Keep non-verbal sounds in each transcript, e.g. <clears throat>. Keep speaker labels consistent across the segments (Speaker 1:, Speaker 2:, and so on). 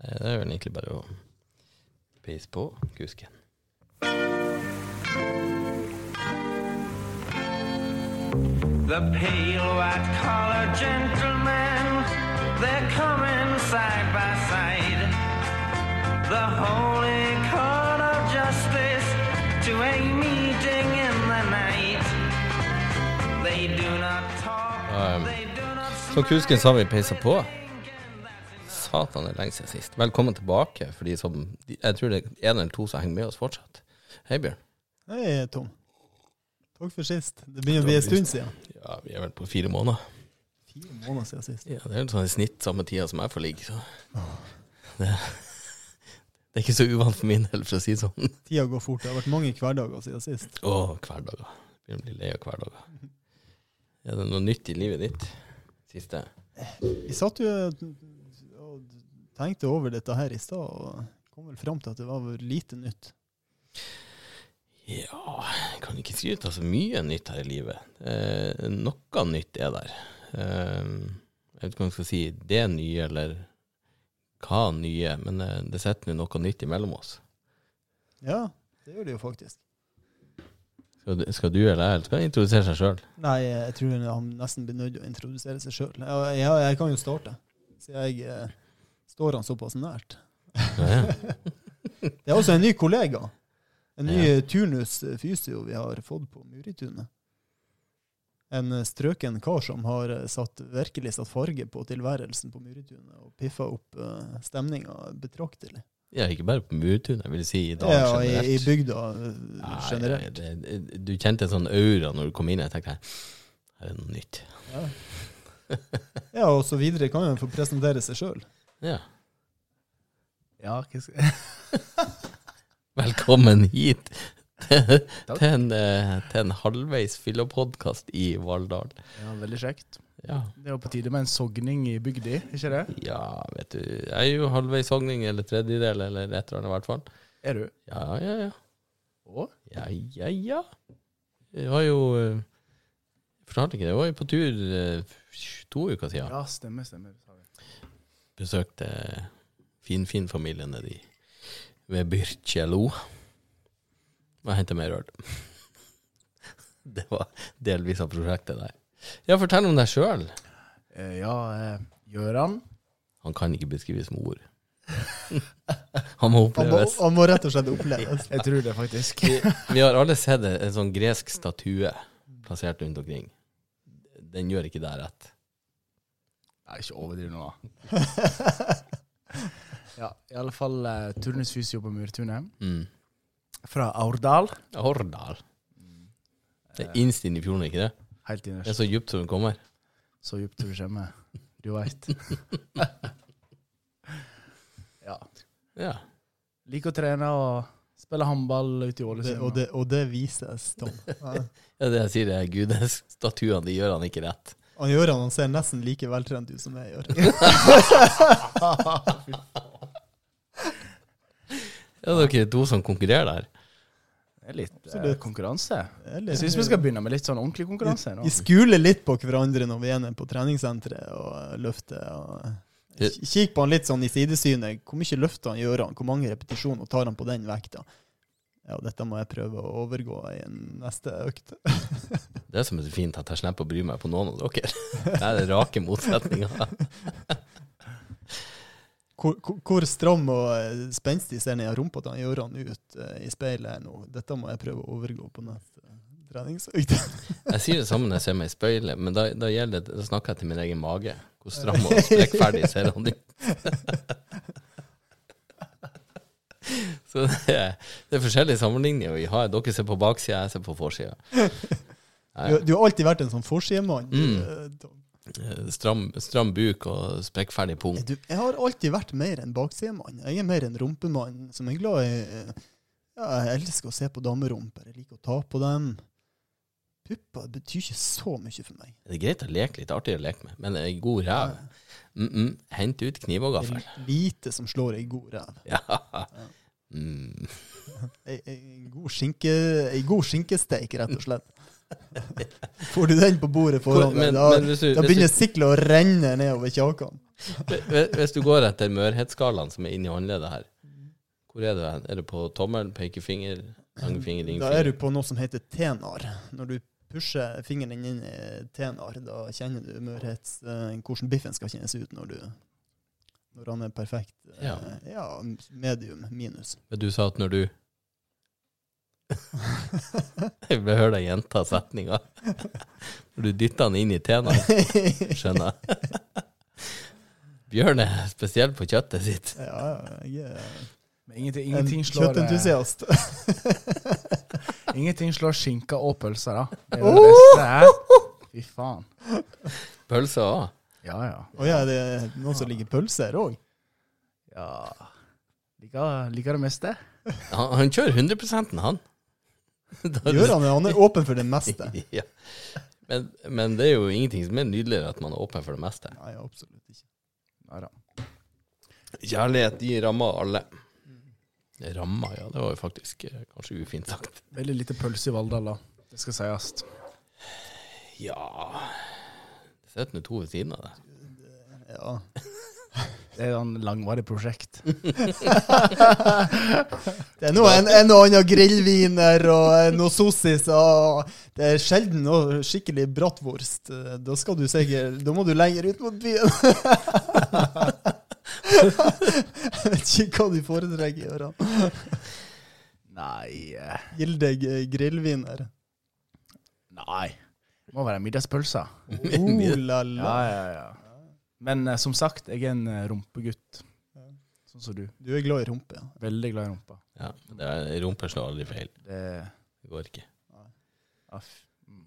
Speaker 1: Nei, Eh, Det er vel egentlig bare å peise på kusken.
Speaker 2: The pale white collar gentlemen, they're coming side by side. The holy court of justice to a meeting in the night. They do not talk,
Speaker 1: Um,
Speaker 2: they do not
Speaker 1: Så kusken så har vi peisa på. Satan, det er lenge siden sist. Velkommen tilbake for de som de- Jeg tror det er en eller to som henger med oss fortsatt. Hei, Bjørn.
Speaker 3: Hei, Tom. Takk for sist. Det begynner å bli en
Speaker 1: Takk for
Speaker 3: stund siden.
Speaker 1: Ja, vi er vel på fire måneder.
Speaker 3: Fire måneder siden sist.
Speaker 1: Ja, Det er vel sånn i snitt samme tida som jeg får ligge, så det, det er ikke så uvant for min del, for å si det sånn.
Speaker 3: Tida går fort. Det har vært mange hverdager siden sist.
Speaker 1: Å, hverdager. Begynner å bli lei av hverdager. Er det noe nytt i livet ditt? Siste?
Speaker 3: Vi satt jo og tenkte over dette her i stad, og kom vel fram til at det var vel lite nytt.
Speaker 1: Ja, jeg kan ikke skryte av så mye nytt her i livet. Eh, noe nytt er der. Eh, jeg vet ikke om jeg skal si det nye, eller hva nye, men eh, det sitter nå noe nytt imellom oss.
Speaker 3: Ja, det gjør det jo faktisk.
Speaker 1: Skal du, skal du eller jeg, eller skal jeg introdusere seg sjøl?
Speaker 3: Nei, jeg tror han nesten blir nødt til å introdusere seg sjøl. Ja, jeg kan jo starte, siden jeg eh, står han såpass nært. Det er også en ny kollega. En ny
Speaker 1: Ja.
Speaker 3: eh, turnus eh, fysio vi har fått på Muritunet. En eh, strøken kar som har eh, satt, virkelig satt farge på tilværelsen på Muritunet og piffa opp uh, stemninga betraktelig.
Speaker 1: Ja, ikke bare på Murtun, jeg vil si i dag
Speaker 3: Ja, i,
Speaker 1: generelt.
Speaker 3: i bygda
Speaker 1: Nei,
Speaker 3: eh,
Speaker 1: nei,
Speaker 3: generelt.
Speaker 1: det- Du kjente en sånn aura når du kom inn, jeg tenkte her er det noe nytt.
Speaker 3: Ja. ja, og så videre kan jo få presentere seg sjøl.
Speaker 1: Ja.
Speaker 4: Ja, hva skal
Speaker 1: <laughs> Velkommen hit til
Speaker 4: Takk.
Speaker 1: til en, eh, til en halvveis fyllepodkast i Valldal.
Speaker 4: ja, Veldig kjekt.
Speaker 1: Ja.
Speaker 4: Det er jo på tide med en sogning i bygda, ikke det?
Speaker 1: ja, vet du. Jeg er jo halvveis sogning, eller tredjedel, eller et eller annet i hvert fall.
Speaker 4: Er du?
Speaker 1: Ja, ja, ja.
Speaker 4: Å?
Speaker 1: Ja, ja, ja. Jeg var jo eh, Fortalte ikke det. Jeg var jo på tur eh, to uker siden.
Speaker 4: Ja, stemmer, stemmer. sa vi.
Speaker 1: Besøkte Finfinn-familien nede i ved Byrkjelo. Og henta mer øl. <laughs> Det var delvis av prosjektet der. Ja, fortell om deg sjøl.
Speaker 4: Eh, Ja, eh, Gøran.
Speaker 1: Han kan ikke beskrives med ord. <laughs> Han må
Speaker 3: Han, må-
Speaker 1: oppleves.
Speaker 3: han må rett og slett
Speaker 1: <laughs>
Speaker 3: oppleves.
Speaker 4: Jeg tror det, faktisk.
Speaker 1: Vi, vi har alle sett en en sånn gresk statue plassert rundt omkring. Den gjør ikke deg rett.
Speaker 4: <laughs> Nei, ikke overdriv nå, da. <laughs> Ja, i alle fall eh, turnusfysio på Murtunet.
Speaker 1: Mm.
Speaker 4: Fra Aurdal. Eh,
Speaker 1: Årdal. Det er innst inn i fjorden, ikke det?
Speaker 4: Helt
Speaker 1: Det
Speaker 4: innerst.
Speaker 1: er så djupt som det kommer.
Speaker 4: Så djupt du kommer. Du veit. <laughs> Ja.
Speaker 1: Ja.
Speaker 4: Liker å trene og spille håndball ute i
Speaker 3: Det,
Speaker 4: Ålesund.
Speaker 3: og,
Speaker 4: <laughs>
Speaker 3: det, og det vises, Tom. Ja.
Speaker 1: ja det jeg sier, det er gudestatuene. De gjør han ikke rett.
Speaker 3: Han gjør han, han ser nesten like veltrent ut som jeg gjør.
Speaker 1: <laughs> Ja, det er dere to som konkurrerer der.
Speaker 4: Det er litt eh,
Speaker 3: Absolutt.
Speaker 4: konkurranse.
Speaker 3: Eller-
Speaker 4: Jeg syns vi skal begynne med litt sånn ordentlig konkurranse nå.
Speaker 3: Vi skuler litt på hverandre når vi er nede på treningssenteret og løfter. Og
Speaker 1: Ja.
Speaker 3: K- Kikk på han litt sånn i sidesynet. Hvor mye løfter han gjør han? Hvor mange repetisjoner og tar han på den vekta? Ja, dette må jeg prøve å overgå i en neste økt.
Speaker 1: Det som er så fint, at jeg slipper å bry meg på noen av dere. <laughs> Det er det rake motsetninga.
Speaker 3: Hvor, hvor- hvor stram og eh, spenstig ser ned rumpa til han gjør han ut eh, i speilet her nå? Dette må jeg prøve å overgå på neste treningsøkt.
Speaker 1: Jeg sier det samme når jeg ser meg i speilet, men da, da, gjelder det, da snakker jeg til min egen mage. Hvor stram og strekkferdig ser han ut. <laughs> Så det er, det er forskjellige sammenligninger vi har. Dere ser på baksida, jeg ser på forsida. Nei.
Speaker 3: Du, du har alltid vært en sånn forsidemann. du, eh, Tom.
Speaker 1: Eh, Stram, stram buk og sprekkferdig pung.
Speaker 3: Er Du, jeg har alltid vært mer en baksidemann. Jeg er mer en rumpemann som er glad i eh, ja, Jeg elsker å se på damerumper. Jeg liker å ta på dem. Pupper betyr ikke så mye for meg.
Speaker 1: Det er greit å leke litt, artig å leke med, men ei god ræv mm -mm, Hent ut kniv og
Speaker 3: Det
Speaker 1: gaffel.
Speaker 3: er lite som slår ei god ræv.
Speaker 1: Ja. Mm. <laughs>
Speaker 3: Ei, ei, en god skinke, ei god skinkesteik, rett og slett. Får du den på bordet foran deg,
Speaker 1: Men-
Speaker 3: da,
Speaker 1: men hvis du-
Speaker 3: da
Speaker 1: hvis
Speaker 3: begynner siklet å renne nedover kjakan.
Speaker 1: Hvis hvis du går etter mørhetsskalaen som er inni håndleddet her, hvor er du hen? Er det på tommel, pekefinger, langfinger,
Speaker 3: Da
Speaker 1: ringfinger?
Speaker 3: er du på noe som heter tenar. Når du pusher fingeren inn i tenar, da kjenner du mørhets, eh, hvordan biffen skal kjennes ut når, du, når han er perfekt. eh,
Speaker 1: Ja.
Speaker 3: ja, medium minus.
Speaker 1: Men du sa at når du Jeg vil høre deg gjenta setninga. Når du dytter den inn i tena, skjønner jeg. Bjørn er spesiell på kjøttet sitt.
Speaker 3: Ja, ja, jeg er
Speaker 4: Men ingenting,
Speaker 3: en
Speaker 4: ingenting, slår, eh,
Speaker 3: kjøttentusiast. <laughs>
Speaker 4: ingenting slår skinka og pølser, da. Det er jo det beste. Fy faen.
Speaker 1: Pølser òg.
Speaker 4: Ja, ja.
Speaker 3: Å ja, det er noen som liker pølser òg?
Speaker 4: ja. Liker, liker det meste.
Speaker 1: Han, han kjører 100 han. Da er
Speaker 3: Gjør han det? Han er åpen for det
Speaker 1: <laughs>
Speaker 3: meste.
Speaker 1: det- Ja. Men, men det er jo ingenting som er nydeligere at man er åpen for det meste.
Speaker 3: Nei, absolutt ikke.
Speaker 4: Nei da.
Speaker 1: Kjærlighet, de rammer alle. Rammer, Mm. ja. Det var jo faktisk eh, kanskje ufint sagt.
Speaker 4: Veldig lite pølse i Valldal, da. Det skal sies.
Speaker 1: Ja Det sitter nå to ved siden av deg.
Speaker 3: Ja.
Speaker 4: Det er et langvarig prosjekt.
Speaker 3: Det er nå en, en og annen grillviner og eh, noe sossis. Og det er sjelden noe skikkelig bratwurst. Eh, Da skal du sikkert Da må du lenger ut mot byen. Jeg vet ikke hva du foretrekker, Gøran.
Speaker 4: Nei eh,
Speaker 3: Gildeg eh, grillviner.
Speaker 4: Nei. Det må være middagspølse.
Speaker 3: Oh la la.
Speaker 4: ja, ja. Men eh, som sagt, jeg er en eh, rumpegutt. Sånn som du.
Speaker 3: Du er glad i rumpe. ja.
Speaker 4: Veldig glad i rumpa.
Speaker 1: Ja, det er- Rumper slår aldri feil.
Speaker 4: Det
Speaker 1: Det går ikke.
Speaker 4: aff. Mm.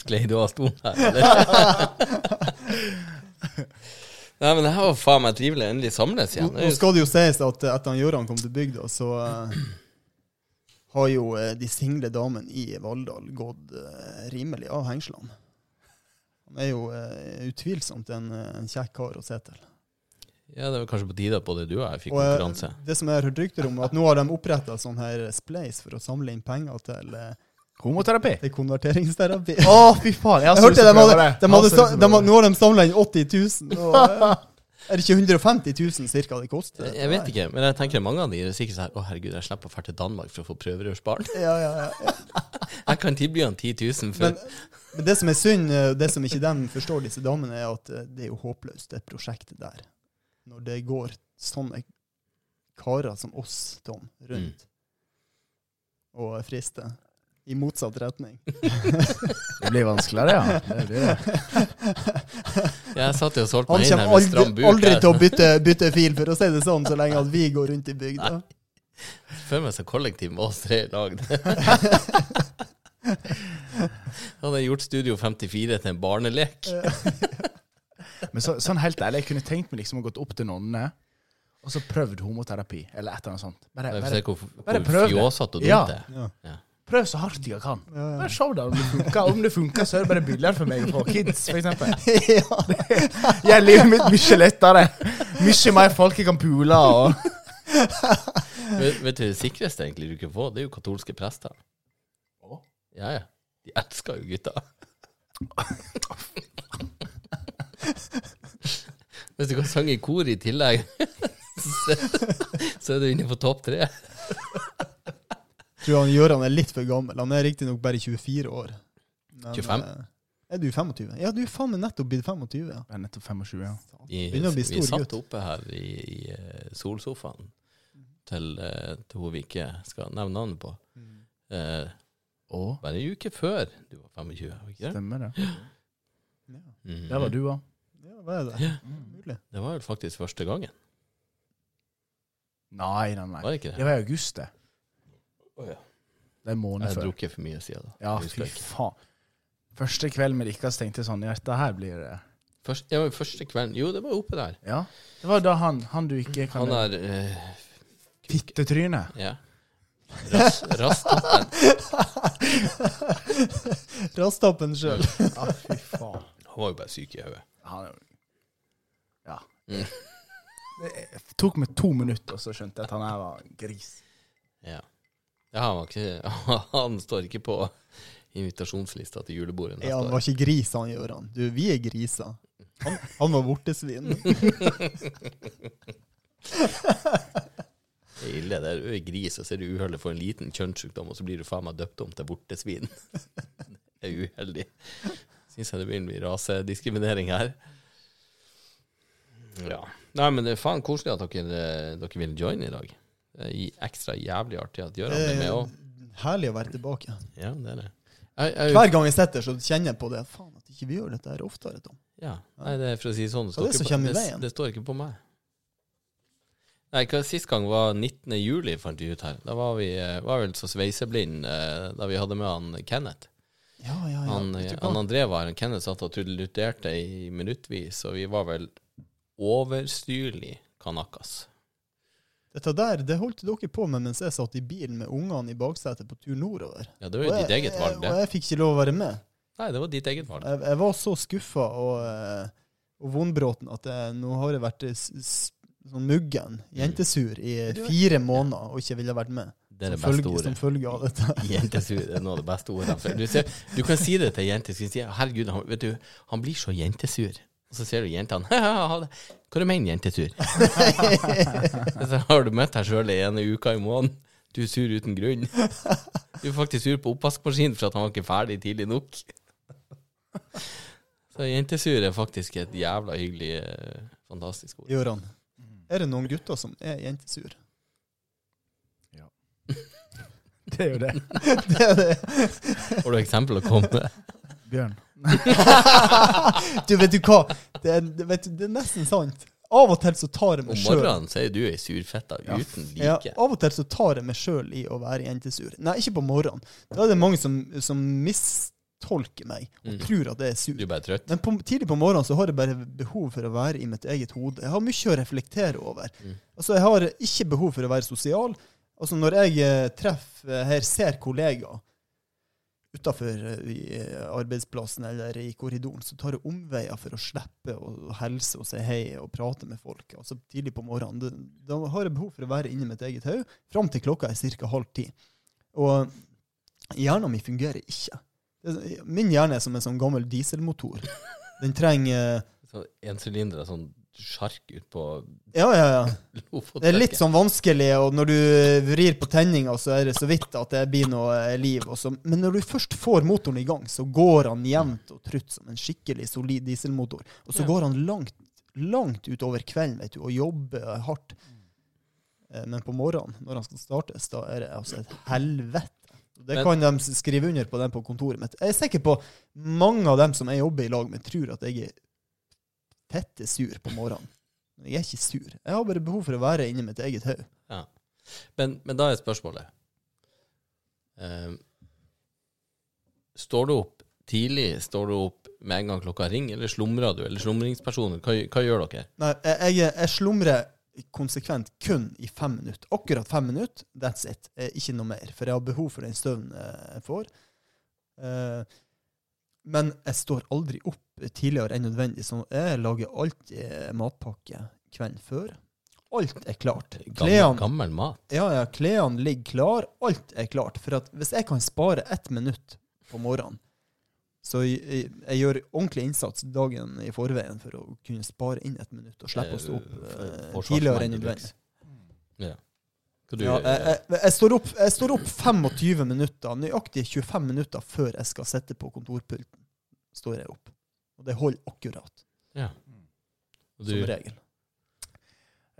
Speaker 1: Sklei du av stolen her, eller? <laughs> Nei, men det her var faen meg trivelig. Endelig samles
Speaker 3: Nå
Speaker 1: igjen. Det
Speaker 3: nå
Speaker 1: er jo-
Speaker 3: skal det jo sies at eh, etter at Gøran kom til bygda, så eh, har jo eh, de single damene i Valldal gått eh, rimelig av hengslene. Han er jo eh, utvilsomt en, eh, en kjekk kar å se til.
Speaker 1: Ja, det var kanskje på tide at både du og jeg fikk
Speaker 3: Og, eh,
Speaker 1: konkurranse.
Speaker 3: Det som jeg har hørt rykter om, er at nå har de oppretta sånn her spleis for å samle inn penger til, eh,
Speaker 4: Homoterapi.
Speaker 3: til konverteringsterapi.
Speaker 4: Å, fy faen! har
Speaker 3: <laughs> Jeg
Speaker 4: så
Speaker 3: hørte
Speaker 4: lyst
Speaker 3: de
Speaker 4: til å
Speaker 3: hadde,
Speaker 4: prøve det.
Speaker 3: de
Speaker 4: Jeg har
Speaker 3: hadde, sa-
Speaker 4: så lyst til å
Speaker 3: de,
Speaker 4: prøve
Speaker 3: hadde- nå har de samla inn 80 000. Og, eh, er det ikke 150 000 cirka det koster?
Speaker 1: Jeg vet ikke, men jeg tenker mange av de er sikkert sånn her Å, herregud, jeg slipper å dra til Danmark for å få prøverørsbarn.
Speaker 3: Ja, ja, ja.
Speaker 1: Jeg kan tilby han 10 000 for
Speaker 3: Men, men det som er synd, eh, det som ikke de forstår, disse damene, er at eh, det er jo håpløst, det prosjektet der. Når det går sånne karer som oss, Tom, rundt
Speaker 4: Mm.
Speaker 3: og frister. I motsatt retning.
Speaker 1: <laughs>
Speaker 4: det. Det blir vanskeligere, ja. Det
Speaker 3: <laughs>
Speaker 4: blir det.
Speaker 1: Jeg satt jo og solgte
Speaker 3: Han
Speaker 1: meg inn her
Speaker 3: kommer
Speaker 1: med stram
Speaker 3: aldri,
Speaker 1: buk.
Speaker 3: aldri
Speaker 1: her.
Speaker 3: til å bytte, bytte fil, for å si det sånn, så lenge at vi går rundt i bygda.
Speaker 1: Føler meg som kollektiv med oss tre i lag. Han har gjort Studio 54 til en barnelek.
Speaker 4: <laughs> Men så, sånn helt ærlig, jeg kunne tenkt meg liksom å gått opp til nonnene og så prøvd homoterapi, eller et eller annet sånt. Bare,
Speaker 1: Jeg får se
Speaker 4: bare
Speaker 1: hvor,
Speaker 4: bare
Speaker 1: hvor
Speaker 4: prøv det.
Speaker 1: fjåsete og dumt
Speaker 4: Ja.
Speaker 1: det er.
Speaker 3: Ja.
Speaker 4: prøv så hardt jeg kan. Bare se da om det funker. Om det funker, så er det bare billigere for meg å få kids, for eksempel.
Speaker 3: <laughs>
Speaker 4: <laughs>
Speaker 3: Ja.
Speaker 4: Gjør livet mitt mye lettere. Mye mer folk jeg kan pule og
Speaker 1: Vet, vet du det sikreste egentlig du kan få? Det er jo katolske prester.
Speaker 4: Å?
Speaker 1: Ja, ja. De elsker jo gutta. Hvis du kan sange i kor i tillegg, <laughs> så, så er du inne på topp tre.
Speaker 3: tror han Gøran er litt for gammel. Han er riktignok bare 24 år. Men,
Speaker 1: 25?
Speaker 3: eh, Er du 25? Ja, du er faen meg nettopp blitt 25. ja.
Speaker 4: Jeg er nettopp 25, ja.
Speaker 1: Vi,
Speaker 3: Begynner å bli
Speaker 1: vi
Speaker 3: stor
Speaker 1: satt
Speaker 3: gutt.
Speaker 1: oppe her i, i eh, solsofaen til, eh, til hun vi ikke skal nevne navnet på.
Speaker 4: Mm.
Speaker 1: Eh,
Speaker 4: Og
Speaker 1: bare en uke før du var 25. var Ikke det?
Speaker 4: stemmer det.
Speaker 3: Ja,
Speaker 1: Mhm.
Speaker 4: Der var du òg.
Speaker 3: ja hva er det? Mulig.
Speaker 1: Det var vel faktisk første gangen,
Speaker 4: Nei, nei,
Speaker 1: var
Speaker 4: nei.
Speaker 1: det ikke
Speaker 4: Det
Speaker 1: det?
Speaker 4: var i august, det.
Speaker 1: Å, ja.
Speaker 4: Det er en
Speaker 1: Jeg
Speaker 4: måned
Speaker 1: har
Speaker 4: før.
Speaker 1: drukket for mye siden da.
Speaker 4: Ja,
Speaker 1: Jeg husker
Speaker 4: fy
Speaker 1: ikke.
Speaker 4: faen. Første kveld med Rikkas tenkte jeg sånn Ja, dette her blir det.
Speaker 1: Først, ja, men første kvelden Jo, det var oppe der.
Speaker 4: Ja. Det var da han, han du ikke kan
Speaker 1: Han er eh,
Speaker 4: Fittetryne.
Speaker 1: Ja.
Speaker 4: <laughs>
Speaker 1: Ras, rastappen.
Speaker 3: Rastappen
Speaker 1: <laughs>
Speaker 3: sjøl.
Speaker 4: Ja, fy faen.
Speaker 1: Han var jo bare syk i hodet.
Speaker 4: Han er Ja.
Speaker 1: Mm.
Speaker 4: Det tok meg to minutter, og så skjønte jeg at han her var en gris.
Speaker 1: Ja. Ja, han, var ikke, <laughs> han står ikke på invitasjonslista til julebordet neste
Speaker 3: Ja, han
Speaker 1: år.
Speaker 3: var ikke gris, han Gøran. Du, vi er griser. Han, han var vortesvin.
Speaker 1: Det er ille. Det er du er gris, og så er du uheldig for en liten kjønnssykdom, og så blir du faen meg døpt om til bortesvin. <laughs> Det er uheldig. Syns jeg det begynner å bli rasediskriminering her. Ja. Nei, men det er faen koselig at dere, eh, dere vil joine i dag. Det er i- ekstra jævlig artig at Gøran blir med òg.
Speaker 3: Eh, Herlig å være tilbake.
Speaker 1: Ja, det er det. Jeg, jeg,
Speaker 3: Hver gang jeg sitter, så kjenner jeg på det. Faen, at ikke vi gjør dette her oftere, Tom.
Speaker 1: Ja, nei, det er for å si det sånn. Det
Speaker 3: Hva
Speaker 1: står,
Speaker 3: er det som
Speaker 1: ikke, på,
Speaker 3: kommer i
Speaker 1: det,
Speaker 3: veien?
Speaker 1: det står ikke på meg. Nei, hva Sist gang var 19. juli, fant vi ut her. Da var vi eh, var vel så sveiseblind eh, da vi hadde med han Kenneth.
Speaker 3: Ja, ja, ja.
Speaker 1: Han,
Speaker 3: Vet
Speaker 1: eh,
Speaker 3: du hva?
Speaker 1: han André var her, og Kenneth satt og trudeluterte i minuttvis, og vi var vel overstyrlig kanakas.
Speaker 3: Dette der, det holdt dere på med mens jeg satt i bilen med ungene i baksetet på tur nordover.
Speaker 1: Ja, det var jo
Speaker 3: Og
Speaker 1: ditt
Speaker 3: jeg-
Speaker 1: eget valg,
Speaker 3: Og
Speaker 1: det.
Speaker 3: jeg fikk ikke lov å være med.
Speaker 1: Nei, det var ditt eget valg.
Speaker 3: Jeg, jeg var så skuffa og, eh, og vondbråten at jeg, nå har jeg vært eh, s, s, sånn muggen,
Speaker 1: Mm.
Speaker 3: jentesur, i fire måneder og ikke ville vært med.
Speaker 1: Det er det
Speaker 3: som,
Speaker 1: beste
Speaker 3: følge, som
Speaker 1: ordet.
Speaker 3: følge av
Speaker 1: <laughs>
Speaker 3: dette. <laughs>
Speaker 1: Jentesur er noe av det beste ordet. jeg har hørt. Du, ser, du kan si det til jenter. Skal vi si, Herregud, han, vet du, han blir så jentesur. Og så ser du jentene. <laughs> «Haha, Hva du mener jentesur? <laughs> så har du møtt deg sjøl i ene uka i måneden. Du er sur uten grunn. Du er faktisk sur på oppvaskmaskinen for at han var ikke ferdig tidlig nok. Så jentesur er faktisk et jævla hyggelig, eh, fantastisk ord.
Speaker 3: Gøran,
Speaker 1: Mm.
Speaker 3: er det noen gutter som er jentesur? <laughs>
Speaker 4: Det er jo det.
Speaker 1: <laughs>
Speaker 3: Det er det. <laughs>
Speaker 1: Har du eksempel å komme med?
Speaker 4: Bjørn.
Speaker 3: Du, vet du hva? Det er, det- vet du, det er nesten sant. Av og til så tar jeg meg
Speaker 1: Om
Speaker 3: sjøl
Speaker 1: morgenen så er du ei surfetta uten
Speaker 3: Ja,
Speaker 1: like.
Speaker 3: av og til så tar jeg meg sjøl i å være jentesur. Nei, ikke på morgenen. Da er det mange som, som mistolker meg og
Speaker 1: Mm.
Speaker 3: tror at jeg er sur.
Speaker 1: Du er bare trøtt.
Speaker 3: Men på, tidlig på morgenen så har jeg bare behov for å være i mitt eget hode. Jeg har mye å reflektere over. Altså, Jeg har ikke behov for å være sosial. Altså, Når jeg eh, treffer eh, her, ser kollegaer utafor eh, arbeidsplassen eller i korridoren, så tar jeg omveier for å slippe å å hilse og si hei og prate med folk. Altså Tidlig på morgenen. Det- Da har jeg behov for å være inni mitt eget hode fram til klokka er ca. halv ti. Og hjernen min fungerer ikke. Det- Min hjerne er som en sånn gammel dieselmotor. Den trenger
Speaker 1: Sånn ensylinder sånn sjark ut på
Speaker 3: Ja, ja, ja.
Speaker 1: Lofotfisket.
Speaker 3: Det er litt sånn vanskelig, og når du vrir på tenninga, så er det så vidt at det blir noe eh, liv. og så- Men når du først får motoren i gang, så går han jevnt og trutt som en skikkelig solid dieselmotor. Og så
Speaker 1: Ja.
Speaker 3: går han langt, langt utover kvelden vet du, og jobber hardt. Eh, Men på morgenen, når han skal startes, da er det altså et helvete. Det
Speaker 1: Men-
Speaker 3: kan de skrive under på, den på kontoret mitt. Jeg er sikker på mange av dem som jeg jobber i lag med, tror at jeg er fette sur på morgenen. Men jeg er ikke sur. Jeg har bare behov for å være inni mitt eget hode.
Speaker 1: Ja. Men, men da er spørsmålet Ehm, Står du opp tidlig? Står du opp med en gang klokka ringer, eller slumrer du? Eller slumringspersoner? Hva, hva gjør dere?
Speaker 3: Nei, jeg, jeg, jeg slumrer konsekvent kun i fem minutter. Akkurat fem minutter, that's it. Eh, Ikke noe mer. For jeg har behov for den støvnen eh, jeg får. Eh, Men jeg står aldri opp tidligere enn nødvendig, så jeg lager alltid eh, matpakke kvelden før. Alt er klart.
Speaker 1: Gammel,
Speaker 3: Klærne
Speaker 1: gammel mat?
Speaker 3: ja, ja, klærne ligger klar. Alt er klart. For at hvis jeg kan spare ett minutt på morgenen, så jeg, jeg, jeg gjør ordentlig innsats dagen i forveien for å kunne spare inn et minutt og slippe å stå opp eh, tidligere enn nødvendig.
Speaker 1: Ja. Hva du,
Speaker 3: Ja, jeg, jeg, jeg, står opp, jeg står opp 25 minutter, nøyaktig 25 minutter før jeg skal sitte på kontorpulten. Står jeg opp. Og det holder akkurat,
Speaker 1: du,
Speaker 3: som regel.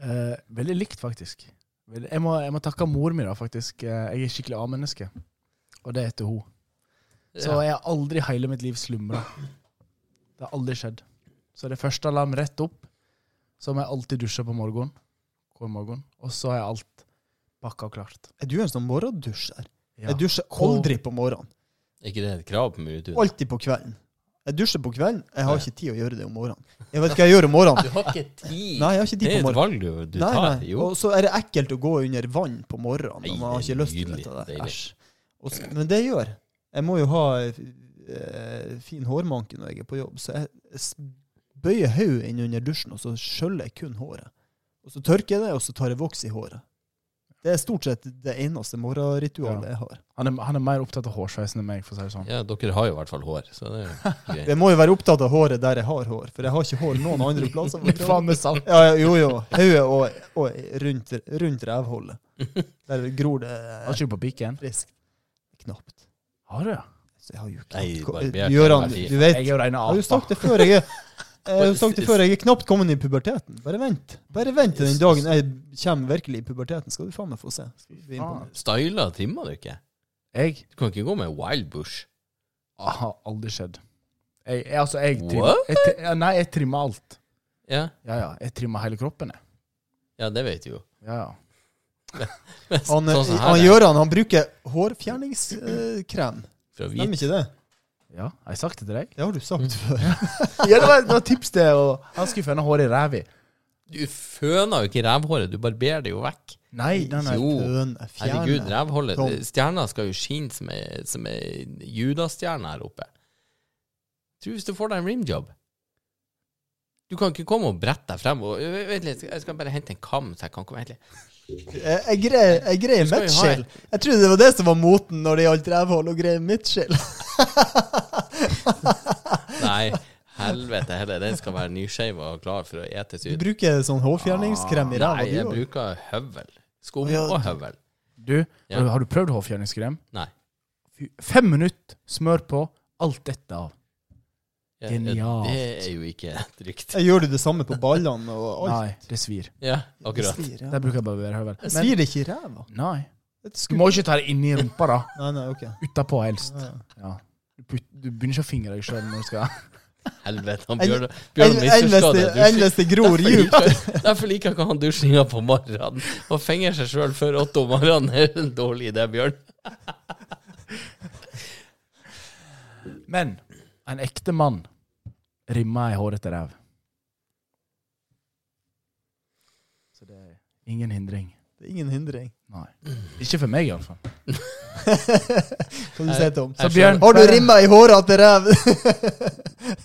Speaker 4: Eh, veldig likt, faktisk. Veldig- Jeg må, jeg må takke mor mi, da, faktisk. Eh, Jeg er skikkelig A-menneske. Og det er etter hun. Så
Speaker 1: ja.
Speaker 4: jeg har aldri i hele mitt liv slumra. Det har aldri skjedd. Så det første alarm rett opp. Så må jeg alltid dusje på morgenen. Hver morgen. Og så har jeg alt pakka og klart.
Speaker 3: Er du en sånn morgendusjer?
Speaker 4: Ja.
Speaker 3: Jeg dusjer
Speaker 4: Hvor-
Speaker 3: aldri på morgenen.
Speaker 1: ikke det er et krav på Muretur?
Speaker 3: Alltid på kvelden. Jeg dusjer på kvelden. Jeg har ikke tid å gjøre det om morgenen. Jeg vet hva jeg gjør om
Speaker 1: <laughs>
Speaker 3: morgenen.
Speaker 1: Du har ikke tid!
Speaker 3: Nei, jeg har ikke
Speaker 1: det
Speaker 3: tid
Speaker 1: er
Speaker 3: på
Speaker 1: et
Speaker 3: morgenen.
Speaker 1: valg du, du
Speaker 3: Nei,
Speaker 1: tar.
Speaker 3: nei.
Speaker 1: Jo.
Speaker 3: Og så er det ekkelt å gå under vann på morgenen.
Speaker 1: Nei,
Speaker 3: og man har
Speaker 1: det er
Speaker 3: ikke lyst til
Speaker 1: nydelig.
Speaker 3: dette der.
Speaker 1: Deilig.
Speaker 3: Æsj. Og så- Men det gjør. Jeg må jo ha eh, fin hårmanke når jeg er på jobb, så jeg s- bøyer hodet inn under dusjen, og så skjøller jeg kun håret. Og så tørker jeg det, og så tar jeg voks i håret. Det er stort sett det eneste morgenritualet jeg har.
Speaker 4: Han er, han er mer opptatt av hårsveisen enn meg, for å si det sånn.
Speaker 1: Ja, dere har jo i hvert fall hår, så det er jo greit.
Speaker 3: Jeg må jo være opptatt av håret der jeg har hår, for jeg har ikke hår noen andre
Speaker 1: <laughs>
Speaker 3: plasser. på
Speaker 4: Litt faen
Speaker 3: kroppen.
Speaker 4: med salt.
Speaker 3: Ja, ja, jo, jo. Hodet og, og rundt, rundt rævhullet. Der gror det
Speaker 4: Har ikke du på pikken?
Speaker 3: friskt. Knapt.
Speaker 4: Har du, ja?
Speaker 3: Så jeg har jo
Speaker 1: Nei,
Speaker 3: knapt
Speaker 1: barbert,
Speaker 3: Gøran,
Speaker 1: det er fint.
Speaker 3: du vet
Speaker 4: Jeg er jo reine
Speaker 3: Jeg har jo
Speaker 4: apa.
Speaker 3: sagt det før.
Speaker 1: <laughs>
Speaker 3: Jeg er, jeg har jo sagt det før, jeg er knapt kommet i puberteten. Bare vent Bare vent til den dagen jeg kommer virkelig i puberteten, skal du faen meg få se. Skal du bli imponert.
Speaker 1: Styla trimmer du ikke?
Speaker 4: Jeg
Speaker 1: Du kan ikke gå med wild bush.
Speaker 4: har aldri skjedd. Jeg, jeg, altså, jeg trimmer,
Speaker 1: What?
Speaker 4: jeg, tri- ja, nei, jeg trimmer alt.
Speaker 1: Ja,
Speaker 4: Ja, ja. Jeg trimmer hele kroppen, jeg.
Speaker 1: ja det vet du jo.
Speaker 4: Ja, ja.
Speaker 1: Men
Speaker 3: Han,
Speaker 1: <laughs>
Speaker 3: eh,
Speaker 1: sånn som
Speaker 3: han
Speaker 1: her er
Speaker 3: Gøran han bruker hårfjerningskrem.
Speaker 1: fra
Speaker 3: Stemmer
Speaker 1: hvit
Speaker 3: ikke det?
Speaker 4: ja har jeg sagt det til deg?
Speaker 3: Det har du
Speaker 1: Mm.
Speaker 3: sagt
Speaker 1: <laughs>
Speaker 3: før.
Speaker 4: Ja, det var, det var tips det. Og han skulle føne håret i ræva.
Speaker 1: Du føner jo ikke rævhåret, du barberer det jo vekk.
Speaker 4: Nei, nei, nei.
Speaker 1: Jo.
Speaker 3: Føne,
Speaker 1: Herregud,
Speaker 3: fjerne.
Speaker 1: rævhålet
Speaker 3: Tom.
Speaker 1: Stjerna skal jo skinne som ei- som ei judastjerne her oppe. Tror hvis du får deg en rimjob Du kan ikke komme og brette deg frem og Vent litt, jeg skal bare hente en kam, så jeg kan komme Vent litt.
Speaker 3: Eh, Jeg jeg greier, jeg greier
Speaker 1: skal jo ha
Speaker 3: midtskill. Jeg trodde det var det som var moten når det gjaldt rævhold og greier
Speaker 1: <laughs>
Speaker 3: midtskill.
Speaker 1: Nei, helvete heller, den skal være nyskeiv og klar for å etes
Speaker 3: Du
Speaker 1: ut.
Speaker 3: bruker sånn hårfjerningskrem i ræva,
Speaker 1: Ah, Nei, jeg
Speaker 3: du òg?
Speaker 1: bruker høvel. Skum
Speaker 3: Ja.
Speaker 1: og høvel.
Speaker 4: Du,
Speaker 1: Ja.
Speaker 4: har du- har du prøvd hårfjerningskrem?
Speaker 1: Nei.
Speaker 4: Fy- Fem minutter, smør på, alt dette av.
Speaker 1: Ja,
Speaker 4: Genialt.
Speaker 1: Det er jo ikke trygt.
Speaker 3: Gjør du det samme på ballene og alt?
Speaker 4: Nei, det svir.
Speaker 1: Ja,
Speaker 3: Det
Speaker 1: akkurat.
Speaker 3: svir, ja.
Speaker 4: Der bruker jeg bare å være høvel.
Speaker 3: Det
Speaker 4: Men-
Speaker 3: svir ikke i ræva.
Speaker 4: Nei.
Speaker 3: Det
Speaker 4: Du
Speaker 3: skulle-
Speaker 4: må ikke ta det inni rumpa, da.
Speaker 3: Nei, nei, ok.
Speaker 4: Utapå helst.
Speaker 3: Ja, ja.
Speaker 4: Ja. Du, putt, du begynner ikke å fingre deg sjøl når du skal
Speaker 1: Helvete, han
Speaker 3: En-
Speaker 1: Bjørn, Bjørn
Speaker 3: En-
Speaker 1: misforstår det.
Speaker 3: eneste-
Speaker 1: Du sier-
Speaker 3: Eneste gror djupt.
Speaker 1: Derfor liker- Derfor liker ikke han dusjinga på morgenen. Å fenge seg sjøl før åtte om morgenen er en dårlig idé, Bjørn.
Speaker 4: Men en ekte mann rimmer ei hårete ræv. Så det er ingen hindring.
Speaker 3: Det er ingen hindring. <laughs>
Speaker 4: Nei. Ikke for meg, iallfall.
Speaker 3: Hva du sier Tom?
Speaker 1: Jeg
Speaker 4: Bjørn-
Speaker 1: skjønner-
Speaker 3: Har du rimma i håret til ræv? <laughs>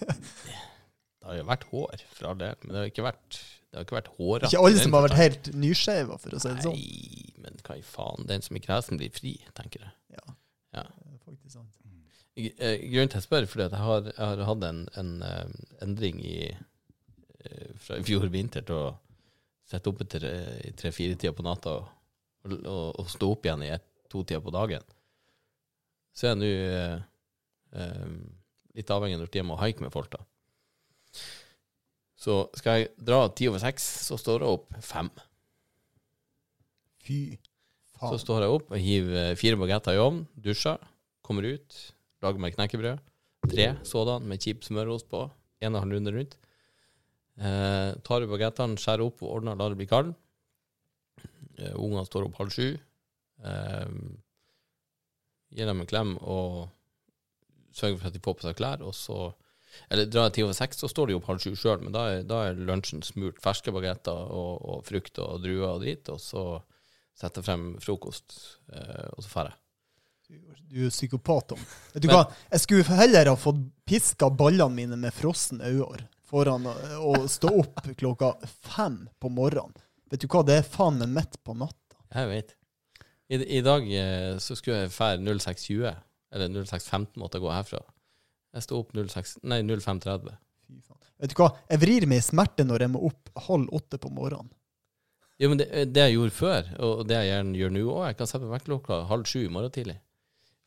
Speaker 1: Det har jo vært hår, for all del, men det har ikke vært Det har ikke vært hårete.
Speaker 3: Ikke alle som har vært helt nyskeiva, for å si det sånn.
Speaker 1: Nei, men hva i faen. Den som ikke er hesen, blir fri, tenker jeg.
Speaker 3: Ja.
Speaker 1: Ja.
Speaker 3: Det er faktisk sant.
Speaker 1: Gr- eh, Grunnen til at jeg spør, fordi at jeg har, jeg har hatt en, en eh, endring i eh, fra i fjor vinter til å sette opp i tre-fire-tida på natta og, og, og stå opp igjen i to-tida på dagen. Så er jeg nå eh, eh, litt avhengig av når jeg må hike med folk, da. Så skal jeg dra ti over seks, så står jeg opp fem.
Speaker 3: Fy
Speaker 1: Så
Speaker 3: faen.
Speaker 1: står jeg opp og hiver eh, fire bagetter i ovnen, dusjer, kommer ut, lager meg knekkebrød. Tre sådan med kjip smørost på, en og en halv runde rundt. Eh, tar ut bagettene, skjærer opp og ordner, lar det bli kaldt. Eh, Ungene står opp halv sju. Eh, gir dem en klem og sørger for at de får på seg klær, og så eller drar jeg ti over seks, så står de opp halv sju sjøl, men da er, da er lunsjen smurt ferske bagetter og, og frukt og druer og drit, og så setter frem frokost, eh, og så drar jeg.
Speaker 3: Du er psykopat, Tom. Vet du
Speaker 1: Men-
Speaker 3: hva? Jeg skulle heller ha fått piska ballene mine med frosne øyne foran å å stå opp klokka fem på morgenen. Vet du hva, det er faen meg midt på natta.
Speaker 1: Jeg vet. I, I dag eh, så skulle jeg dra 06.20, eller 06.15 måtte jeg gå herfra. Jeg sto opp 06, nei, 05.30.
Speaker 3: Fy faen. Vet du hva, jeg vrir meg i smerte når jeg må opp halv åtte på morgenen.
Speaker 1: Ja, men det, eh, det jeg gjorde før, og det jeg gjerne gjør nå òg, jeg kan sette vekkerklokka halv sju i morgen tidlig.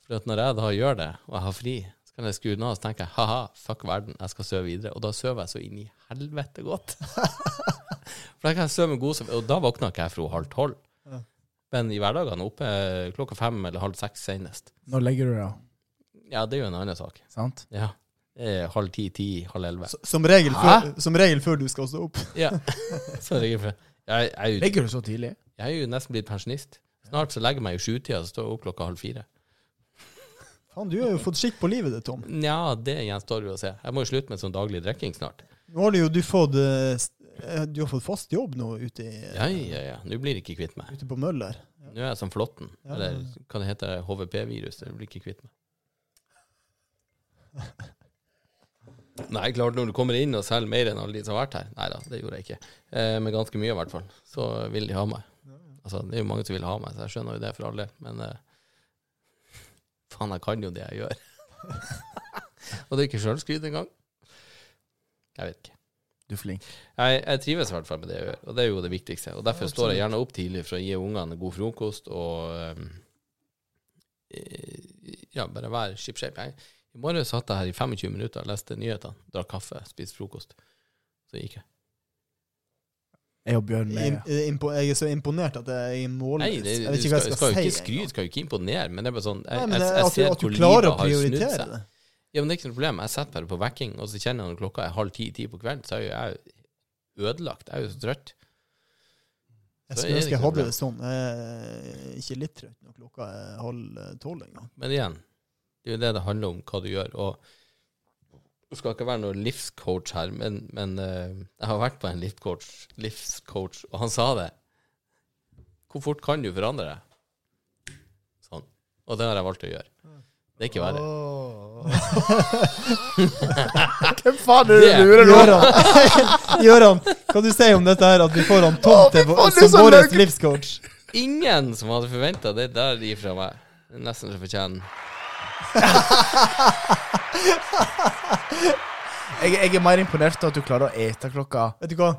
Speaker 1: For at når jeg da gjør det, og jeg har fri, så kan jeg skru den av og så tenker jeg, ha-ha, fuck verden, jeg skal sove videre. Og da sover jeg så inn i helvete godt. <laughs> For da kan jeg sove med god sove, og da våkner ikke jeg fra halv tolv.
Speaker 3: Ja.
Speaker 1: Men i hverdagene oppe eh, klokka fem eller halv seks senest.
Speaker 4: Når legger du deg, da?
Speaker 1: Ja, det er jo en annen sak.
Speaker 4: Sant?
Speaker 1: Ja. Eh, halv ti, ti, halv elleve.
Speaker 3: Så- Som regel,
Speaker 1: Hæ?
Speaker 3: før, som regel før du skal stå opp.
Speaker 1: Ja. <laughs> Så det er ikke for- jeg, jeg, er jo-
Speaker 4: Legger du så tidlig?
Speaker 1: jeg er jo nesten blitt pensjonist. Snart så legger jeg meg i sjutida, så står jeg opp klokka halv fire.
Speaker 3: Faen, du har jo fått skikk på livet ditt, Tom.
Speaker 1: Nja, det gjenstår jo å se. Jeg må jo slutte med sånn daglig drikking snart.
Speaker 3: Nå har du jo du fått, eh, s- eh, du har fått fast jobb nå ute, i,
Speaker 1: Ja, ja, ja. Nå blir jeg ikke kvitt meg.
Speaker 3: ute på Møller.
Speaker 1: Nå er jeg som flåtten.
Speaker 3: Ja.
Speaker 1: Eller hva det heter, HVP-virus. Jeg blir ikke kvitt
Speaker 3: <laughs>
Speaker 1: meg. Nei, klart når du kommer inn og selger mer enn alle de som har vært her. Nei da, det gjorde jeg ikke. Eh, men ganske mye i hvert fall. Så vil de ha meg. Jeg Altså, det er jo mange som vil ha meg, så jeg skjønner jo det for alle, men eh, faen, jeg kan jo det
Speaker 3: <laughs>
Speaker 1: jeg gjør. Og det er ikke sjølskryt engang. Jeg vet ikke.
Speaker 5: Du er flink.
Speaker 1: Jeg, jeg trives i hvert fall med det jeg gjør, og det er jo det viktigste. Og Derfor
Speaker 4: Ja,
Speaker 1: står jeg gjerne opp tidlig for å gi ungene god frokost og um, eh, ja, bare være ship shape. Jeg, I morgen satt jeg her i 25 minutter, leste nyhetene, drakk kaffe, spiste frokost. Så gikk jeg.
Speaker 4: Jeg og Bjørn med.
Speaker 3: Im- impo- Jeg er så imponert at jeg er
Speaker 1: Nei,
Speaker 3: målløs.
Speaker 1: det,
Speaker 3: Jeg
Speaker 1: du
Speaker 3: vet
Speaker 1: skal,
Speaker 3: ikke hva jeg
Speaker 1: skal
Speaker 3: skal,
Speaker 1: jo ikke
Speaker 3: si. engang.
Speaker 1: skryte, skal jo ikke imponere, men det er bare sånn
Speaker 3: Nei,
Speaker 1: Jeg,
Speaker 3: men
Speaker 1: jeg,
Speaker 3: det-
Speaker 1: jeg
Speaker 3: at du-
Speaker 1: ser
Speaker 3: at du
Speaker 1: hvor
Speaker 3: klarer å
Speaker 1: livet har snudd
Speaker 3: prioritere
Speaker 1: seg.
Speaker 3: det.
Speaker 1: Ja, men det er ikke noe problem. Jeg setter bare på vekking, og så kjenner jeg når klokka er halv ti-ti på kvelden, så er jo jeg ødelagt. Jeg er jo så trøtt.
Speaker 3: Jeg
Speaker 1: Så er det
Speaker 3: skulle ønske
Speaker 1: ikke
Speaker 3: jeg
Speaker 1: noe
Speaker 3: hadde det sånn. Jeg er ikke litt trøtt når klokka er halv tolv engang.
Speaker 1: Men igjen, det er jo det det handler om, hva du gjør. Og jeg skal ikke være noen livscoach her, men, men eh, jeg har vært på en livscoach, livscoach, og han sa det. Hvor fort kan du forandre deg? Sånn. Og det har jeg valgt å gjøre. Det er ikke verre.
Speaker 4: Hvem faen er det
Speaker 1: Det-
Speaker 4: du lurer nå?
Speaker 3: <laughs> Gøran, Gøran, hva du sier om dette her, at vi får han Tom
Speaker 4: Å, fy
Speaker 3: til
Speaker 4: faen,
Speaker 3: vår-
Speaker 4: det er
Speaker 3: som
Speaker 4: så
Speaker 3: vår
Speaker 4: løk.
Speaker 3: livscoach?
Speaker 1: Ingen som hadde forventa det der ifra meg. Det er Nesten så fortjener den.
Speaker 4: Jeg, jeg er mer imponert over at du klarer å ete klokka
Speaker 3: Vet du hva?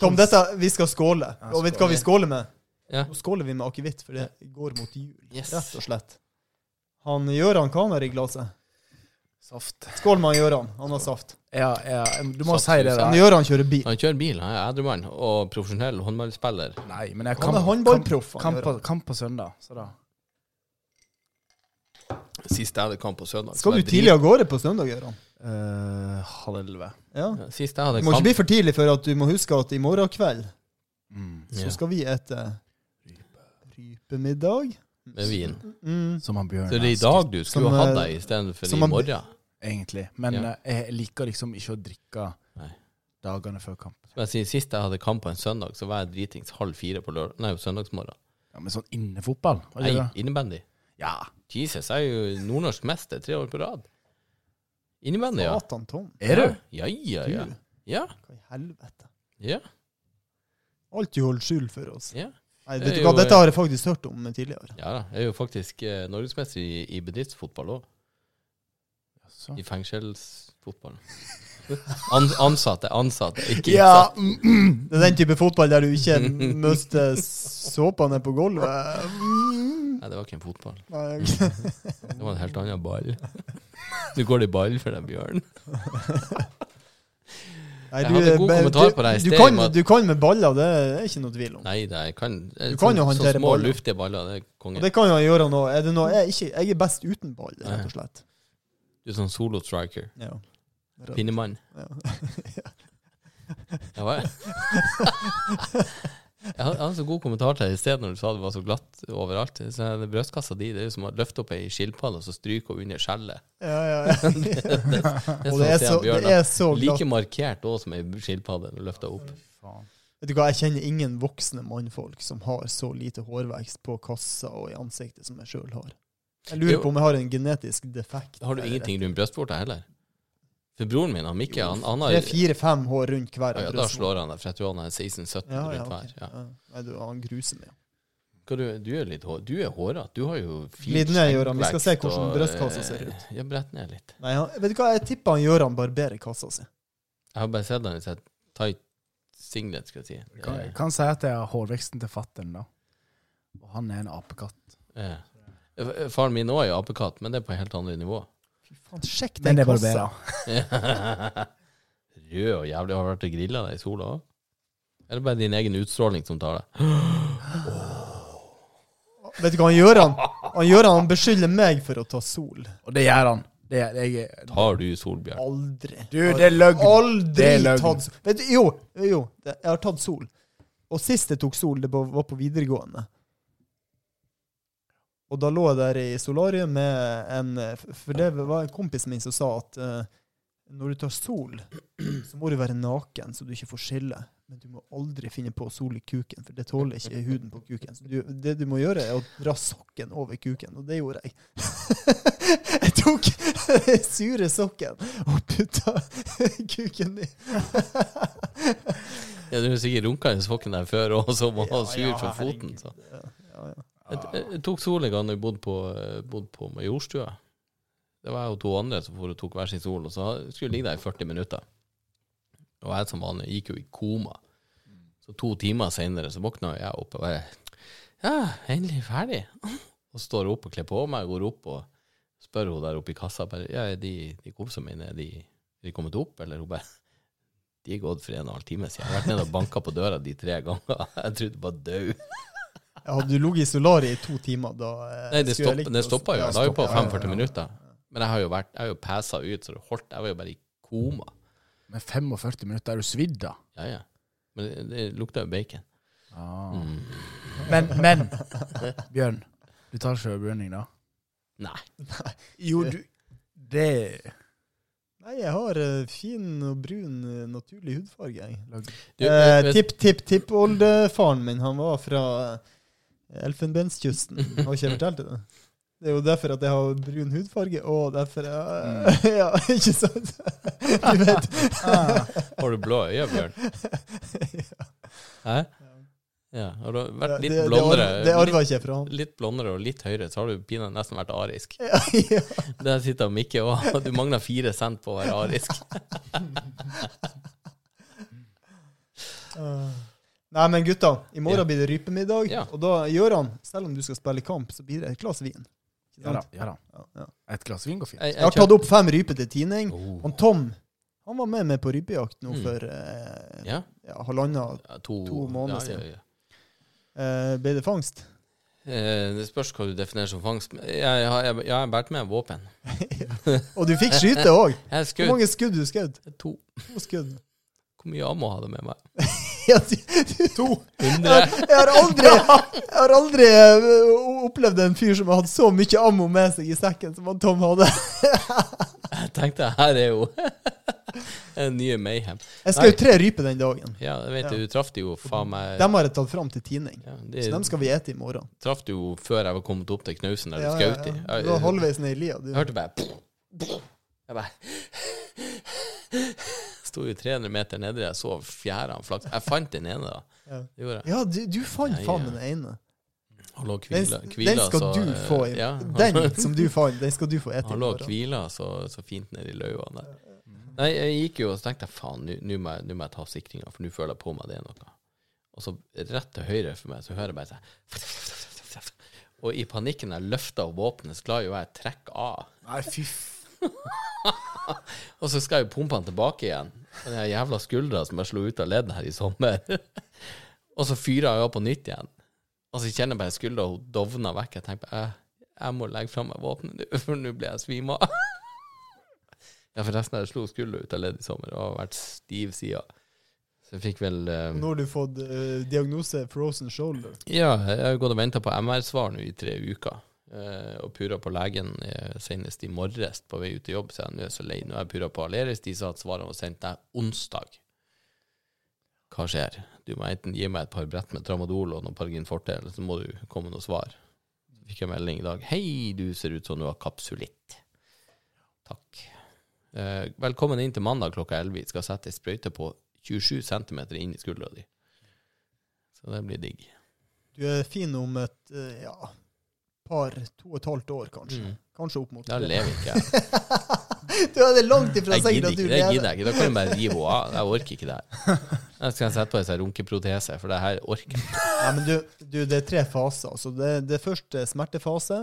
Speaker 3: Tom, dette, vi skal skåle. Og vet du hva vi skåler med?
Speaker 1: Ja.
Speaker 3: Nå skåler vi med akevitt, for det går mot jul,
Speaker 1: Yes.
Speaker 3: rett og slett. Han Gøran, hva han har i glasset?
Speaker 4: saft.
Speaker 3: Skål med han Gøran, han har saft.
Speaker 4: Ja, ja, du må
Speaker 1: Saft,
Speaker 4: si det,
Speaker 1: du
Speaker 4: da.
Speaker 3: Han Gøran kjører bil.
Speaker 1: Han kjører bil, han er edrumann og profesjonell håndballspiller.
Speaker 4: Nei, men jeg
Speaker 3: Han er håndballproff. han
Speaker 4: Kamp,
Speaker 3: Gøran.
Speaker 4: på- kamp på søndag, så da.
Speaker 1: Sist jeg hadde kamp på søndag så
Speaker 3: Skal
Speaker 1: var
Speaker 3: du
Speaker 1: jeg
Speaker 3: tidlig av gårde på søndag, Gøran?
Speaker 4: Uh, halv elleve.
Speaker 3: Ja.
Speaker 1: drit- Sist jeg hadde
Speaker 3: Du må ikke
Speaker 1: kamp
Speaker 3: bli for tidlig, for at du må huske at i morgen kveld så
Speaker 4: Mm.
Speaker 1: Ja.
Speaker 3: skal vi ete rypemiddag.
Speaker 1: med vin.
Speaker 3: Mm.
Speaker 4: Som han Bjørn.
Speaker 1: Så det er i
Speaker 4: elsker,
Speaker 1: dag du skulle
Speaker 3: Som,
Speaker 1: hatt
Speaker 3: eh,
Speaker 1: deg istedenfor i
Speaker 3: som han-
Speaker 1: morgen.
Speaker 4: Egentlig. Men
Speaker 1: Ja.
Speaker 4: eh, jeg liker liksom ikke å drikke
Speaker 1: Nei.
Speaker 4: dagene før kamp.
Speaker 1: Som jeg sier, Sist jeg hadde kamp på en søndag, så var jeg dritings halv fire på lørdag Nei, på søndagsmorgen.
Speaker 4: Ja, Men sånn innefotball? var det
Speaker 1: Jeg
Speaker 4: ikke det?
Speaker 1: gikk innebandy.
Speaker 4: Ja.
Speaker 1: Jesus, jeg er jo nordnorsk mester tre år på rad. Innebandy, ja.
Speaker 3: Satan, Tom.
Speaker 4: Er du?
Speaker 1: Ja, ja,
Speaker 3: Du,
Speaker 1: ja. Ja,
Speaker 3: hva i helvete.
Speaker 1: ja.
Speaker 3: Alt du holder skjul for oss.
Speaker 1: ja.
Speaker 3: Nei,
Speaker 1: Det
Speaker 3: vet
Speaker 1: er
Speaker 3: du
Speaker 1: jo-
Speaker 3: hva,
Speaker 1: eh,
Speaker 3: Dette har jeg faktisk hørt om tidligere.
Speaker 1: Ja da. Jeg er jo faktisk eh, norgesmester i, i bedriftsfotball òg.
Speaker 4: Så.
Speaker 1: I fengselsfotball. <laughs> An, ansatte, ansatte, ikke
Speaker 4: Ja,
Speaker 1: innsatte.
Speaker 4: mm, mm.
Speaker 3: Det er den type fotball der du ikke
Speaker 1: <laughs>
Speaker 3: mister såpene på gulvet. Mm.
Speaker 1: Nei, det var ikke en fotball.
Speaker 3: Nei, ok.
Speaker 1: Det var en helt annen ball. <laughs> Du går i ball for deg, Bjørn.
Speaker 3: Nei,
Speaker 1: Jeg hadde god
Speaker 3: eh,
Speaker 1: kommentar
Speaker 3: du-
Speaker 1: på deg i
Speaker 3: du
Speaker 1: sted,
Speaker 3: kan-
Speaker 1: men-
Speaker 3: Du kan med baller, det er ikke noe tvil om.
Speaker 1: Nei, det er- jeg kan
Speaker 3: Du kan jo håndtere
Speaker 1: Så små,
Speaker 3: baller.
Speaker 1: luftige baller, det er
Speaker 3: Og
Speaker 1: konge.
Speaker 3: det kan jeg gjøre nå. Er det noe jeg, ikke, jeg er best uten ball, rett og slett.
Speaker 1: Du er sånn solo striker.
Speaker 3: Ja.
Speaker 1: Pinnemann.
Speaker 3: Ja. <laughs>
Speaker 1: Ja, hva? <laughs> er- Jeg hadde jeg hadde så god kommentar til deg i sted når du sa det var så glatt overalt. Så jeg- det Brødkassa di det er jo som å løfte opp ei skilpadde og så stryke henne under
Speaker 3: <laughs>
Speaker 1: skjellet.
Speaker 3: Ja,
Speaker 1: <laughs>
Speaker 3: ja, ja.
Speaker 1: Det er
Speaker 3: Og det
Speaker 1: sånn
Speaker 3: er
Speaker 1: ser
Speaker 3: så,
Speaker 1: Bjørn,
Speaker 3: det
Speaker 1: da.
Speaker 3: er så glatt.
Speaker 1: Like markert òg som ei skilpadde når du løfter opp.
Speaker 4: Faen.
Speaker 3: Vet du hva, Jeg kjenner ingen voksne mannfolk som har så lite hårvekst på kassa og i ansiktet som jeg sjøl har. Jeg lurer
Speaker 1: Jo.
Speaker 3: på om jeg har en genetisk defekt.
Speaker 1: Har du
Speaker 3: Eller-
Speaker 1: ingenting rundt brystvorta heller? For broren min, han Mikke, han, han har
Speaker 3: Det er fire-fem hår rundt hver.
Speaker 1: ja, ja, Da slår han deg, for jeg tror han er 16-17
Speaker 3: ja, ja,
Speaker 1: rundt
Speaker 3: ok.
Speaker 1: hver. Ja.
Speaker 3: Ja. Nei, du, han gruser meg.
Speaker 1: Hva du, du er litt hår, Du er hårete. Du har jo fin
Speaker 3: Glid ned, Gøran. Vi skal se
Speaker 1: skjeggvekst
Speaker 3: hvordan
Speaker 1: og,
Speaker 3: brystkassa ser
Speaker 1: eh, Ja, brett ned litt.
Speaker 3: Nei, han, vet du hva, jeg tipper han Gøran barberer kassa si.
Speaker 1: Jeg har bare sett han i sett tight singlet, skal jeg si. Det
Speaker 4: Kan,
Speaker 1: er-
Speaker 4: kan si at jeg har hårveksten til fattern, da. Og han er en apekatt.
Speaker 1: Ja. Eh, Faren min òg er jo apekatt, men det er på helt andre nivå.
Speaker 3: <laughs> Fy faen, sjekk
Speaker 4: Men
Speaker 3: den
Speaker 4: det er
Speaker 3: kassa.
Speaker 4: barbera.
Speaker 1: Rød og jævlig. Har du vært og grilla deg i sola òg? Eller bare din egen utstråling som tar deg?
Speaker 3: Vet du hva han Gøran Han Gøran han beskylder meg for å ta sol.
Speaker 4: Og det gjør han. Det, jeg,
Speaker 1: Tar du solbjørn?
Speaker 3: Aldri.
Speaker 4: du, det er løgn.
Speaker 3: Aldri
Speaker 4: Det er løgn.
Speaker 3: tatt sol. Vet du, jo, jo, det- jeg har tatt sol. Og sist jeg tok sol, det var- var på videregående. Og da lå jeg der i solariet med en eh, f- For det var en kompis min som sa at eh, når du tar sol, så må du være naken, så du ikke får skille. Men du må aldri finne på sol i kuken, for det tåler ikke huden på kuken. Så du, det du må gjøre, er å dra sokken over kuken, og det gjorde jeg. <laughs> jeg tok <laughs> den <laughs> sure sokken og putta kuken i.
Speaker 1: Ja, du er sikkert runka i sokken der før, og så var han
Speaker 3: Ja,
Speaker 1: sur
Speaker 3: ja,
Speaker 1: for
Speaker 3: herregud.
Speaker 1: foten. Så.
Speaker 3: Ja, ja.
Speaker 1: Jeg, jeg tok soling da jeg bodde på, eh, bodde på Majorstua. Det var jeg og to andre som for og tok hver sin sol, og så skulle jeg ligge der i 40 minutter. Og jeg som vanlig gikk jo i koma. Så to timer seinere så våkna jeg opp og bare Ja, endelig ferdig. <laughs> Og står opp og kler på meg, går opp og spør hun der oppe i kassa bare, ja, er de, de kompisene mine er de, er de kommet opp, eller hun bare De er gått for en og en halv time siden. Jeg har vært nede og banka på døra de tre ganger. <laughs> Jeg trodde jeg var død.
Speaker 3: Jeg hadde ligget i solariet i to timer da eh,
Speaker 1: Nei, det,
Speaker 3: skulle
Speaker 1: stopp,
Speaker 3: jeg ligge
Speaker 1: det
Speaker 3: og-
Speaker 1: stoppa jo.
Speaker 3: Ja,
Speaker 1: Det var jo på
Speaker 3: stoppet, ja, ja,
Speaker 1: 45
Speaker 3: ja.
Speaker 1: minutter. Men jeg har jo vært, jeg har jo passa ut, så det holdt. Jeg var jo bare i koma.
Speaker 4: Men 45 minutter er du svidd, da.
Speaker 1: Ja, ja. Men det, det lukta jo bacon. Mm.
Speaker 4: Ah. Men, <laughs> men
Speaker 3: <laughs>
Speaker 4: Bjørn, du tar sjøbrenning, da?
Speaker 1: Nei.
Speaker 4: Jo, du Det
Speaker 3: Nei, jeg har eh, fin og brun eh, naturlig hudfarge, jeg.
Speaker 1: Du,
Speaker 3: Eh,
Speaker 1: vet-
Speaker 3: tipp, tipp, tipp. Oldefaren min han var fra eh, Elfenbenskysten. Har ikke jeg fortalt deg det? Det er jo derfor at jeg har brun hudfarge, og derfor
Speaker 1: Mm.
Speaker 3: jeg, <laughs> Ja, ikke sant?
Speaker 1: <laughs>
Speaker 3: Du vet.
Speaker 4: Ah.
Speaker 1: har du blå
Speaker 3: <laughs>
Speaker 1: øyne, Bjørn? Hæ? Ja. Har du vært litt
Speaker 3: det,
Speaker 1: blondere?
Speaker 3: det arva ikke jeg fra
Speaker 1: Litt, litt blondere og litt høyere, så har du pinadø nesten vært
Speaker 3: <laughs>
Speaker 1: arisk.
Speaker 3: han. Ja,
Speaker 1: Der sitter Mikke og Du mangler fire cent på å være
Speaker 3: <laughs>
Speaker 1: arisk.
Speaker 3: Eh, Nei, men gutta, i morgen
Speaker 1: Ja.
Speaker 3: blir det rypemiddag,
Speaker 1: Ja.
Speaker 3: og da gjør han, selv om du skal spille kamp, så blir det et glass vin. Ikke
Speaker 4: Ja da.
Speaker 3: sant?
Speaker 4: ja da.
Speaker 3: Ja, ja.
Speaker 4: Et glass vin går fint.
Speaker 1: Jeg,
Speaker 3: Jeg har
Speaker 1: kjøpte-
Speaker 3: tatt opp fem ryper til tining.
Speaker 1: Oh.
Speaker 3: Han Tom han var med meg på rypejakt nå
Speaker 1: Mm.
Speaker 3: for eh,
Speaker 1: Ja,
Speaker 3: ja, halvannen
Speaker 1: to,
Speaker 3: To
Speaker 1: ja,
Speaker 3: måneder
Speaker 1: ja,
Speaker 3: siden.
Speaker 1: ja.
Speaker 3: eh, ble det fangst.
Speaker 1: Eh, Det spørs hva du definerer som fangst. men Jeg, jeg, har- jeg, jeg har båret med våpen.
Speaker 3: Og du fikk skyte
Speaker 1: <laughs>
Speaker 3: òg!
Speaker 1: Jeg
Speaker 3: Hvor
Speaker 1: skjøt
Speaker 3: mange skudd du skjøt?
Speaker 1: to.
Speaker 3: To skudd. <laughs>
Speaker 1: Hvor mye ammo hadde jeg med meg?
Speaker 3: Ja, du-
Speaker 4: To!
Speaker 1: 100?
Speaker 3: Jeg har aldri, jeg har aldri eh, opplevd en fyr som har hatt så mye ammo med seg i sekken som han Tom hadde.
Speaker 1: Jeg tenkte her er jo <laughs> en nye Mayhem. Nei.
Speaker 3: Jeg skjøt tre ryper den dagen.
Speaker 1: Ja, jeg vet
Speaker 3: Ja.
Speaker 1: det, du traff det jo faen meg
Speaker 3: Dem har jeg tatt fram til tining.
Speaker 1: Eh, ja,
Speaker 3: Så dem
Speaker 1: Det
Speaker 3: skal vi ete i morgen.
Speaker 1: traff det jo før jeg var kommet opp til knausen der du
Speaker 3: Ja, ja,
Speaker 1: skjøt i.
Speaker 3: ja.
Speaker 1: Jeg-
Speaker 3: Du var halvveis ned i lia, du.
Speaker 1: Jeg hørte bare Jeg bare <laughs> Sto jo 300 meter nedi, jeg så fjærene flakse. Jeg fant den ene, da.
Speaker 3: Ja.
Speaker 1: Det gjorde jeg.
Speaker 3: Ja, du, du fant
Speaker 1: Ja, ja.
Speaker 3: faen meg den ene.
Speaker 1: Han lå og
Speaker 3: Den,
Speaker 1: hvila.
Speaker 3: den skal
Speaker 1: så,
Speaker 3: du
Speaker 1: eh,
Speaker 3: få. i-
Speaker 1: ja, han-
Speaker 3: <laughs>
Speaker 1: <laughs>
Speaker 3: Den som du fant, den skal du få ete i
Speaker 1: Han lå og
Speaker 3: morgen.
Speaker 1: hvila så, så fint nedi løva der. Nei, jeg gikk jo og så tenkte jeg, faen, nå- nå må jeg- nå må jeg ta sikringa, for nå føler jeg på meg det er noe. Og så rett til høyre for meg, så hører jeg bare sånn Og i panikken jeg løfta opp våpenet, så klarer jo jeg å trekke av.
Speaker 4: Nei, fy f...
Speaker 1: Og så skal jeg jo pumpe han tilbake igjen. Og den her jævla skuldra som jeg slo ut av ledd her i sommer. <laughs> og så fyrer jeg jo på nytt igjen. Og så kjenner jeg bare skuldra hun dovner vekk. Jeg tenker bare, jeg, jeg må legge fra meg våpenet nå, <laughs> for nå blir jeg svima. ja, forresten, jeg slo skuldra ut av ledd i sommer og har vært stiv siden. Så jeg fikk vel eh,
Speaker 3: Nå har du fått eh, diagnose frozen shoulder.
Speaker 1: Ja, jeg har jo gått og venta på MR-svar nå i tre uker. eh, og purra på legen eh, senest i morges på vei ut til jobb, så jeg nå er så lei. Nå har jeg purra på Aleris, de sa at svarene var sendt deg onsdag. Hva skjer? Du må enten gi meg et par brett med tramadol og noen Pargin Forte, eller så må du komme med noe svar. Så fikk jeg melding i dag. Hei, du ser ut som du har kapsulitt. Takk. Eh, velkommen inn til mandag klokka 11. Vi skal sette ei sprøyte på 27 cm inn i skuldra di. Så det blir digg.
Speaker 3: Du er fin om et eh, ja, par, to og et halvt år, kanskje.
Speaker 1: Mm.
Speaker 3: Kanskje opp mot
Speaker 1: Da
Speaker 3: tre.
Speaker 1: lever ikke jeg.
Speaker 3: <laughs> Du er det langt ifra
Speaker 1: Jeg
Speaker 3: sikkert
Speaker 1: gidder ikke,
Speaker 3: at du
Speaker 1: det gidder
Speaker 3: lever.
Speaker 1: jeg ikke. Da kan jeg bare rive henne av. Jeg orker ikke det her. Jeg skal sette på en sånn runkeprotese, for det her orker jeg.
Speaker 3: Nei, men du, du, det er tre faser. Så det, det første er eh, smertefase.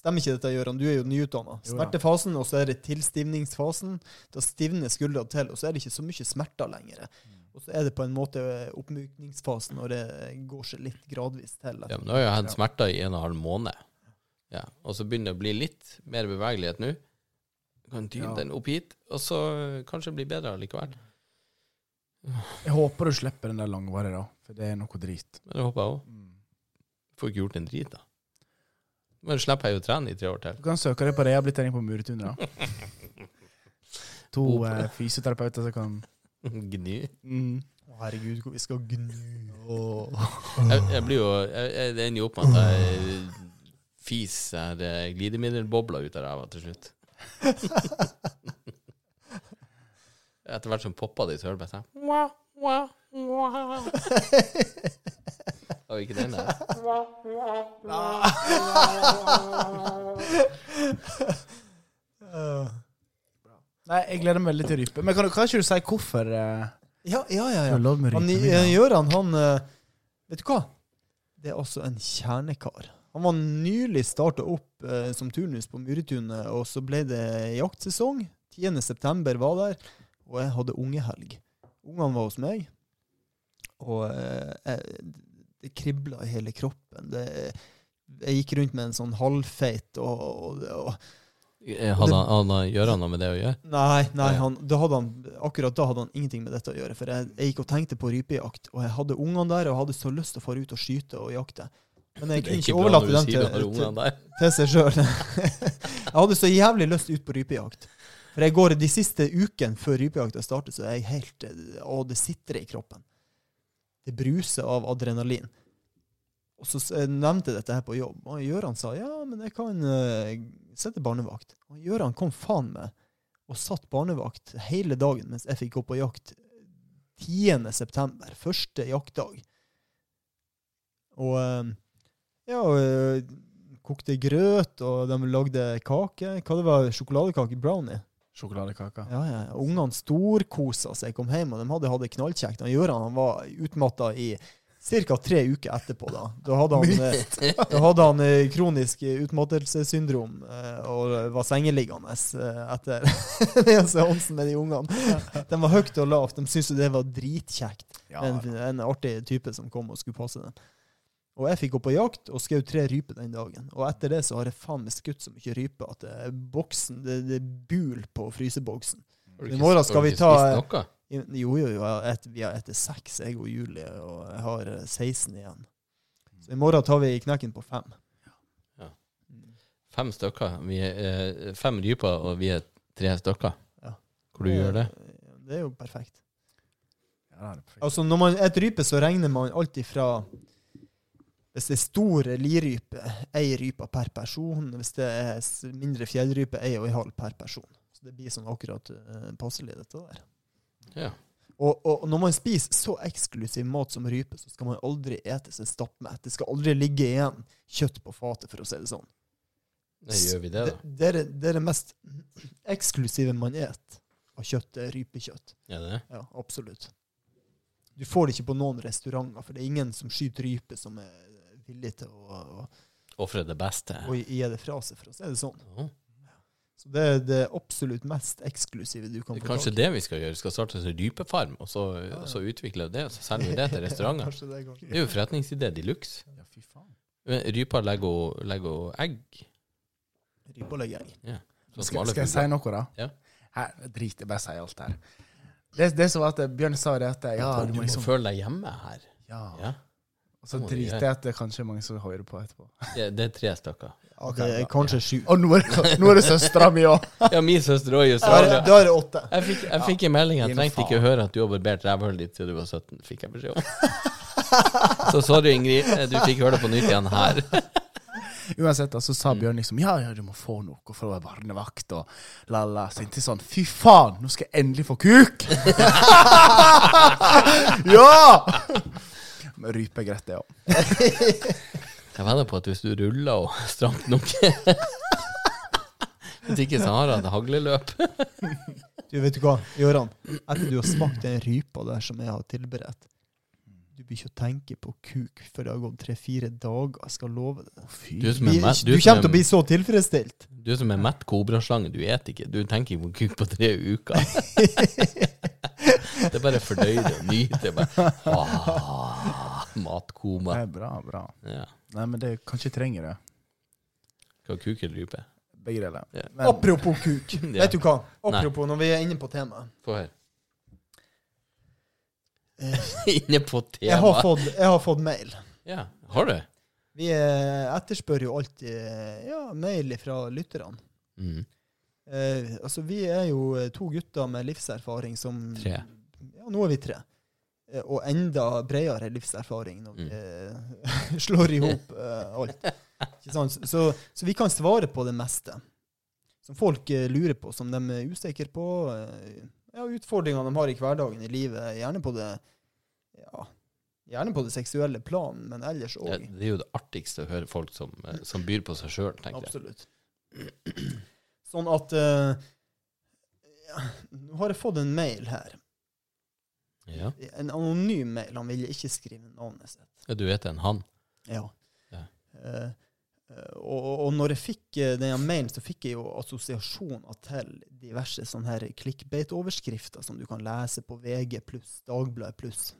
Speaker 3: Stemmer ikke dette, Gøran? Du er jo nyutdanna.
Speaker 4: Jo da.
Speaker 3: Smertefasen, og så er det tilstivningsfasen. Da stivner skuldra til, og så er det ikke så mye smerter lenger.
Speaker 4: Mm.
Speaker 3: Og så er det på en måte oppmykningsfasen, når det går seg litt gradvis til.
Speaker 1: Ja, men nå har jeg hatt smerter i en og en halv måned. Ja. Og så begynner det å bli litt mer bevegelighet nå. Jeg Kan tyne
Speaker 4: Ja.
Speaker 1: den opp hit, og så kanskje det blir bedre likevel.
Speaker 4: Jeg håper du slipper den der langvarige, da. For det er noe drit.
Speaker 1: Men det håper jeg òg.
Speaker 4: Mm.
Speaker 1: Får ikke gjort en drit, da. Men slipper jeg jo å trene i tre år til. <laughs>
Speaker 4: Du kan søke deg på rehabilitering på Muretun, <laughs> da. To
Speaker 1: Opp.
Speaker 4: eh, fysioterapeuter som kan
Speaker 1: Gny.
Speaker 4: Mm.
Speaker 3: Å, herregud, hvor vi skal gnu.
Speaker 1: Jeg, jeg blir jo jeg, jeg, Det ender jo opp med at jeg fiser eh, glidemiddelbobler ut av ræva til slutt. <laughs> Etter hvert som poppa de, så hører du bare sånn wah, wah, Har vi ikke den der?
Speaker 3: Eh,
Speaker 4: Nei, jeg gleder meg veldig til rype. Men kan, du- kan ikke du si hvorfor eh,
Speaker 3: ja, ja, ja.
Speaker 4: du
Speaker 3: ja.
Speaker 4: har lov med
Speaker 3: Han,
Speaker 4: rypemiddag?
Speaker 3: Gøran, han eh, Vet du hva? Det er altså en kjernekar. Han var nylig starta opp eh, som turnus på Muretunet, og så ble det jaktsesong. 10.9 var der, og jeg hadde ungehelg. Ungene var hos meg, og eh, jeg, det kribla i hele kroppen. Det, jeg gikk rundt med en sånn halvfeit og, og, og
Speaker 1: Eh, Hadde han, hadde han, gjør han noe med det å gjøre?
Speaker 3: Nei, nei
Speaker 1: Ja.
Speaker 3: han, da hadde han, akkurat da hadde han ingenting med dette å gjøre. For jeg, jeg gikk og tenkte på rypejakt, og jeg hadde ungene der, og jeg hadde så lyst til å fare ut og skyte og jakte. Men
Speaker 1: Det
Speaker 3: jeg
Speaker 1: er
Speaker 3: kunne
Speaker 1: ikke
Speaker 3: ikke
Speaker 1: bra når du
Speaker 3: overlate dem
Speaker 1: sier
Speaker 3: til,
Speaker 1: det når
Speaker 3: til,
Speaker 1: ungene der.
Speaker 3: til seg sjøl. jeg hadde så jævlig lyst ut på rypejakt. For jeg går de siste ukene før rypejakta starter, så er jeg helt eh, Å, det sitter i kroppen. Det bruser av adrenalin. Og så s- jeg nevnte dette her på jobb, og Gøran sa ja, men jeg kan eh, sette barnevakt. Og Gøran kom faen meg og satt barnevakt hele dagen mens jeg fikk gå på jakt 10. september, første jaktdag. Og eh, ja, og, eh, kokte grøt, og de lagde kake. Hva det var Sjokoladekake? Brownie?
Speaker 4: Sjokoladekaka.
Speaker 3: Ja, ja. ja. Ungene storkosa seg, kom hjem, og de hadde hatt det knallkjekt. Han Gøran han var utmatta i ca. tre uker etterpå. Da Da hadde han, eh, <laughs> da hadde han eh, kronisk utmattelsessyndrom eh, og var sengeliggende eh, etter <laughs> den seansen med de ungene. De var høyt og lavt. De syntes jo det var dritkjekt.
Speaker 4: Ja,
Speaker 3: en, en artig type som kom og skulle passe den. Og jeg fikk gå på jakt og skjøt tre ryper den dagen. Og etter det så har jeg faen meg skutt så mye rype at det, boksen, det, det er bul på fryseboksen.
Speaker 1: Har du
Speaker 3: <laughs> I
Speaker 1: ikke-
Speaker 3: morgen skal
Speaker 1: har du
Speaker 3: vi
Speaker 1: ikke
Speaker 3: ta-
Speaker 1: spist noe?
Speaker 3: I- Jo, jo, jo. jeg et- Vi har etter seks, jeg og Julie, og jeg har eh, 16 igjen. Så i morgen tar vi knekken på fem.
Speaker 1: Ja. Fem stykker. Vi er, eh, fem ryper, og vi er tre stykker.
Speaker 3: Ja.
Speaker 1: Hvor du gjør det?
Speaker 3: Eh, Det er jo perfekt.
Speaker 4: Ja, det er perfekt.
Speaker 3: Altså, når man et rype, så regner man alltid fra Hvis det er store lirype, ei rype per person. Hvis det er s- mindre fjellrype, ei og ei halv per person. Så det blir sånn akkurat eh, passelig, dette der.
Speaker 1: Ja.
Speaker 3: Og, og når man spiser så eksklusiv mat som rype, så skal man aldri ete seg stappmett. Det skal aldri ligge igjen kjøtt på fatet, for å si det sånn.
Speaker 1: Nei, gjør vi det,
Speaker 3: Det,
Speaker 1: da?
Speaker 3: det, er, det er det mest eksklusive man et av kjøtt, det er rypekjøtt.
Speaker 1: Ja, det. er.
Speaker 3: Ja, absolutt. Du får det ikke på noen restauranter, for det er ingen som skyter rype som er villig til å, å,
Speaker 1: Offre det beste.
Speaker 3: å gi det fra seg, for å si det sånn.
Speaker 1: Ja.
Speaker 3: Så det er det absolutt mest eksklusive du kan
Speaker 1: Det er
Speaker 3: få
Speaker 1: kanskje
Speaker 3: tak i.
Speaker 1: det vi skal gjøre. Vi skal starte en sånn rypefarm, og så, og så utvikle det, og så selger vi det til
Speaker 3: Ja,
Speaker 1: restauranter.
Speaker 3: <laughs> kanskje det, kanskje.
Speaker 1: Det er jo forretningsidé de luxe.
Speaker 4: Ja, fy faen.
Speaker 1: Ryper legger jo- legger jo egg.
Speaker 3: Rype og legge egg.
Speaker 1: sånn som
Speaker 4: Skal,
Speaker 1: alle
Speaker 4: skal jeg si
Speaker 1: fugler.
Speaker 4: noe, da?
Speaker 1: Ja.
Speaker 4: Her, drit, jeg bare sier alt her. Det, det som var at Bjørn sa det at ja,
Speaker 1: Du må
Speaker 4: liksom
Speaker 1: føle deg hjemme her.
Speaker 4: ja.
Speaker 1: Ja.
Speaker 4: Og så
Speaker 1: Det må du
Speaker 4: driter
Speaker 1: gjøre.
Speaker 4: jeg at det kanskje er mange som hører på etterpå. <laughs>
Speaker 1: Det, det er tre stykker.
Speaker 3: Ja, det er kanskje sju.
Speaker 4: Og nå er, nå er det søstera mi òg!
Speaker 1: Ja, min søster òg i
Speaker 3: Da er det,
Speaker 1: Australia.
Speaker 3: da er det åtte.
Speaker 1: Jeg fikk, jeg fikk en melding. Jeg
Speaker 4: Din
Speaker 1: trengte ikke
Speaker 4: faen.
Speaker 1: høre at du har barbert rævhullet ditt siden du var 17. Fikk jeg beskjed om. <laughs> Så sorry, Ingrid. Du fikk høre det på nytt igjen her.
Speaker 4: Uansett, da, så
Speaker 1: Mm.
Speaker 4: sa Bjørn liksom ja, ja, du må få noe for å være barnevakt og la-la. Så inntil sånn fy faen, nå skal jeg endelig få kuk! <laughs> ja! Men rype er greit, det òg.
Speaker 1: Jeg vedder på at hvis du ruller og <laughs> stramt nok Hvis ikke så har han et hagleløp.
Speaker 3: Du, vet du hva, Gøran? Etter du har smakt den rypa der som jeg har tilberedt, du bør ikke å tenke på kuk, for det har gått tre-fire dager. Jeg skal love det.
Speaker 1: Du som
Speaker 3: Vi,
Speaker 1: er
Speaker 3: du
Speaker 1: mett, du
Speaker 3: kommer
Speaker 1: som
Speaker 3: til å bli
Speaker 1: er,
Speaker 3: så tilfredsstilt.
Speaker 1: du som er mett kobraslange, du et ikke. Du tenker ikke på kuk på tre uker. Det er bare fordøyer og nyter. Bare, ah,
Speaker 4: Det
Speaker 1: matkoma.
Speaker 4: er bra, bra.
Speaker 1: Ja.
Speaker 4: Nei, men det kanskje jeg trenger det.
Speaker 1: Hva kuk eller rype?
Speaker 4: Begge deler.
Speaker 1: Ja.
Speaker 4: Men,
Speaker 3: Apropos kuk.
Speaker 1: <laughs> Ja.
Speaker 3: Vet du hva? Apropos når vi er inne på temaet.
Speaker 1: Få høre. <laughs> Inne på
Speaker 3: Eh. Jeg har
Speaker 1: temaet.
Speaker 3: fått, jeg har fått mail.
Speaker 1: Ja, har du?
Speaker 3: Vi eh, etterspør jo alltid eh, ja, mail fra lytterne.
Speaker 1: Mm.
Speaker 3: Eh, altså, vi er jo eh, to gutter med livserfaring som
Speaker 1: Tre.
Speaker 3: Ja, nå er vi tre. Eh, og enda bredere livserfaring når
Speaker 1: Mm.
Speaker 3: vi eh, <laughs> slår i hop eh, alt. Ikke sant? Så, så vi kan svare på det meste som folk eh, lurer på, som de er usikre på. eh, ja, utfordringer de har i hverdagen i livet. Gjerne på det Ja, gjerne på det seksuelle plan, men ellers
Speaker 1: Det,
Speaker 3: òg.
Speaker 1: det er jo det artigste å høre folk som, eh, som byr på seg sjøl, tenker jeg.
Speaker 3: Absolutt. Sånn at eh, ja, Nå har jeg fått en mail her.
Speaker 1: Ja.
Speaker 3: En anonym mail. Han ville ikke skrive navnet sitt.
Speaker 1: Ja, Du vet det er en han.
Speaker 3: Ja.
Speaker 1: Ja.
Speaker 3: Eh, eh, og, og når jeg fikk eh, denne mailen, så fikk jeg jo assosiasjoner til diverse sånne her clickbait-overskrifter som du kan lese på VG pluss, Dagbladet pluss.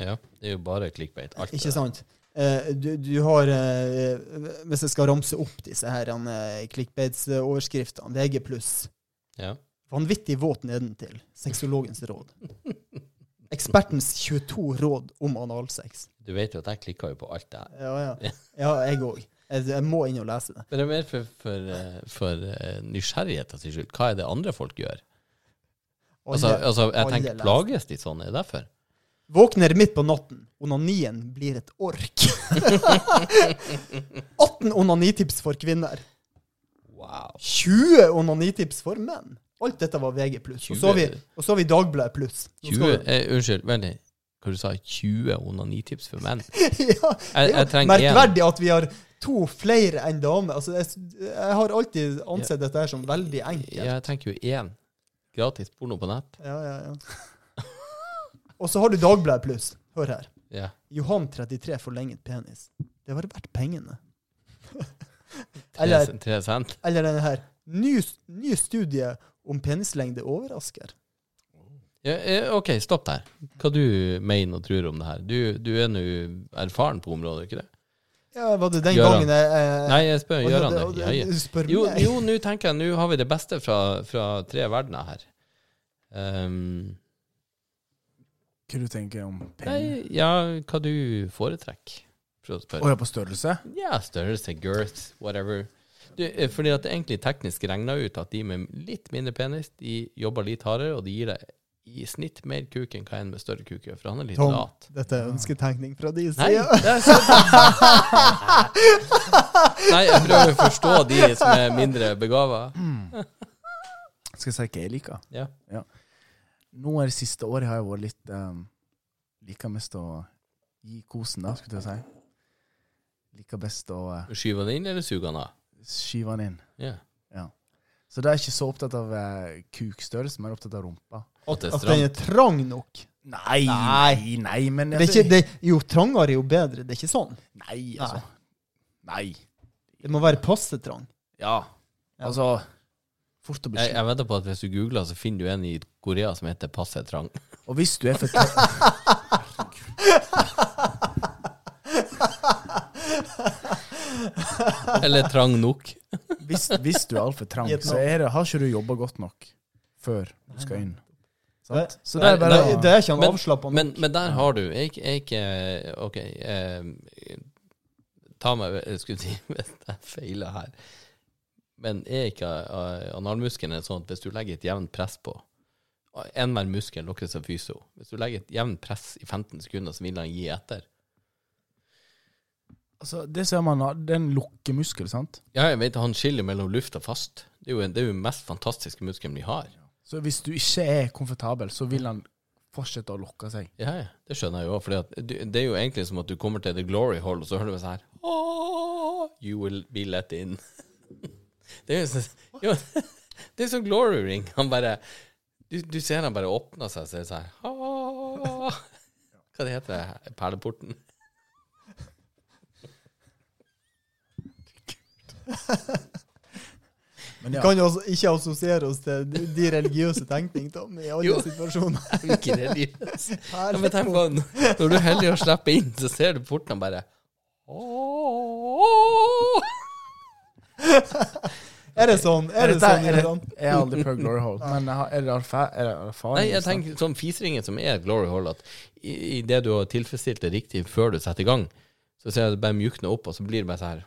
Speaker 1: Ja, det er jo bare clickbait. Alt
Speaker 3: Ikke
Speaker 1: det der.
Speaker 3: sant? Eh, du, du har eh, Hvis jeg skal ramse opp disse her eh, clickbait-overskriftene VG pluss
Speaker 1: Ja.
Speaker 3: Vanvittig våt nedentil. Sexologens råd. Ekspertens 22 råd om analsex.
Speaker 1: Du vet jo at jeg klikka jo på alt det her.
Speaker 3: Ja, ja. ja jeg òg. Jeg, jeg må inn og lese det.
Speaker 1: Men det er mer for, for, eh, for eh, nysgjerrigheten sin skyld. Hva er det andre folk gjør? Altså,
Speaker 3: Alle-
Speaker 1: altså jeg
Speaker 3: alle
Speaker 1: tenker
Speaker 3: leser.
Speaker 1: plages de sånn? Er det derfor?
Speaker 3: Våkner midt på natten. Onanien blir et
Speaker 1: <laughs>
Speaker 3: ork. 18 onanitips for kvinner.
Speaker 1: Wow.
Speaker 3: 20 onanitips for menn. Alt dette var VG+. Og så har vi,
Speaker 1: 20.
Speaker 3: og så har vi Dagbladet pluss. Nå
Speaker 1: 20,
Speaker 3: skal
Speaker 1: eh, unnskyld, vent litt. Hva du sa 20 onanitips for
Speaker 3: <laughs>
Speaker 1: menn?
Speaker 3: vi-
Speaker 1: Jeg,
Speaker 3: <laughs> ja,
Speaker 1: jeg
Speaker 3: det er jo
Speaker 1: trenger én.
Speaker 3: merkverdig at vi har to flere enn damer. Altså, jeg, s- jeg har alltid ansett dette her som veldig enkelt.
Speaker 1: Ja, jeg trenger jo én. Gratis porno på nett.
Speaker 3: Ja, ja, ja. Og så har du Dagbladet pluss. Hør her.
Speaker 1: Ja.
Speaker 3: Johan 33 forlenget penis. Det var verdt
Speaker 1: <laughs>
Speaker 3: pengene.
Speaker 1: Tre,
Speaker 3: Eller,
Speaker 1: tre cent.
Speaker 3: eller denne her. Ny, ny studie om penislengde overrasker.
Speaker 1: Ja, eh, OK, stopp der. Hva du mener og tror om det her? Du, du er nå erfaren på området, ikke det?
Speaker 3: Ja, var det den
Speaker 1: Gjør han.
Speaker 3: gangen jeg, jeg
Speaker 1: Nei, jeg spør,
Speaker 3: Eh, og
Speaker 1: gjør
Speaker 3: nå-
Speaker 1: han det?
Speaker 3: og
Speaker 1: Ja, ja.
Speaker 3: Du spør
Speaker 1: Jo,
Speaker 3: meg.
Speaker 1: jo, nå tenker jeg, nå har vi det beste fra, fra tre verdener her. Ehm,
Speaker 4: Hva du tenker om penger?
Speaker 1: nei, ja, hva du foretrekker, for å
Speaker 4: Å
Speaker 1: spørre.
Speaker 4: ja, på størrelse?
Speaker 1: Ja, størrelse, girth, whatever. Du, eh, fordi at det er egentlig teknisk regna ut at de med litt mindre penis, de jobber litt hardere, og de gir deg i snitt mer kuk enn hva en med større kuk gjør, for han er litt
Speaker 3: Tom, <laughs>
Speaker 1: lat.
Speaker 3: dette er ønsketenkning fra din
Speaker 1: Nei,
Speaker 3: side.
Speaker 1: det er sant. Nei, jeg prøver å forstå de som er mindre begava.
Speaker 4: Skal jeg si hva jeg liker?
Speaker 1: Ja.
Speaker 4: Nå er det siste året har jeg vært litt um, Liker mest å gi kosen, da, skulle jeg til å si. Liker best å eh,
Speaker 1: Skyver han inn, eller suger han av?
Speaker 4: skyve den inn.
Speaker 1: Ja.
Speaker 4: Så da er jeg ikke så opptatt av eh, kukstørrelse, men opptatt av rumpa.
Speaker 1: At det er
Speaker 3: At
Speaker 1: stramt.
Speaker 3: den er trang nok.
Speaker 4: Nei,
Speaker 3: Nei.
Speaker 4: nei, nei men
Speaker 3: Det
Speaker 4: altså,
Speaker 3: er ikke, det, jo trangere, jo bedre. Det er ikke sånn.
Speaker 4: Nei, altså. Nei.
Speaker 3: Det må være passe
Speaker 1: <laughs>
Speaker 3: trang.
Speaker 4: Ja.
Speaker 3: Ja.
Speaker 4: Altså Fort å bli
Speaker 1: Jeg,
Speaker 4: sjuk.
Speaker 1: jeg vedder på at hvis du googler, så finner du en i Korea som heter Passe trang. <laughs>
Speaker 4: Og hvis du er for trang
Speaker 1: Eller trang nok.
Speaker 4: hvis, hvis du er altfor trang,
Speaker 3: Vietnam.
Speaker 4: så er det, har ikke du jobba godt nok før du skal inn. Sant? Så
Speaker 1: Nei,
Speaker 4: det er bare
Speaker 3: det, det er ikke en
Speaker 1: Men-
Speaker 3: avslappende
Speaker 1: Men, men der har du Jeg, jeg eh, OK. Eh, ta meg jeg Skulle si <laughs> hvis jeg feiler her. Men er ikke eh, analmuskelen sånn at hvis du legger et jevnt press på Enhver muskel lukkes av fyso. Hvis du legger et jevnt press i 15 sekunder, så vil han gi etter.
Speaker 4: altså, det ser man, da, det er en lukkemuskel, sant?
Speaker 1: Ja, jeg vet han skiller mellom luft og fast. Det er jo en- det er jo den mest fantastiske muskelen vi har.
Speaker 4: Så hvis du ikke er komfortabel, så vil han fortsette å lukke seg.
Speaker 1: Ja, ja, det skjønner jeg jo. For det er jo egentlig som at du kommer til the glory hall, og så hører du sånn her «Åh, You will be let in. <laughs> Det er jo sånn jo, <laughs> Det er sånn glory ring. Han bare Du, du ser han bare åpner seg, så er det sånn her «Åh». Hva det heter det? Perleporten? <laughs>
Speaker 4: Men
Speaker 3: Vi
Speaker 4: ja,
Speaker 3: kan jo altså ikke assosiere oss til de de religiøse tenkning, Tom, i alle
Speaker 1: Jo. <laughs>
Speaker 3: situasjoner.
Speaker 1: Ikke religiøs.
Speaker 3: Her,
Speaker 1: Ja, men tenk på Når du er heldig å slippe inn, så ser du porten og bare «Åh».
Speaker 3: er det sånn? Er det
Speaker 4: dette-
Speaker 3: sånn,
Speaker 4: er det-
Speaker 3: Johan?
Speaker 4: Jeg har aldri prøvd glory hole, men jeg har- er det erfa- er det erfaring? liksom?
Speaker 1: Nei, jeg
Speaker 4: sant?
Speaker 1: tenker sånn fisringen som er et glory hole, at i, i det du har tilfredsstilt det riktig før du setter i gang, så ser jeg det bare mjukne opp, og så blir det bare sånn her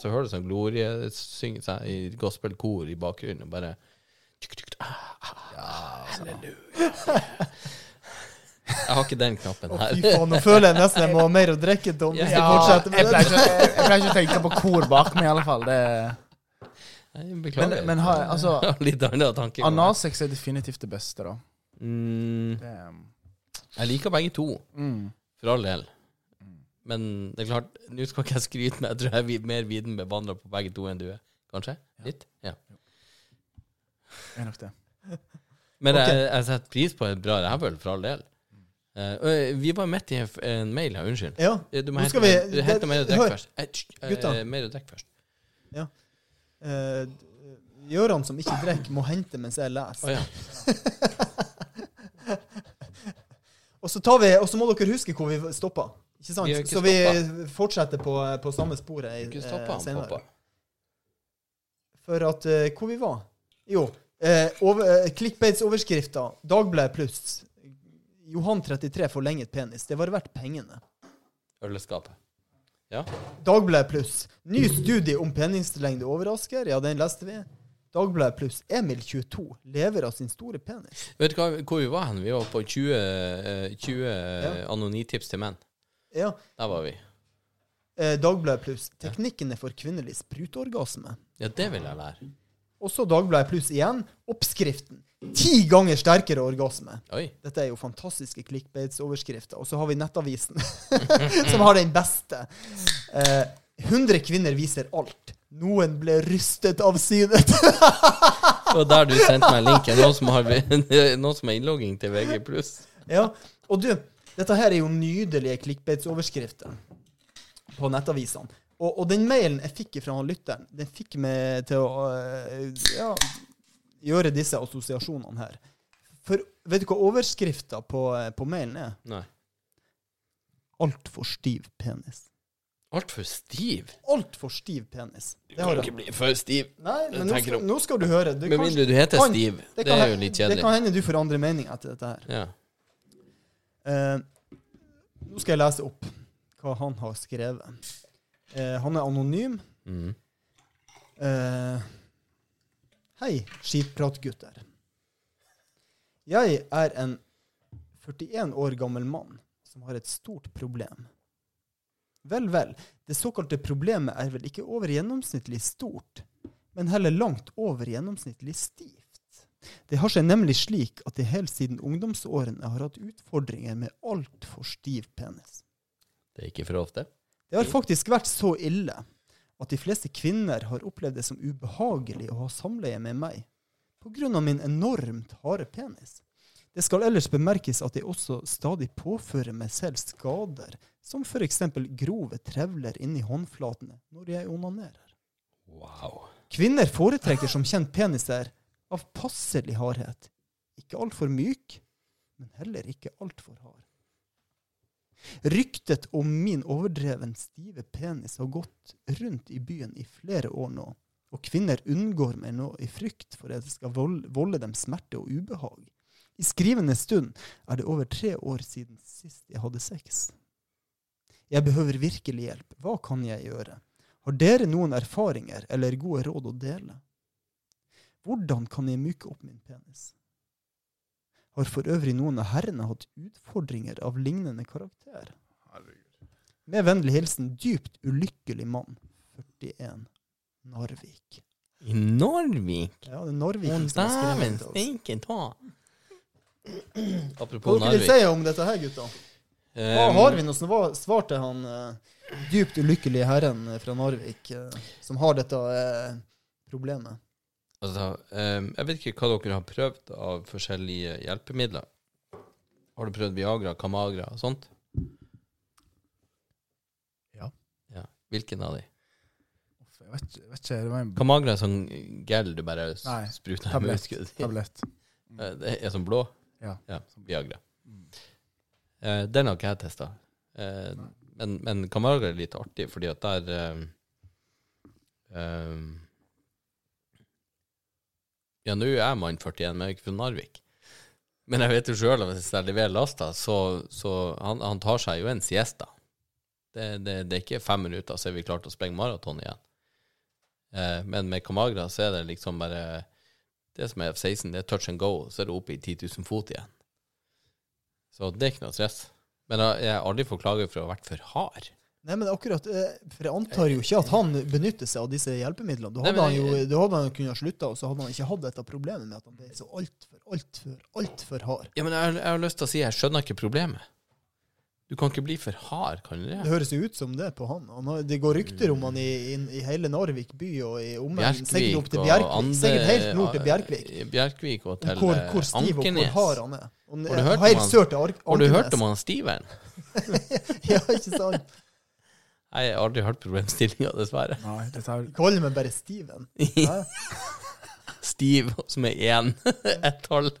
Speaker 1: Så hører du sånn glorie synge seg i gospelkor i bakgrunnen, og bare ah,
Speaker 4: altså.
Speaker 1: Halleluja. Jeg har ikke den knappen her.
Speaker 3: Fy faen, nå føler jeg nesten jeg må ha mer å drikke, Tom. Hvis jeg
Speaker 1: Ja,
Speaker 3: fortsetter
Speaker 4: jeg
Speaker 3: med
Speaker 4: pleier
Speaker 3: det.
Speaker 4: ikke, jeg, jeg pleier ikke å tenke på kor bak meg, i alle fall. Det,
Speaker 1: Nei,
Speaker 4: men
Speaker 1: Beklager.
Speaker 4: men
Speaker 1: <laughs>
Speaker 4: har,
Speaker 3: <laughs>
Speaker 4: altså,
Speaker 1: Jeg har Litt annen tanke.
Speaker 4: analsex er definitivt det beste, da.
Speaker 1: Mm,
Speaker 4: Det, um,
Speaker 1: Jeg liker begge to,
Speaker 4: Mm.
Speaker 1: for all del.
Speaker 3: Mm.
Speaker 1: Men det er klart, nå skal ikke jeg skryte, men jeg tror jeg er vid- mer viden bevandra på begge to enn du er. Kanskje?
Speaker 4: Ja.
Speaker 1: Litt? Ja.
Speaker 4: Er nok det.
Speaker 1: Men
Speaker 3: Ok.
Speaker 1: jeg, jeg setter pris på et bra rævøl, for all del. Eh, og vi var midt i en, f- en mail her, unnskyld. Eh,
Speaker 3: Ja,
Speaker 1: Du må
Speaker 3: Nå
Speaker 1: hente,
Speaker 3: skal
Speaker 1: mer-
Speaker 3: vi-
Speaker 1: du henter
Speaker 3: det-
Speaker 1: mer å drikke
Speaker 3: hør,
Speaker 1: først. Eh, tsk, eh,
Speaker 3: gutta.
Speaker 1: mer å drikke først.
Speaker 3: eh, Gjøran som ikke drikker, må hente mens jeg
Speaker 1: Å
Speaker 3: leser.
Speaker 1: ja.
Speaker 3: <laughs> Og så tar vi, og så må dere huske hvor vi stoppa. Ikke sant?
Speaker 1: Vi har ikke
Speaker 3: så vi fortsetter på, eh, på samme sporet i-
Speaker 1: Ikke
Speaker 3: eh,
Speaker 1: stoppa han,
Speaker 3: senere.
Speaker 1: pappa.
Speaker 3: For at eh, Hvor vi var? Jo. Eh, over, eh, Clickbaits-overskrifta. Dagbladet pluss. Johan 33 forlenget penis. Det var verdt pengene.
Speaker 1: Øleskapet.
Speaker 3: Dagbladet pluss. Ny studie om penislengde overrasker. Ja, den leste vi. Dagbladet pluss. Emil 22 lever av sin store penis.
Speaker 1: Vet du hva, hvor vi var hen? Vi var på 20, eh, 20 eh, anonitips til menn.
Speaker 3: Ja.
Speaker 1: Der var vi.
Speaker 3: Eh, Dagbladet pluss. Teknikkene for kvinnelig sprutorgasme.
Speaker 1: Ja, det vil jeg lære.
Speaker 3: Og så Dagbladet pluss igjen. Oppskriften. Ti ganger sterkere orgasme.
Speaker 1: Oi.
Speaker 3: Dette er jo fantastiske clickbaits-overskrifter. Og så har vi Nettavisen, som har den beste. Eh, 100 kvinner viser alt. Noen ble rystet av synet. <laughs>
Speaker 1: Og der du sendte meg linken, noen som har, <laughs> noen som har innlogging til VG+.
Speaker 3: ja. Og du, dette her er jo nydelige clickbaits-overskrifter på nettavisene. Og, og den mailen jeg fikk fra han lytteren, den fikk meg til å eh, ja, gjøre disse assosiasjonene her. For vet du hva overskrifta på, eh, på mailen er?
Speaker 1: Nei.
Speaker 3: Altfor stiv penis.
Speaker 1: Altfor stiv.
Speaker 3: Altfor stiv penis. Det har
Speaker 1: Kan
Speaker 3: jeg
Speaker 1: ikke bli for stiv.
Speaker 3: Nei,
Speaker 1: Jeg
Speaker 3: men nå
Speaker 1: tenker
Speaker 3: skal,
Speaker 1: om-
Speaker 3: nå skal du høre. Det
Speaker 1: Med
Speaker 3: kan-
Speaker 1: mindre du heter
Speaker 3: kan-
Speaker 1: Stiv.
Speaker 3: det
Speaker 1: Det
Speaker 3: kan
Speaker 1: er
Speaker 3: he-
Speaker 1: jo litt
Speaker 3: Det kan
Speaker 1: kjedelig.
Speaker 3: hende du forandrer mening etter dette her.
Speaker 1: Ja.
Speaker 3: Eh, nå skal jeg lese opp hva han har skrevet. Eh, han er anonym.
Speaker 1: Mm.
Speaker 3: Eh, hei, skitpratgutter. Jeg er en 41 år gammel mann som har et stort problem. Vel, vel, det såkalte problemet er vel ikke over gjennomsnittlig stort, men heller langt over gjennomsnittlig stivt. Det har seg nemlig slik at jeg helt siden ungdomsårene har hatt utfordringer med altfor stiv penis.
Speaker 1: Det er ikke for ofte.
Speaker 3: Det har faktisk vært så ille at de fleste kvinner har opplevd det som ubehagelig å ha samleie med meg pga. min enormt harde penis. Det skal ellers bemerkes at jeg også stadig påfører meg selv skader, som f.eks. grove trevler inni håndflatene når jeg onanerer.
Speaker 1: Wow.
Speaker 3: Kvinner foretrekker som kjent peniser av passelig hardhet. Ikke altfor myk, men heller ikke altfor hard. Ryktet om min overdreven stive penis har gått rundt i byen i flere år nå, og kvinner unngår meg nå i frykt for at det skal vold- volde dem smerte og ubehag. I skrivende stund er det over tre år siden sist jeg hadde sex. Jeg behøver virkelig hjelp. Hva kan jeg gjøre? Har dere noen erfaringer eller gode råd å dele? Hvordan kan jeg myke opp min penis? Har for øvrig noen av herrene hatt utfordringer av lignende karakter? Med vennlig hilsen dypt ulykkelig mann, 41, Narvik.
Speaker 1: I Narvik?
Speaker 3: Ja, det er Narvik som har skrevet
Speaker 1: Dæven
Speaker 3: det til oss.
Speaker 1: steike
Speaker 3: <clears throat>
Speaker 1: ta.
Speaker 3: Hva
Speaker 1: Apropos
Speaker 3: dere vil
Speaker 1: Narvik.
Speaker 3: si om dette her, gutta? Hva
Speaker 1: Ehm,
Speaker 3: har vi noe sva- svar til han eh, dypt ulykkelige herren eh, fra Narvik, eh, som har dette eh, problemet?
Speaker 1: Altså, ehm, jeg vet ikke hva dere har prøvd av forskjellige hjelpemidler. Har du prøvd Viagra, Camagra og sånt?
Speaker 4: Ja.
Speaker 1: ja. Hvilken av de?
Speaker 4: Uff, Jeg vet, ikke- jeg vet ikke, det var en
Speaker 1: Camagra er sånn gel du bare s-
Speaker 4: Nei,
Speaker 1: spruter i
Speaker 4: tablett.
Speaker 1: muskelen. din.
Speaker 4: tablett.
Speaker 1: Eh, Det er sånn blå?
Speaker 4: Ja.
Speaker 1: Viagra. Eh, den har ikke jeg testa. men, men Camagra er litt artig, fordi at der eh, eh, Ja, nå er jeg mann 41, men jeg er ikke fra Narvik. Men jeg vet jo sjøl at hvis jeg leverer lasta, så, så han, han tar seg jo en siesta. Det, det, det er ikke fem minutter, så er vi klart å sprenge maraton igjen. Eh, men med Camagra så er det liksom bare Det som er F-16, det er touch and go, så er det oppe i 10 000 fot igjen. Så det er ikke noe stress. Men jeg jeg har aldri fått klager for å ha vært for hard.
Speaker 3: Nei, men akkurat, eh, for jeg antar jo ikke at han benytter seg av disse hjelpemidlene. Da
Speaker 1: Nei,
Speaker 3: hadde
Speaker 1: men
Speaker 3: han jo
Speaker 1: jeg-
Speaker 3: da hadde han kunnet slutta, og så hadde han ikke hatt dette problemet med at han ble så altfor, altfor, altfor hard.
Speaker 1: Ja, men jeg, har- jeg har lyst til å si jeg skjønner ikke problemet. Du kan ikke bli for hard, kan du
Speaker 3: Det
Speaker 1: det?
Speaker 3: høres jo ut som det på han. han har, det går rykter om han i, i, i hele Narvik by og i omegnen. Sikkert opp til Bjerkvik. sikkert helt nord til Bjerkvik.
Speaker 1: Bjerkvik og til
Speaker 3: Hvor,
Speaker 1: eh,
Speaker 3: hvor stiv og hvor
Speaker 1: Ankenes.
Speaker 3: hard han er. Og,
Speaker 1: Har du hørt om
Speaker 3: helt
Speaker 1: han?
Speaker 3: sør til Ar
Speaker 1: Har du hørt om han
Speaker 3: han?
Speaker 1: Steven?
Speaker 3: <laughs> ja, ikke sant?
Speaker 1: Nei, Jeg har aldri hørt problemstillinga, dessverre.
Speaker 4: Nei, dette er,
Speaker 3: Kaller meg bare Steven. Hæ?
Speaker 1: <laughs> Steve, som er <laughs> én. Ett tall.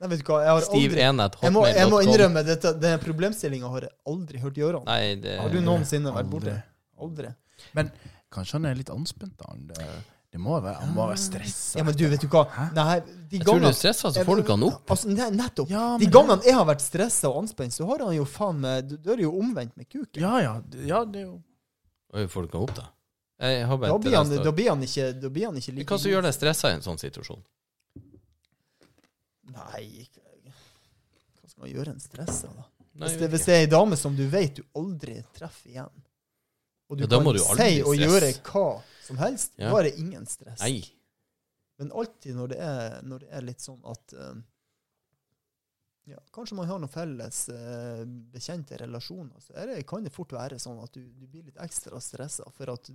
Speaker 3: Nei, vet du hva, jeg har
Speaker 1: Steve
Speaker 3: aldri
Speaker 1: 1 at
Speaker 3: Jeg må, jeg må
Speaker 1: hotmail.com.
Speaker 3: innrømme, dette, denne problemstillinga har jeg aldri hørt i ørene.
Speaker 1: Nei, det
Speaker 3: Har du noensinne vært borte?
Speaker 4: Aldri.
Speaker 3: Aldri.
Speaker 4: kanskje han er litt anspent, da. han. Det, det må være, han må være stressa.
Speaker 3: Ja, men du, vet du hva?
Speaker 4: Hæ?
Speaker 3: Nei, de
Speaker 1: Jeg tror du
Speaker 3: gangene
Speaker 1: er stressa, så får du ikke han opp.
Speaker 3: Altså, ne- nettopp.
Speaker 4: Ja,
Speaker 3: de
Speaker 4: men-
Speaker 3: gangene jeg har vært stressa og anspent, så har han jo faen meg du- Da er det jo omvendt med kuken.
Speaker 4: Ja, ja, d- ja, det er jo
Speaker 1: Oi, Får du ikke han opp, da? Jeg har bare
Speaker 3: Da blir, han,
Speaker 1: tendens til å-
Speaker 3: da, blir han ikke, da blir han ikke like
Speaker 1: Hva som gjør deg stressa i en sånn situasjon?
Speaker 3: Nei ikke- Hva skal man gjøre en stressa, da?
Speaker 1: Nei,
Speaker 3: hvis,
Speaker 1: jeg
Speaker 3: det,
Speaker 1: vet
Speaker 3: hvis det er ei dame som du vet du aldri treffer igjen, og du
Speaker 1: Ja, da må
Speaker 3: kan
Speaker 1: du jo aldri
Speaker 3: si
Speaker 1: bli
Speaker 3: og gjøre
Speaker 1: stress.
Speaker 3: hva som helst,
Speaker 1: Ja.
Speaker 3: da er det ingen stress.
Speaker 1: ikke. Nei.
Speaker 3: Men alltid når det er, når det er litt sånn at eh, ja, Kanskje man har noen felles eh, bekjente relasjoner, så er det, kan det fort være sånn at du, du blir litt ekstra stressa for at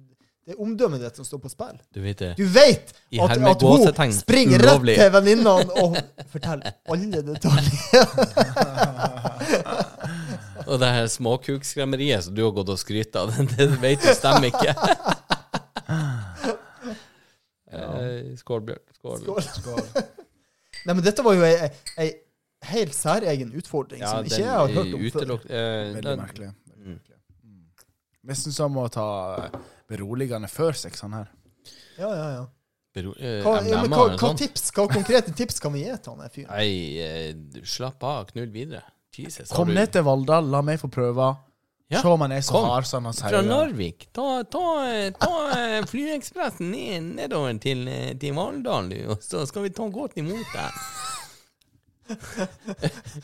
Speaker 3: det er omdømmet ditt som står på spill.
Speaker 1: Du vet det.
Speaker 3: Du vet
Speaker 1: I
Speaker 3: at,
Speaker 1: hermed
Speaker 3: at hun
Speaker 1: gåsetegn,
Speaker 3: springer
Speaker 1: ulovlig.
Speaker 3: rett til venninnene og forteller alle detaljer.
Speaker 1: Og det her småkukskremmeriet som du har gått og skrytt av, det <laughs> vet du stemmer
Speaker 3: <laughs>
Speaker 1: ikke. Eh, Skål, Bjørn. Skål.
Speaker 3: Skål. Nei, men dette var jo ei, ei helt særegen utfordring som ikke jeg har hørt om før.
Speaker 1: utelukk- eh,
Speaker 4: veldig
Speaker 1: den-
Speaker 4: merkelig. Veldig
Speaker 1: Mm.
Speaker 4: merkelig. Mm. Men Jeg syns han må ta eh, beroligende før sex, han her.
Speaker 3: Ja, ja, ja.
Speaker 1: Bero, eh,
Speaker 3: Hva, ja, men hva,
Speaker 1: MDMA, eller
Speaker 3: hva,
Speaker 1: sånn.
Speaker 3: tips, hva konkrete tips kan vi gi til han der fyren?
Speaker 1: Nei, eh, du, slapp av. Knull videre. Jesus. har
Speaker 4: Kom
Speaker 1: du-
Speaker 4: ned til Valldal, la meg få prøve.
Speaker 1: Ja,
Speaker 4: Se om han er så
Speaker 1: kom.
Speaker 4: hard som han sier.
Speaker 1: Fra Narvik. Ta, ta, eh, ta eh, flyekspressen ned, nedover til, eh, til Valldal, du, og så skal vi ta godt imot
Speaker 3: <laughs>
Speaker 1: deg.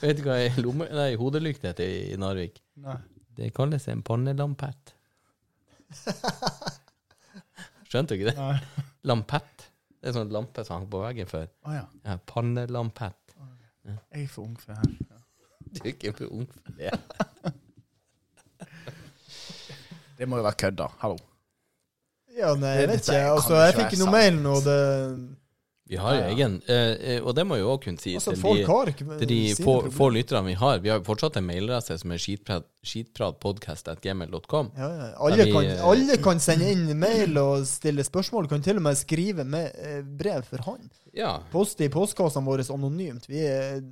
Speaker 1: Vet du hva ei lomme- nei, hodelykt heter i Narvik?
Speaker 4: Nei.
Speaker 1: Det kalles en pannelampett. Skjønte du ikke det?
Speaker 4: Nei.
Speaker 1: Lampett. Det er sånn lampe som hang på veggen før.
Speaker 4: Å ja.
Speaker 1: Ja, pannelampett.
Speaker 4: Jeg er for ung for det her.
Speaker 1: Du er ikke for ung for det.
Speaker 4: Det må jo være kødd, da. Hallo.
Speaker 3: Ja, nei, jeg vet
Speaker 4: Dette
Speaker 3: ikke.
Speaker 1: sånn
Speaker 4: kan
Speaker 3: Altså,
Speaker 4: jo
Speaker 3: jeg
Speaker 4: ikke
Speaker 3: fikk
Speaker 4: være
Speaker 3: noe
Speaker 4: sant.
Speaker 3: mail nå. Det,
Speaker 1: Vi har jo
Speaker 4: Ja, ja.
Speaker 1: egen, eh, eh, og det må jo også kunne sies
Speaker 3: altså,
Speaker 1: til
Speaker 3: folk
Speaker 1: de-
Speaker 3: har ikke med
Speaker 1: Til de
Speaker 3: sine
Speaker 1: få,
Speaker 3: problemer.
Speaker 1: få lytterne vi har. Vi har jo fortsatt en mailadresse som er skitprat, skitpratpodcast.gmail.com.
Speaker 3: ja, ja. alle,
Speaker 1: vi,
Speaker 3: kan,
Speaker 1: eh,
Speaker 3: alle kan sende inn mail og stille spørsmål. Kan til og med skrive med, eh, brev for han.
Speaker 1: Ja,
Speaker 3: Post i postkassene våre anonymt. Vi, er,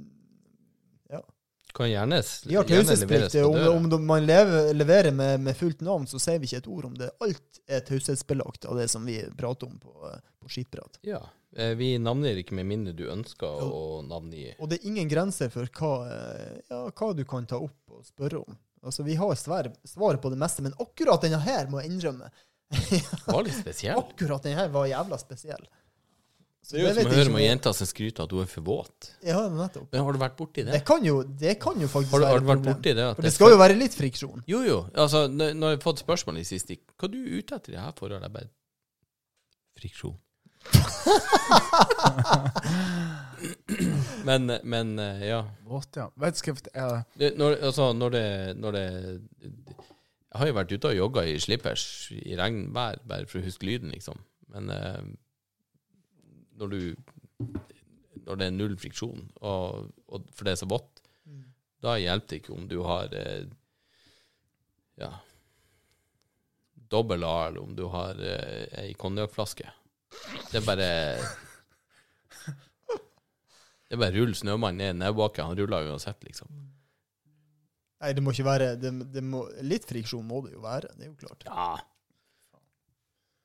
Speaker 1: kan gjerne s-
Speaker 3: vi har
Speaker 1: gjerne leveres
Speaker 3: taushetsplikt.
Speaker 1: på
Speaker 3: Om,
Speaker 1: døra.
Speaker 3: om man lever, leverer med, med fullt navn, så sier vi ikke et ord om det. Alt er taushetsbelagt av det som vi prater om på, eh, på skitprat.
Speaker 1: Ja. eh, Vi navngir ikke med mindre du ønsker å navngi.
Speaker 3: Og det er ingen grenser for hva, eh, ja, hva du kan ta opp og spørre om. Altså, Vi har svar, svar på det meste, men akkurat denne her må jeg innrømme.
Speaker 1: Det var litt spesielt.
Speaker 3: Akkurat denne her var jævla spesiell. Så
Speaker 1: Det er jo
Speaker 3: vet
Speaker 1: som å
Speaker 3: jeg
Speaker 1: høre om
Speaker 3: ikke om-
Speaker 1: jenta som skryter at hun er for våt.
Speaker 3: Ja, nettopp.
Speaker 1: Men har du vært borti det?
Speaker 3: Det kan jo, det kan jo faktisk
Speaker 1: Har du, har du
Speaker 3: et
Speaker 1: vært
Speaker 3: problem.
Speaker 1: borti det? At
Speaker 3: For
Speaker 1: det
Speaker 3: det skal jo være litt friksjon.
Speaker 1: Jo, jo. Altså, når når jeg har fått spørsmål i siste Hva er du ute etter i det her forholdet? Jeg bare Friksjon. men, men, eh, ja.
Speaker 4: Våt, ja. Vet du, skal jeg fortelle
Speaker 1: Det, når, altså, når det, når det Jeg har jo vært ute og jogga i slippers i regnvær, bare for å huske lyden, liksom. Men eh, når du Når det er null friksjon, og, og for det er så vått, da hjelper det ikke om du har eh, Ja dobbel A, eller om du har eh, ei konjakkflaske. Det er bare Det er bare rull snømannen ned nedbakke. Han ruller uansett, liksom.
Speaker 3: Nei, det må ikke være det, det må, Litt friksjon må det jo være, det er jo klart. <laughs>
Speaker 1: Ja.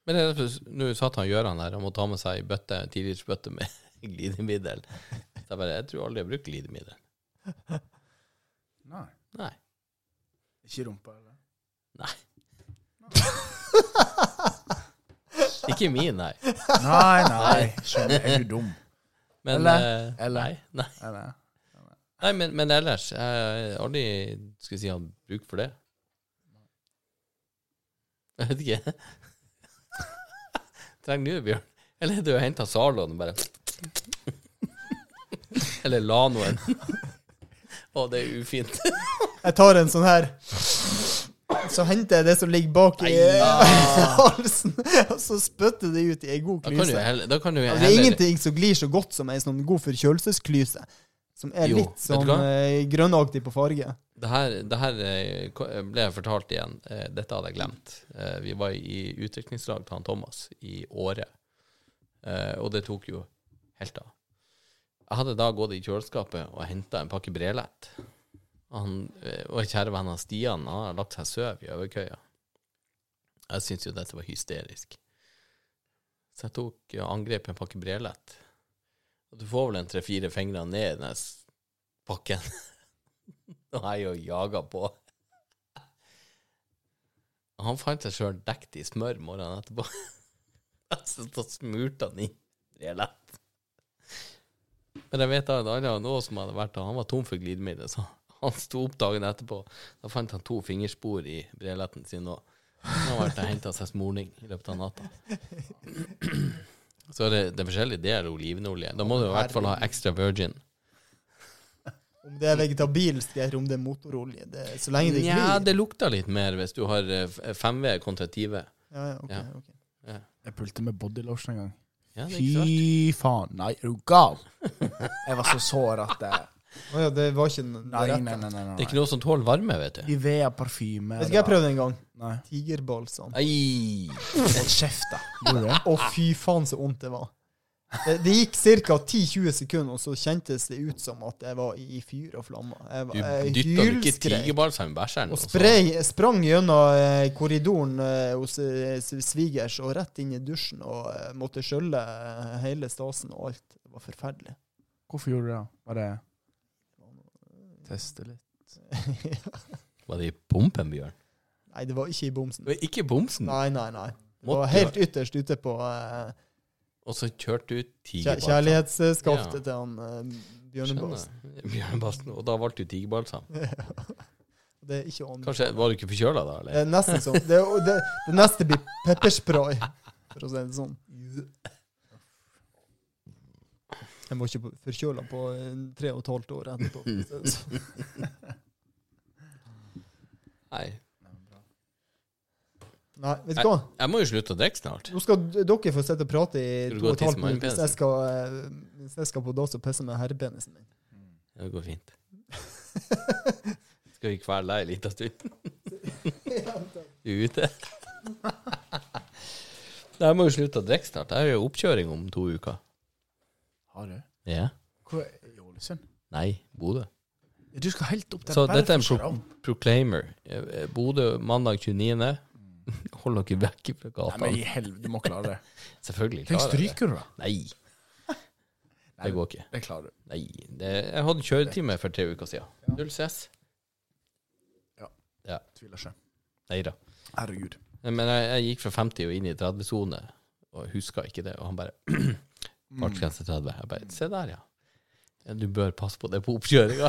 Speaker 1: Men det er derfor- nå satt han Gøran her, han må ta med seg ei bøtte, en tilgiftsbøtte med <laughs> glidemiddel. Så jeg bare, jeg tror aldri jeg bruker glidemiddel.
Speaker 4: Nei.
Speaker 1: Nei.
Speaker 4: Ikke i rumpa, eller?
Speaker 1: Ikke min, nei.
Speaker 4: Nei, nei. Skjønner, er du dum?
Speaker 1: Men,
Speaker 4: Eller?
Speaker 1: eh,
Speaker 4: Eller?
Speaker 1: Nei, nei.
Speaker 4: Eller?
Speaker 1: nei men, men ellers, jeg har aldri skulle si han bruk for det. Jeg vet ikke. <laughs> Trenger du, Bjørn? Eller er det å hente Zaloen og bare <laughs> Eller Lanoen. <laughs> Å, det er ufint.
Speaker 3: Jeg tar en sånn her. Så henter jeg det som ligger bak i <laughs> halsen, og så spytter det ut i ei god
Speaker 1: Da kan du
Speaker 3: klyse.
Speaker 1: heller, da kan du
Speaker 3: Altså,
Speaker 1: heller
Speaker 3: det er ingenting som glir så godt som ei sånn god forkjølelsesklyse. Som er
Speaker 1: Jo,
Speaker 3: litt
Speaker 1: vet du
Speaker 3: sånn eh, grønnaktig på farge.
Speaker 1: Det her, det her eh, ko- ble jeg fortalt igjen. Eh, Dette hadde jeg glemt. Eh, Vi var i utviklingslag til han Thomas i Åre, Eh, og det tok jo helt av. Jeg hadde da gått i kjøleskapet og henta en pakke brelett. Han eh, og kjære venn av Stian han har lagt seg søv i overkøya. Jeg syntes jo dette var hysterisk. Så jeg tok og angrep en pakke brelett. Og du får vel en tre-fire fingre ned i den her s- pakken. <laughs> Og jeg jo jaga på. Han fant seg sjøl dekt i smør morgenen etterpå. <laughs> Så da smurte han i relett. Men jeg vet da at alle nå som hadde vært der, han var tom for glidemiddel, så han sto opp dagen etterpå. Da fant han to fingerspor i breletten sin, og han har vært og henta seg smorning i løpet av natta. <clears throat> Så det, det er forskjellige deler av olivenolje. Da må du i hvert fall ha extra virgin.
Speaker 3: Om det er vegetabilsk eller om det er motorolje. Det, så lenge det ikke
Speaker 1: Nja,
Speaker 3: glir.
Speaker 1: det lukter litt mer hvis du har eh, f- 5V kontra 10V.
Speaker 3: Ja, ja, ok,
Speaker 1: Ja.
Speaker 3: ok.
Speaker 4: Jeg pulte med bodylotion en gang.
Speaker 1: Ja, det er ikke så verst.
Speaker 4: Fy faen. Nei, er du gal? <laughs> Jeg var så sår at eh,
Speaker 3: Å ja, det var ikke den
Speaker 4: <laughs> Nei, nei,
Speaker 3: rette.
Speaker 4: nei. nei, nei,
Speaker 1: Det er ikke noe som tåler varme, vet du.
Speaker 4: Ivea parfyme.
Speaker 3: Vet du hva jeg prøvde en gang?
Speaker 4: Nei.
Speaker 3: Tigerbalsam.
Speaker 1: Ei.
Speaker 4: Hold kjeft, da. Gjorde du det?
Speaker 3: Å, fy faen, så vondt det var. Det, det gikk ca. 10-20 sekunder, og så kjentes det ut som at jeg var i fyr og flammer. Jeg,
Speaker 1: Du
Speaker 3: var- jeg
Speaker 1: dytter jo ikke
Speaker 3: hylskrek.
Speaker 1: tigerbalsam i bæsjeren.
Speaker 3: Og
Speaker 1: og så-
Speaker 3: sprang, sprang gjennom eh, korridoren eh, hos eh, s- svigers og rett inn i dusjen og eh, måtte skjølle eh, hele stasen og alt. Det var forferdelig.
Speaker 4: Hvorfor gjorde du det? Var det Teste litt.
Speaker 1: Var det i pumpen, Bjørn?
Speaker 3: nei, det var ikke i bomsen.
Speaker 1: Det var ikke i bomsen.
Speaker 3: Nei, nei, nei. Det
Speaker 1: Måtte
Speaker 3: var helt ytterst ute på eh,
Speaker 1: Og så kjørte du
Speaker 3: kjæ-
Speaker 1: tigerbalsam.
Speaker 3: kjærlighetsskaftet
Speaker 1: Ja.
Speaker 3: til han eh, Bjørnebass.
Speaker 1: Skjønner. Bjørnebassen. Og da valgte du tigerbalsam.
Speaker 3: Det er ikke å anbefale.
Speaker 1: Kanskje var du ikke forkjøla da,
Speaker 3: Det
Speaker 1: eller?
Speaker 3: er nesten sånn. Det, er- det, det neste blir pepperspray, for å si det sånn. Jeg var ikke forkjøla på eh, tre og et halvt år etterpå. for å si det sånn.
Speaker 1: Nei.
Speaker 3: Nei, vet du hva?
Speaker 1: Jeg må jo slutte å drikke snart.
Speaker 3: Nå skal d- dere få sitte og prate i
Speaker 1: Skal du gå
Speaker 3: to og
Speaker 1: og
Speaker 3: et halvt
Speaker 1: tisse med
Speaker 3: minutt hvis jeg skal, eh, hvis jeg skal på dass og pisse med herrepenisen min.
Speaker 1: Det går fint. Skal vi kvele deg en liten
Speaker 4: <laughs>
Speaker 1: stund? Du er ute? Nei, Jeg må jo slutte å drikke snart. Jeg har jo oppkjøring om to uker.
Speaker 4: Har du?
Speaker 1: Ja.
Speaker 4: Hvor er i Ålesund?
Speaker 1: Nei, Bodø.
Speaker 4: Ja, Du skal helt opp til
Speaker 1: Så dette er en pro
Speaker 4: Bergfjord.
Speaker 1: proclaimer. Eh, eh, Bodø mandag 29. Hold dere vekk fra
Speaker 4: Nei, men
Speaker 1: gatene.
Speaker 4: i helvete, du må klare det.
Speaker 1: Selvfølgelig
Speaker 4: Tenk,
Speaker 1: klarer <laughs> jeg det.
Speaker 4: stryker du, da?
Speaker 1: Nei, det går ikke.
Speaker 4: Det klarer du.
Speaker 1: Nei, det, jeg hadde kjøretime for tre uker siden. Null stress.
Speaker 4: Tviler ikke.
Speaker 1: Nei da.
Speaker 4: Herregud.
Speaker 1: Men jeg, jeg gikk fra 50 og inn i 30-sone, og huska ikke det. Og han bare <clears throat>
Speaker 4: Mm.
Speaker 1: Fartsgrense 30. Jeg bare Se der, ja. Ja, Du bør passe på det på oppkjøringa.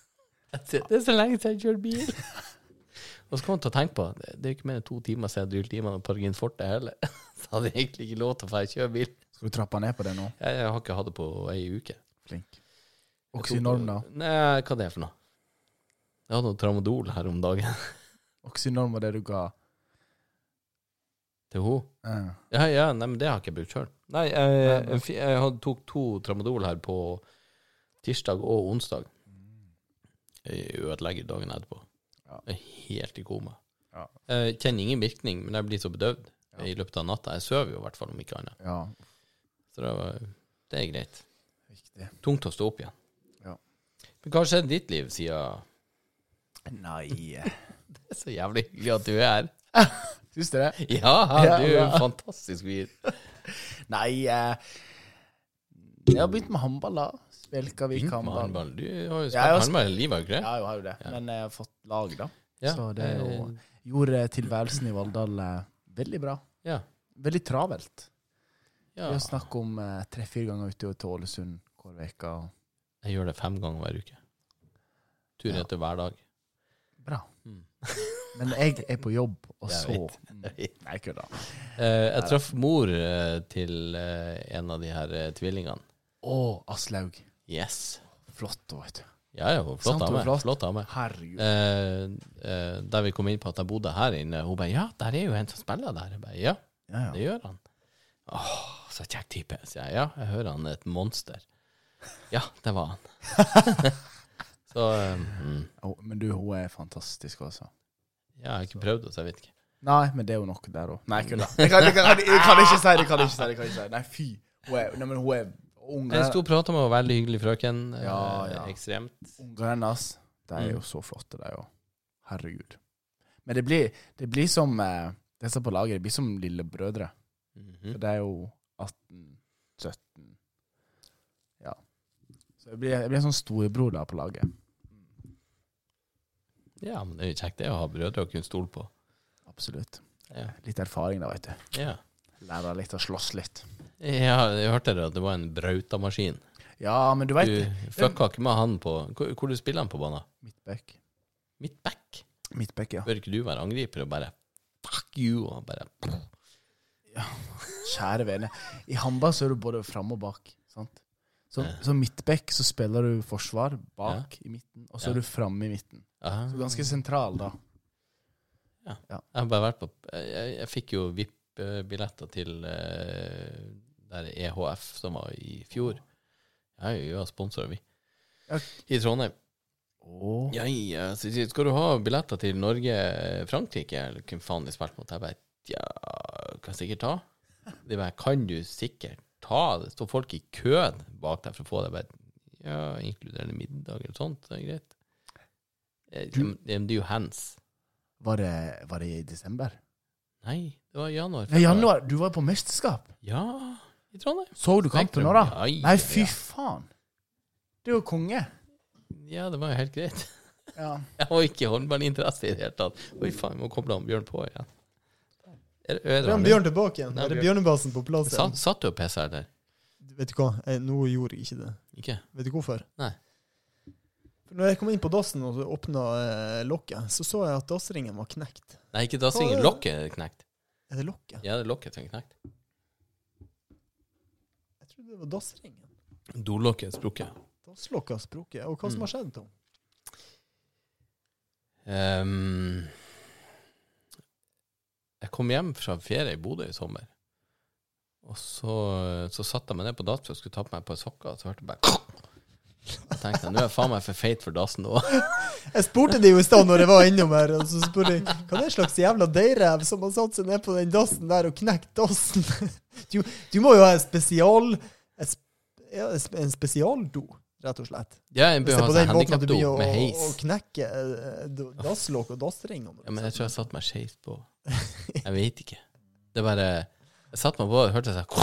Speaker 1: <laughs> Jeg sier, Det er så lenge siden jeg kjørte bil. <laughs> Og så kom han til å tenke på det, det er ikke mer enn to timer siden jeg drylte i meg noe Pargin Forte heller. <laughs> Så hadde jeg egentlig ikke lov til å få kjøre bil.
Speaker 4: Skal du trappe ned på det nå?
Speaker 1: Jeg, jeg har ikke hatt det på ei uke.
Speaker 4: Flink.
Speaker 1: Jeg
Speaker 4: Oksynorm, da.
Speaker 1: tok- Nei, hva det er for noe? Jeg hadde noe tramadol her om dagen <laughs>
Speaker 4: Oksynorm var det du ga.
Speaker 1: til hun.
Speaker 4: Eh,
Speaker 1: Ja, ja, nei, men det har ikke jeg brukt sjøl. Nei, jeg, jeg, fi- jeg hadde- tok to tramadol her på tirsdag og onsdag. Mm. Jeg ødelegger dagen etterpå.
Speaker 4: Ja.
Speaker 1: Jeg er helt i koma.
Speaker 4: Ja.
Speaker 1: Jeg kjenner ingen virkning, men jeg blir så bedøvd
Speaker 4: Ja.
Speaker 1: i løpet av natta. Jeg sover jo i hvert fall, om ikke annet.
Speaker 4: ja,
Speaker 1: Så det, var, det er greit.
Speaker 4: riktig.
Speaker 1: Tungt å stå opp igjen.
Speaker 4: Ja.
Speaker 1: Men hva har skjedd i ditt liv siden
Speaker 4: Nei
Speaker 1: Det er så jævlig hyggelig at du er her.
Speaker 4: <laughs> Syns du det?
Speaker 1: Ja,
Speaker 4: Ja,
Speaker 1: du er jo
Speaker 4: bra.
Speaker 1: fantastisk fin.
Speaker 4: Nei eh, Jeg har begynt med håndball, da. Spelka vi
Speaker 1: Fint med
Speaker 4: håndball.
Speaker 1: håndball. Du har jo
Speaker 4: Ja, jeg har
Speaker 1: spilt håndball hele livet, har du ikke
Speaker 4: Ja,
Speaker 1: det?
Speaker 4: jeg har jo det. Men jeg har fått lag, da.
Speaker 1: Ja,
Speaker 4: Så det er jo
Speaker 1: eh,
Speaker 4: Gjorde tilværelsen i Valldal eh, veldig bra.
Speaker 1: Ja.
Speaker 4: Veldig travelt.
Speaker 1: ja.
Speaker 4: Vi har snakket om eh, tre-fire ganger ute til Ålesund hver uke. og-
Speaker 1: Jeg gjør det fem ganger hver uke. Tur
Speaker 4: Ja.
Speaker 1: etter hver dag.
Speaker 4: Bra.
Speaker 1: Mm.
Speaker 4: <laughs> Men jeg er på jobb, og
Speaker 1: Jeg
Speaker 4: så Mm.
Speaker 1: vet, jeg vet.
Speaker 4: Nei, kødda.
Speaker 1: Eh, jeg traff mor eh, til eh, en av de her eh, tvillingene.
Speaker 4: Å, Aslaug.
Speaker 1: Yes.
Speaker 4: Flott, da, vet du.
Speaker 1: Ja, ja, hun er flott
Speaker 4: Sant, hun er
Speaker 1: dame.
Speaker 4: flott.
Speaker 1: Flott dame.
Speaker 4: Herregud.
Speaker 1: Eh, eh, der vi kom inn på at jeg bodde her inne, hun bare 'Ja, der er jo en som spiller der'. Jeg bare 'Ja,
Speaker 4: Ja,
Speaker 1: det
Speaker 4: ja.
Speaker 1: gjør han'. Åh, så kjekk type. sier jeg. Ja, jeg hører han er et monster. Ja, det
Speaker 4: <laughs>
Speaker 1: var han. så eh, mm.
Speaker 4: Å, men du, hun er fantastisk, altså.
Speaker 1: Ja, jeg har ikke prøvd det, så jeg vet ikke.
Speaker 4: Nei, men det er jo nok der òg. Nei, kødda. Jeg, kan- jeg, kan- jeg kan ikke si det. Jeg kan ikke si det. Jeg kan ikke si det. Nei, fy. Hun er, nei, men hun er
Speaker 1: Jeg sto
Speaker 4: Ungene
Speaker 1: og prata med en veldig hyggelig frøken. eh,
Speaker 4: Ja, ja.
Speaker 1: Ekstremt.
Speaker 4: unger hennes, de er jo så flotte, de òg. Herregud. Men det blir, det blir som eh, disse på laget. Det blir som lillebrødre.
Speaker 1: Mhm.
Speaker 4: For det er jo 18, 17 Ja. Så jeg blir, jeg blir en sånn storebror der på laget.
Speaker 1: Ja, men det er jo kjekt det å ha brødre å kunne stole på.
Speaker 4: Absolutt.
Speaker 1: Ja.
Speaker 4: Litt erfaring da, vet du.
Speaker 1: Ja,
Speaker 4: Lære litt å slåss litt.
Speaker 1: ja jeg hørte det at det var en brautamaskin.
Speaker 4: Ja, men du
Speaker 1: Du
Speaker 4: veit
Speaker 1: fucka ikke med han på Hvor, hvor du spiller han på banen?
Speaker 4: Midtback.
Speaker 1: Midtback?
Speaker 4: Midtback, ja.
Speaker 1: Bør ikke du være angriper og bare Fuck you! Og bare
Speaker 4: Kjære vene. I håndball så er du både fram og bak. sant? Så, så midtback så spiller du forsvar bak i midten, og
Speaker 1: Ja. Ah.
Speaker 4: så er du framme i midten.
Speaker 1: Aha.
Speaker 4: Så ganske sentral, da.
Speaker 1: Jeg har bare vært på Jeg, jeg, jeg fikk jo VIP-billetter til eh, der EHF som var i fjor. Jeg er jo sponsorer, vi.
Speaker 4: Ja.
Speaker 1: I Trondheim.
Speaker 4: Oh.
Speaker 1: Ja, ja, så sier de, skal du ha billetter til Norge, eh, Frankrike, eller hvem faen de spilte mot? Jeg bare, ja, kan jeg sikkert ta. De bare, kan du sikkert ta? Det står folk i køen bak der for å få det. Jeg bare, ja, inkluderende middag eller sånt, det er greit. Eh, men- men Det er jo hands.
Speaker 4: Var, det, var det i desember?
Speaker 1: Nei, det var i januar.
Speaker 4: Nei, januar. Du var på mesterskap.
Speaker 1: Ja, i Trondheim.
Speaker 4: Så du kampen nå, da?
Speaker 1: Ja, ja,
Speaker 4: Nei, fy
Speaker 1: ja.
Speaker 4: faen. Du er jo konge.
Speaker 1: Ja, det var jo helt greit. <laughs>
Speaker 4: Ja.
Speaker 1: Jeg har ikke håndballinteresse i det hele tatt. Oi, faen, jeg må koble han Bjørn på igjen. Er, er, er,
Speaker 3: Bra, Bjørn tilbake igjen.
Speaker 1: Nei,
Speaker 3: Er det
Speaker 1: Bjørn.
Speaker 3: bjørnebasen på plass igjen?
Speaker 1: Satt, satt du og pissa, eller?
Speaker 3: Vet du hva, Eh, nå gjorde jeg ikke det.
Speaker 1: Ikke?
Speaker 3: Vet du hvorfor?
Speaker 1: Nei.
Speaker 3: For når jeg kom inn på dassen og åpna eh, lokket, så så jeg at dassringen var knekt.
Speaker 1: Nei, ikke dassingen.
Speaker 3: Hva er det?
Speaker 1: Lokket er knekt.
Speaker 3: Er det lokket?
Speaker 1: Ja, det er lokket som er knekt.
Speaker 3: Jeg trodde det var dassringen.
Speaker 1: Dolokket er sprukket.
Speaker 3: Dasslokket har sprukket. Og hva
Speaker 1: Mm.
Speaker 3: som har skjedd, Tom?
Speaker 1: Ehm, jeg kom hjem fra ferie i Bodø i sommer. Og så, så satte jeg meg ned på dassen og skulle ta på meg et par sokker, og så hørte jeg bare Jeg tenkte nå er jeg faen meg for feit for dassen nå. <laughs>
Speaker 3: Jeg spurte de jo i stad når jeg var innom her, og så spurte jeg hva er det slags jævla deigrev som har satt seg ned på den dassen der og knekt dassen? <laughs> Du, du må jo ha en spesial en sp- ja, En spesialdo, rett og slett.
Speaker 1: Ja, jeg
Speaker 3: Hvis
Speaker 1: bør
Speaker 3: det er
Speaker 1: ha
Speaker 3: på
Speaker 1: sånn
Speaker 3: den måten at du
Speaker 1: handikapdo
Speaker 3: begynner å,
Speaker 1: med
Speaker 3: å
Speaker 1: heis.
Speaker 3: knekke eh, do- dasslokk og dassring.
Speaker 1: Ja, men jeg tror jeg satte meg skeivt
Speaker 3: <laughs>
Speaker 1: på. Jeg vet ikke. Det bare Jeg satte meg på og hørte sånn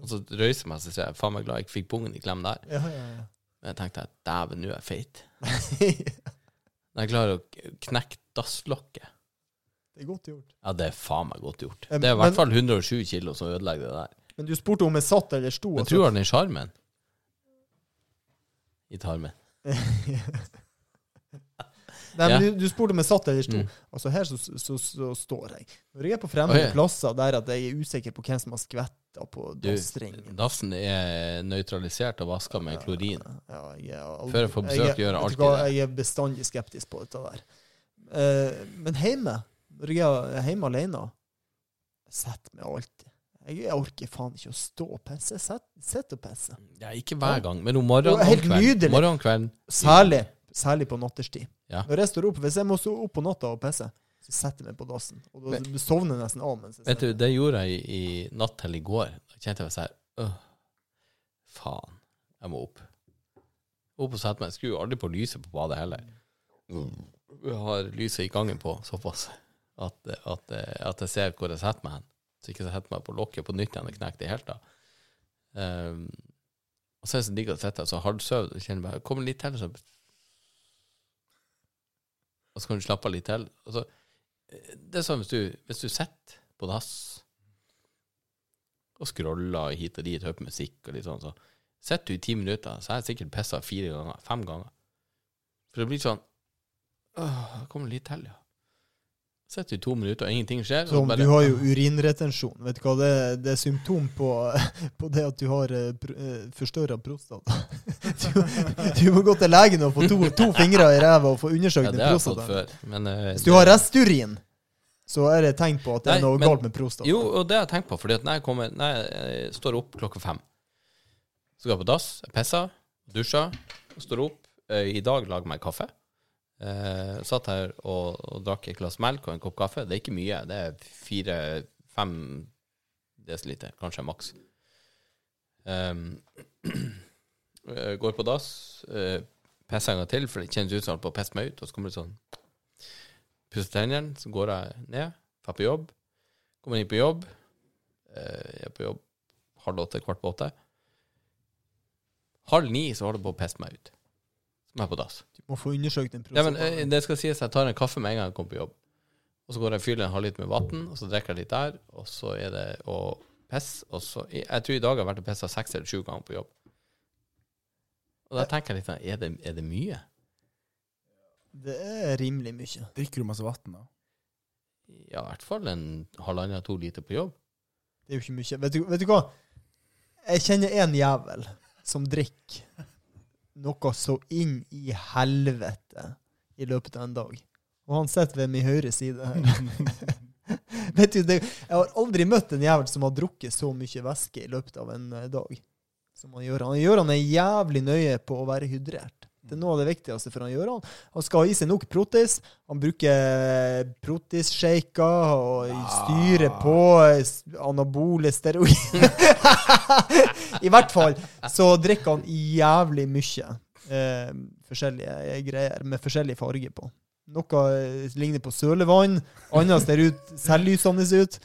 Speaker 1: Og så røyser jeg meg, så sier jeg faen meg glad jeg ikke fikk pungen i klem der.
Speaker 3: Ja, ja, <laughs> ja.
Speaker 1: Men jeg tenkte at dæven, nå er jeg feit. Når jeg klarer å k- knekke dasslokket
Speaker 3: Det er godt gjort.
Speaker 1: Ja, det er faen meg godt gjort.
Speaker 3: Eh,
Speaker 1: Det er i hvert
Speaker 3: men-
Speaker 1: fall 107 kilo som ødelegger det der.
Speaker 3: Men du spurte om jeg satt eller sto.
Speaker 1: Men
Speaker 3: altså.
Speaker 1: tror du den i sjarmen? I tarmen.
Speaker 3: Nei, men
Speaker 1: Ja.
Speaker 3: du, du spurte om jeg satt eller sto.
Speaker 1: Mm.
Speaker 3: Altså her så, så, så står jeg. Når jeg er på fremmede
Speaker 1: Å, ja.
Speaker 3: plasser der at jeg er usikker på hvem som har skvetta på
Speaker 1: Du,
Speaker 3: dassring
Speaker 1: Dassen er nøytralisert og vaska med klorin.
Speaker 3: ja, jeg er aldri-
Speaker 1: Før jeg får besøk, gjør jeg
Speaker 3: vet du
Speaker 1: alltid
Speaker 3: hva,
Speaker 1: det.
Speaker 3: Jeg er bestandig skeptisk på dette der. Eh, men hjemme, når jeg er hjemme alene, jeg setter meg alltid. Jeg jeg orker faen ikke å stå og pisse. Jeg set- sitter og pisser.
Speaker 1: Ja, ikke hver gang, men om morgenen
Speaker 3: Det var
Speaker 1: og
Speaker 3: helt
Speaker 1: kvelden.
Speaker 3: nydelig.
Speaker 1: Morgenen og kvelden.
Speaker 3: Særlig, særlig på natterstid.
Speaker 1: Ja.
Speaker 3: Når jeg står opp, Hvis jeg må stå opp på natta og pisse, så setter jeg meg på dassen. Og da sovner jeg nesten av. mens jeg
Speaker 1: Vet du,
Speaker 3: sitter.
Speaker 1: det gjorde jeg i, i natt til i går. Da kjente jeg meg sånn øh, Faen, jeg må opp. Opp og sette meg. Jeg skrur aldri på lyset på badet heller. Jeg har lyset i gangen på såpass at, at, at jeg ser hvor jeg setter meg hen. Så ikke jeg setter meg på lokket på nytt igjen og knekker det helt, da. Um, og så er det så digg å sitte her så halvsøvn og kjenne bare Kommer litt til, så Og så kan du slappe av litt til. Og så det er sånn hvis du, hvis du sitter på dass og scroller hit og dit, hører på musikk og litt sånn, så sitter du i ti minutter, så er jeg sikkert pissa fire ganger, fem ganger. For det blir sånn Åh, jeg kommer litt til, ja. Sitter i to minutter, og ingenting skjer. og
Speaker 3: Som
Speaker 1: bare-
Speaker 3: du har jo urinretensjon. Vet du hva, det, det er symptom på, <laughs> på det at du har eh, pr- eh, forstørra prostata. <laughs> Du, du må gå til legen og få to, to fingre i ræva og få undersøkt
Speaker 1: Ja, det
Speaker 3: din
Speaker 1: har jeg fått
Speaker 3: prostata.
Speaker 1: før. Men, eh,
Speaker 3: Hvis du har resturin, så er det tegn på at det
Speaker 1: Nei,
Speaker 3: er noe
Speaker 1: men-
Speaker 3: galt med prostata.
Speaker 1: Jo, og det har jeg tenkt på, fordi at når jeg, kommer, når jeg står opp klokka fem, så går jeg på dass, jeg pisser, dusjer, står opp. Eh, I dag lager jeg meg kaffe. Eh, satt her og, og drakk et glass melk og en kopp kaffe. Det er ikke mye, det er fire-fem desiliter, kanskje maks. Ehm, <clears throat> eh, går på dass, eh, pisser en gang til, for det kjennes ut som jeg holder på å pisse meg ut, og så kommer det sånn Pusser tennene, så går jeg ned, drar på jobb. Kommer inn på jobb. Eh, Jeg er på jobb halv åtte, kvart på åtte. Halv ni så holder det på å pisse meg ut. Så må jeg på dass.
Speaker 3: Du må få undersøkt din
Speaker 1: Ja, men
Speaker 3: prostata.
Speaker 1: eh, det skal sies jeg tar en kaffe med en gang jeg kommer på jobb. Og så går jeg og fyller en halvliter med vann, og så drikker jeg litt der, og så er det å pisse, og så Jeg tror i dag jeg har vært og pissa seks eller sju ganger på jobb. Og da tenker jeg litt sånn, er det, er det mye?
Speaker 3: Det er rimelig mye.
Speaker 4: Drikker du masse vann, da?
Speaker 1: Ja, i hvert fall en halvannen to liter på jobb.
Speaker 3: Det er jo ikke mye. Vet du, vet du hva? Jeg kjenner en jævel som drikker noe så inn i helvete i løpet av en dag. Og han sitter ved min høyre side her. <laughs> vet du, det, jeg har aldri møtt en jævel som har drukket så mye væske i løpet av en eh, dag. Som han gjør. Han gjør han er jævlig nøye på å være hydrert. Det er noe av det viktigste for han gjør han. Han skal ha i seg nok proteis. Han bruker eh, protisshaker og styrer på eh, s- anabole steroider. <laughs> I hvert fall så drikker han jævlig mye eh, forskjellige eh, greier med forskjellig farge på. Noe eh, ligner på sølevann, annet ser ut selvlysende ut.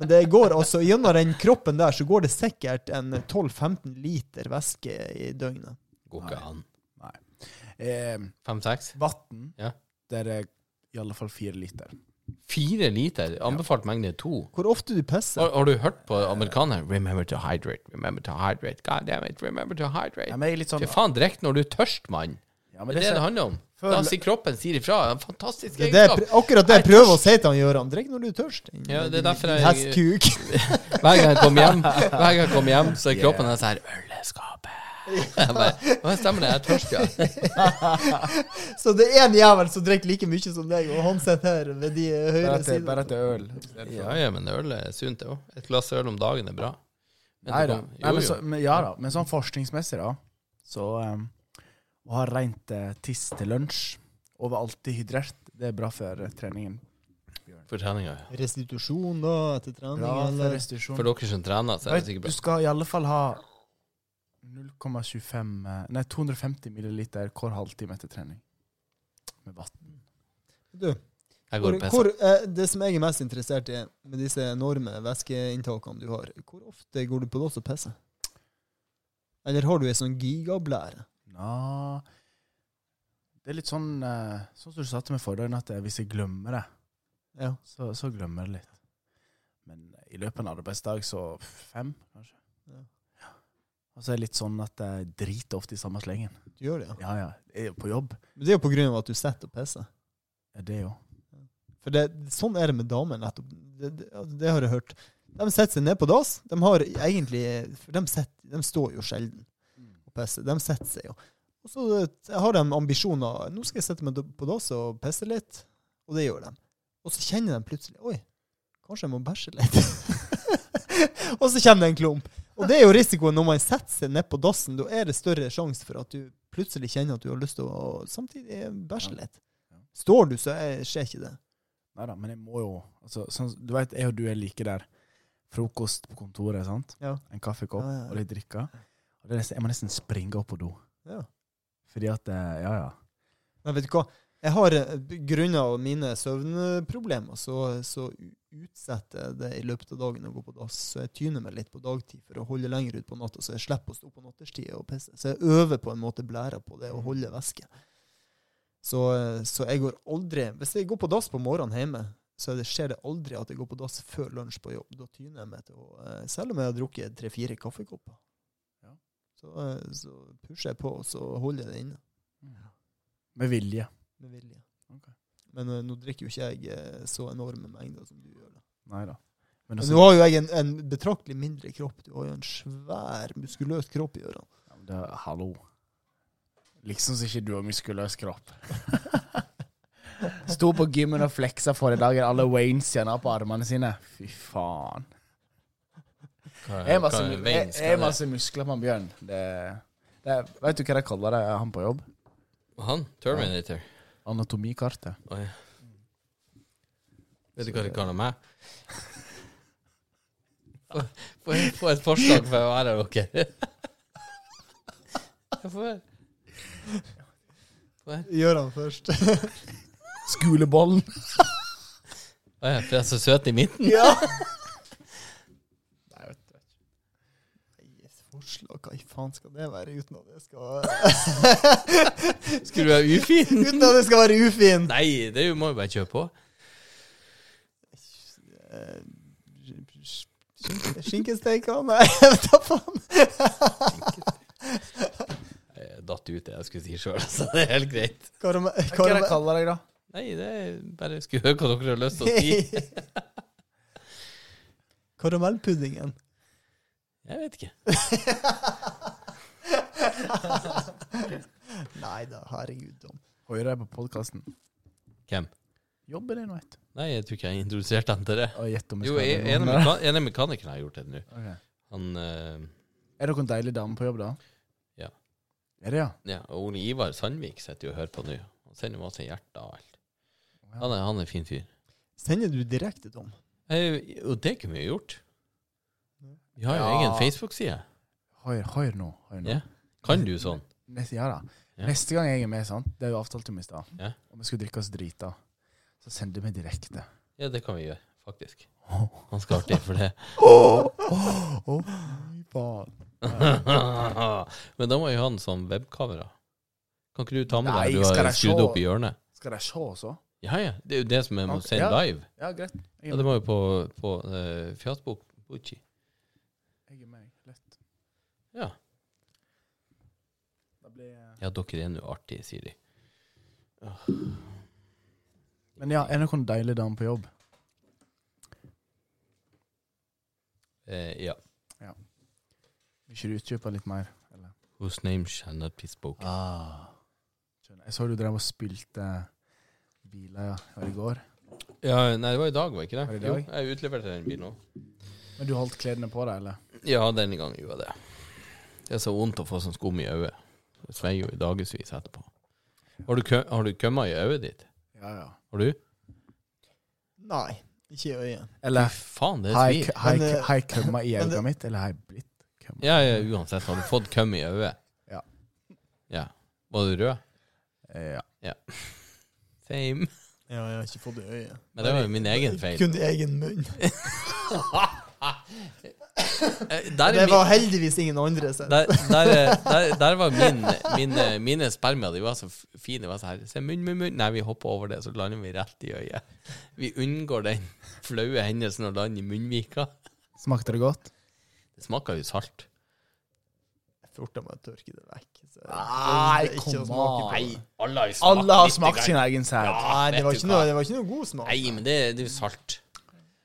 Speaker 3: Men det går altså gjennom den kroppen der så går det sikkert en 12-15 liter væske i døgnet.
Speaker 1: Går ikke an.
Speaker 4: Eh,
Speaker 1: Fem-seks?
Speaker 4: vann,
Speaker 1: Ja.
Speaker 4: der er i alle fall fire liter.
Speaker 1: Fire liter? Anbefalt mengde er to.
Speaker 3: Hvor ofte du pisser?
Speaker 1: Har, har du hørt på amerikanere? Remember to hydrate, remember to hydrate. God damn it, remember to hydrate.
Speaker 4: Ja, men jeg er litt sånn,
Speaker 1: Fy faen, drikk når du er tørst, mann.
Speaker 4: ja,
Speaker 1: Det
Speaker 4: men
Speaker 1: er det det
Speaker 4: ser-
Speaker 1: handler om.
Speaker 4: Føl-
Speaker 1: Da sier kroppen sier ifra. En fantastisk
Speaker 3: Det er det, jeg
Speaker 1: egenskap.
Speaker 3: pr- akkurat det jeg prøver å si til han Gøran. Drikk når du er tørst. din
Speaker 1: Ja, det er derfor
Speaker 3: lille
Speaker 1: jeg-
Speaker 3: Hestkuk. <laughs>
Speaker 1: Hver gang jeg kom
Speaker 4: <laughs>
Speaker 1: hjem, hver gang jeg kom hjem så er kroppen yeah. sånn her Øleskapet. Jeg bare, «Å, Stemmer det, jeg er
Speaker 4: <laughs>
Speaker 1: tørst, ja.
Speaker 3: Så det er en jævel som drikker like mye som deg, og han sitter her ved de eh,
Speaker 4: Bare
Speaker 3: høyre
Speaker 4: at det,
Speaker 3: sidene.
Speaker 4: bare at det er øl.
Speaker 1: Ja, ja, men øl er sunt, det òg. Et glass øl om dagen er bra. Men
Speaker 4: Nei
Speaker 1: det
Speaker 4: da.
Speaker 1: kom-
Speaker 4: Nei, men,
Speaker 1: Jo,
Speaker 4: så,
Speaker 1: jo.
Speaker 4: men, ja, da. men sånn forskningsmessig, da, så um, å ha rent eh, tiss til lunsj og være alltid hydrert, det er bra for eh, treningen.
Speaker 1: For treninga. ja.
Speaker 3: Restitusjon, da, etter trening,
Speaker 4: Bra for
Speaker 3: eller
Speaker 4: restitusjon.
Speaker 1: For dere som trener, så er det
Speaker 4: Vet,
Speaker 1: sikkert
Speaker 4: du
Speaker 1: bra.
Speaker 4: skal i alle fall ha 0,25 eh, Nei, 250 milliliter hver halvtime etter trening. Med vann.
Speaker 3: Du,
Speaker 1: Jeg
Speaker 3: hvor,
Speaker 1: går og pisser.
Speaker 3: hvor, eh, det som jeg er mest interessert i med disse enorme væskeinntakene du har, hvor ofte går du på dass og pisser? Eller har du ei sånn gigablære?
Speaker 4: Nja Det er litt sånn eh, Sånn som du sa til meg forrige dag, at eh, hvis jeg glemmer det,
Speaker 3: Ja.
Speaker 4: så, så glemmer jeg det litt. Men i løpet av en arbeidsdag så fem, kanskje.
Speaker 3: Ja.
Speaker 4: Ja. Og så er det litt sånn at jeg driter ofte i samme slengen.
Speaker 3: Du gjør det, ja.
Speaker 4: Ja, ja. Jeg er jo på jobb.
Speaker 3: Men det er jo på grunn av at du sitter og pisser.
Speaker 4: Ja, Det er jo.
Speaker 3: For det, sånn er det med damer, nettopp. Det, det, altså, det har jeg hørt. De setter seg ned på dass. De har egentlig For de, setter, de står jo sjelden og pisser. De setter seg jo. Og så eh, har de ambisjoner. 'Nå skal jeg sette meg på dass og pisse litt.' Og det gjør de. Og så kjenner de plutselig 'Oi, kanskje jeg må bæsje litt'. <laughs> og så kommer det en klump. Og det er jo risikoen når man setter seg ned på dassen. Da er det større sjanse for at du plutselig kjenner at du har lyst til å samtidig bæsje litt. Står du, så er, skjer ikke det.
Speaker 4: Nei da, men jeg må jo altså, sånn, Du vet, jeg og du er like der. Frokost på kontoret, sant?
Speaker 3: Ja.
Speaker 4: En kaffekopp
Speaker 3: Ja, ja, ja.
Speaker 4: og litt drikke. Og det er nesten, jeg må nesten springe opp på do.
Speaker 3: Ja.
Speaker 4: Fordi at eh, Ja, ja.
Speaker 3: Men vet du hva? Jeg har eh, grunnet mine søvnproblemer, så, så u- utsetter jeg det i løpet av dagen å gå på dass. Så jeg tyner meg litt på dagtid for å holde lenger ut på natta, så jeg slipper å stå på natterstid og pisse. Så jeg øver på en måte blæra på det å holde væske. Så, eh, så jeg går aldri Hvis jeg går på dass på morgenen hjemme, så er det, skjer det aldri at jeg går på dass før lunsj på jobb. Da tyner jeg meg til å eh, Selv om jeg har drukket tre-fire kaffekopper,
Speaker 4: Ja.
Speaker 3: så, eh, så pusher jeg på, og så holder jeg det inne
Speaker 4: Med vilje.
Speaker 3: med vilje.
Speaker 4: Ok.
Speaker 3: Men eh, nå drikker jo ikke jeg eh, så enorme mengder som du gjør. da.
Speaker 4: Nei da. Men
Speaker 3: Men
Speaker 4: også,
Speaker 3: nå har jo jeg en, en betraktelig mindre kropp. Du har jo en svær, muskuløs kropp i
Speaker 1: <laughs>
Speaker 3: ørene.
Speaker 4: Ja, men det, hallo. Liksom så ikke du har muskuløs kropp.
Speaker 3: <laughs>
Speaker 4: Sto på gymmen og fleksa forrige dag, alle Waynes igjen har på armene sine. Fy faen.
Speaker 1: Hva-
Speaker 4: Jeg har masse,
Speaker 1: hva-
Speaker 4: jeg,
Speaker 1: veien
Speaker 4: jeg
Speaker 1: skal
Speaker 4: har masse muskler på han Bjørn. Det, det, vet du hva de kaller det, han på jobb?
Speaker 1: det? Han? Terminator?
Speaker 4: Anatomikartet.
Speaker 1: Oi.
Speaker 4: Mm.
Speaker 1: Vet du hva de kaller meg? Få- Få få et forslag for å være dere. Jeg får-
Speaker 3: Gjør han først.
Speaker 4: Skulebollen.
Speaker 1: Å ja, for jeg er så søt i midten.
Speaker 4: Ja.
Speaker 3: <laughs> Yes, forslag, hva i faen skal det være uten at det
Speaker 1: <laughs>
Speaker 3: skal
Speaker 1: Skulle du være ufin?
Speaker 3: Uten at det skal være ufint!
Speaker 1: Nei, det er jo- må jo bare kjøre på.
Speaker 3: Eh, skinke- Skinkesteika? Nei, <laughs> jeg vet da faen.
Speaker 1: Jeg datt ut det jeg skulle si sjøl, så det er helt greit.
Speaker 3: Karame-
Speaker 4: Hva er det
Speaker 3: karame-
Speaker 4: de kaller deg, da?
Speaker 1: Nei, det er bare skulle høre hva dere har lyst til å si.
Speaker 3: <laughs> Karamellpuddingen.
Speaker 1: Jeg vet ikke.
Speaker 3: <laughs> Nei da, herregud. Tom.
Speaker 4: Hører jeg på podkasten?
Speaker 1: Hvem?
Speaker 4: Jobber det nå, vet du.
Speaker 1: Nei, jeg tror ikke jeg introduserte han til det.
Speaker 4: Og gjett om jeg
Speaker 1: Jo,
Speaker 4: skal
Speaker 1: en
Speaker 4: ha
Speaker 1: en av
Speaker 4: noen der.
Speaker 1: mekan- en av mekanikerne har gjort det nå.
Speaker 4: Ok.
Speaker 1: Han eh,
Speaker 4: Er dere en deilig dame på jobb, da?
Speaker 1: Ja.
Speaker 4: Er det, ja?
Speaker 1: Ja, og Ole Ivar Sandvik sitter jo og hører på nå. Han sender masse hjerter og alt.
Speaker 4: Ja.
Speaker 1: Han er, han er en fin fyr.
Speaker 3: Sender du direkte, Tom?
Speaker 1: Eh, Og det kunne vi jo gjort. Vi har jo
Speaker 4: Ja.
Speaker 1: egen Facebook-side.
Speaker 4: Hør, hør nå. Hør nå.
Speaker 1: Ja. Kan du sånn?
Speaker 4: Neste, ja, da.
Speaker 1: Ja.
Speaker 4: Neste gang jeg er med, sant? det er jo avtalt om i stad,
Speaker 1: Ja.
Speaker 4: og vi skal drikke oss drita, så sender vi direkte.
Speaker 1: Ja, det kan vi gjøre, faktisk. Ganske artig for det. <laughs>
Speaker 4: Å, fy faen.
Speaker 1: Men da må jo ha den som webkamera. Kan ikke du ta med
Speaker 4: Nei,
Speaker 1: deg? Du
Speaker 4: skal
Speaker 1: har
Speaker 4: jeg
Speaker 1: skrudd
Speaker 4: se?
Speaker 1: opp i hjørnet.
Speaker 4: Skal de se også?
Speaker 1: Ja, ja. Det er jo det som er med å
Speaker 4: Ok,
Speaker 1: sende
Speaker 4: ja.
Speaker 1: live.
Speaker 4: Ja, greit. Jeg
Speaker 1: Ja,
Speaker 4: er
Speaker 1: det
Speaker 4: med.
Speaker 1: var jo på, på eh, Fjatbok Bucci.
Speaker 4: Jeg er med. Lett.
Speaker 1: Ja.
Speaker 4: Da blir jeg-
Speaker 1: ja, dere er nå artige, sier de.
Speaker 4: Men ja, er det noen deilig dame på jobb?
Speaker 1: Eh, ja.
Speaker 4: Vil ikke du utkjøpe litt mer? Eller?
Speaker 1: Whose name shall not be spoken.
Speaker 4: Ah. Skjønner. Jeg så du drev og spilte biler ja, her i går.
Speaker 1: Ja, nei, det var i dag, var det ikke det?
Speaker 4: Var det i
Speaker 1: Jo,
Speaker 4: dag? Mm.
Speaker 1: jeg utleverte den bilen òg.
Speaker 4: Men du holdt klærne på deg, eller?
Speaker 1: Ja, denne gangen gjorde jeg det. Det er så vondt å få sånn skum i øyet. Det sveier jo i dagevis etterpå. Har du, kø har du kømma i øyet ditt?
Speaker 4: Ja, ja.
Speaker 1: Har du?
Speaker 3: Nei, ikke i øyet.
Speaker 4: Eller
Speaker 1: Fy faen, det
Speaker 4: Har
Speaker 1: svir.
Speaker 4: jeg- har
Speaker 3: Men,
Speaker 4: jeg-
Speaker 3: eh,
Speaker 4: har jeg kømma i
Speaker 3: men det-
Speaker 4: øyet mitt, eller har jeg blitt kømma?
Speaker 1: Ja, ja, uansett. Har du fått køm i øyet?
Speaker 4: Ja.
Speaker 1: ja. Var du rød?
Speaker 4: Eh, Ja.
Speaker 1: Same.
Speaker 3: Ja, jeg har ikke fått det i øyet.
Speaker 1: Men det var jo min egen <laughs> feil.
Speaker 3: Kun i egen munn.
Speaker 1: Eh, Der
Speaker 3: Det
Speaker 1: er min,
Speaker 3: var heldigvis ingen andre sin.
Speaker 1: der, der, er- der, der var min, mine, mine spermier De var så f- fine. De var så her. Se, munn, munn, munn. Nei, vi hopper over det, så lander vi rett i øyet. Vi unngår den flaue hendelsen å lande i munnvika.
Speaker 4: Smakte det godt?
Speaker 1: Det smaker jo salt.
Speaker 3: Jeg forta meg å tørke det vekk. Så
Speaker 4: Nei,
Speaker 3: det er ikke å
Speaker 4: come
Speaker 3: smake på
Speaker 4: on.
Speaker 3: det.
Speaker 1: Alle har jo smakt
Speaker 4: Alle har
Speaker 1: litt
Speaker 4: smakt
Speaker 1: grann.
Speaker 4: sin egen sæd.
Speaker 3: Nei, det
Speaker 1: vet
Speaker 3: var,
Speaker 1: du
Speaker 3: ikke
Speaker 1: hva?
Speaker 3: noe, det var ikke noe god smak.
Speaker 1: Nei, men det, det er jo salt.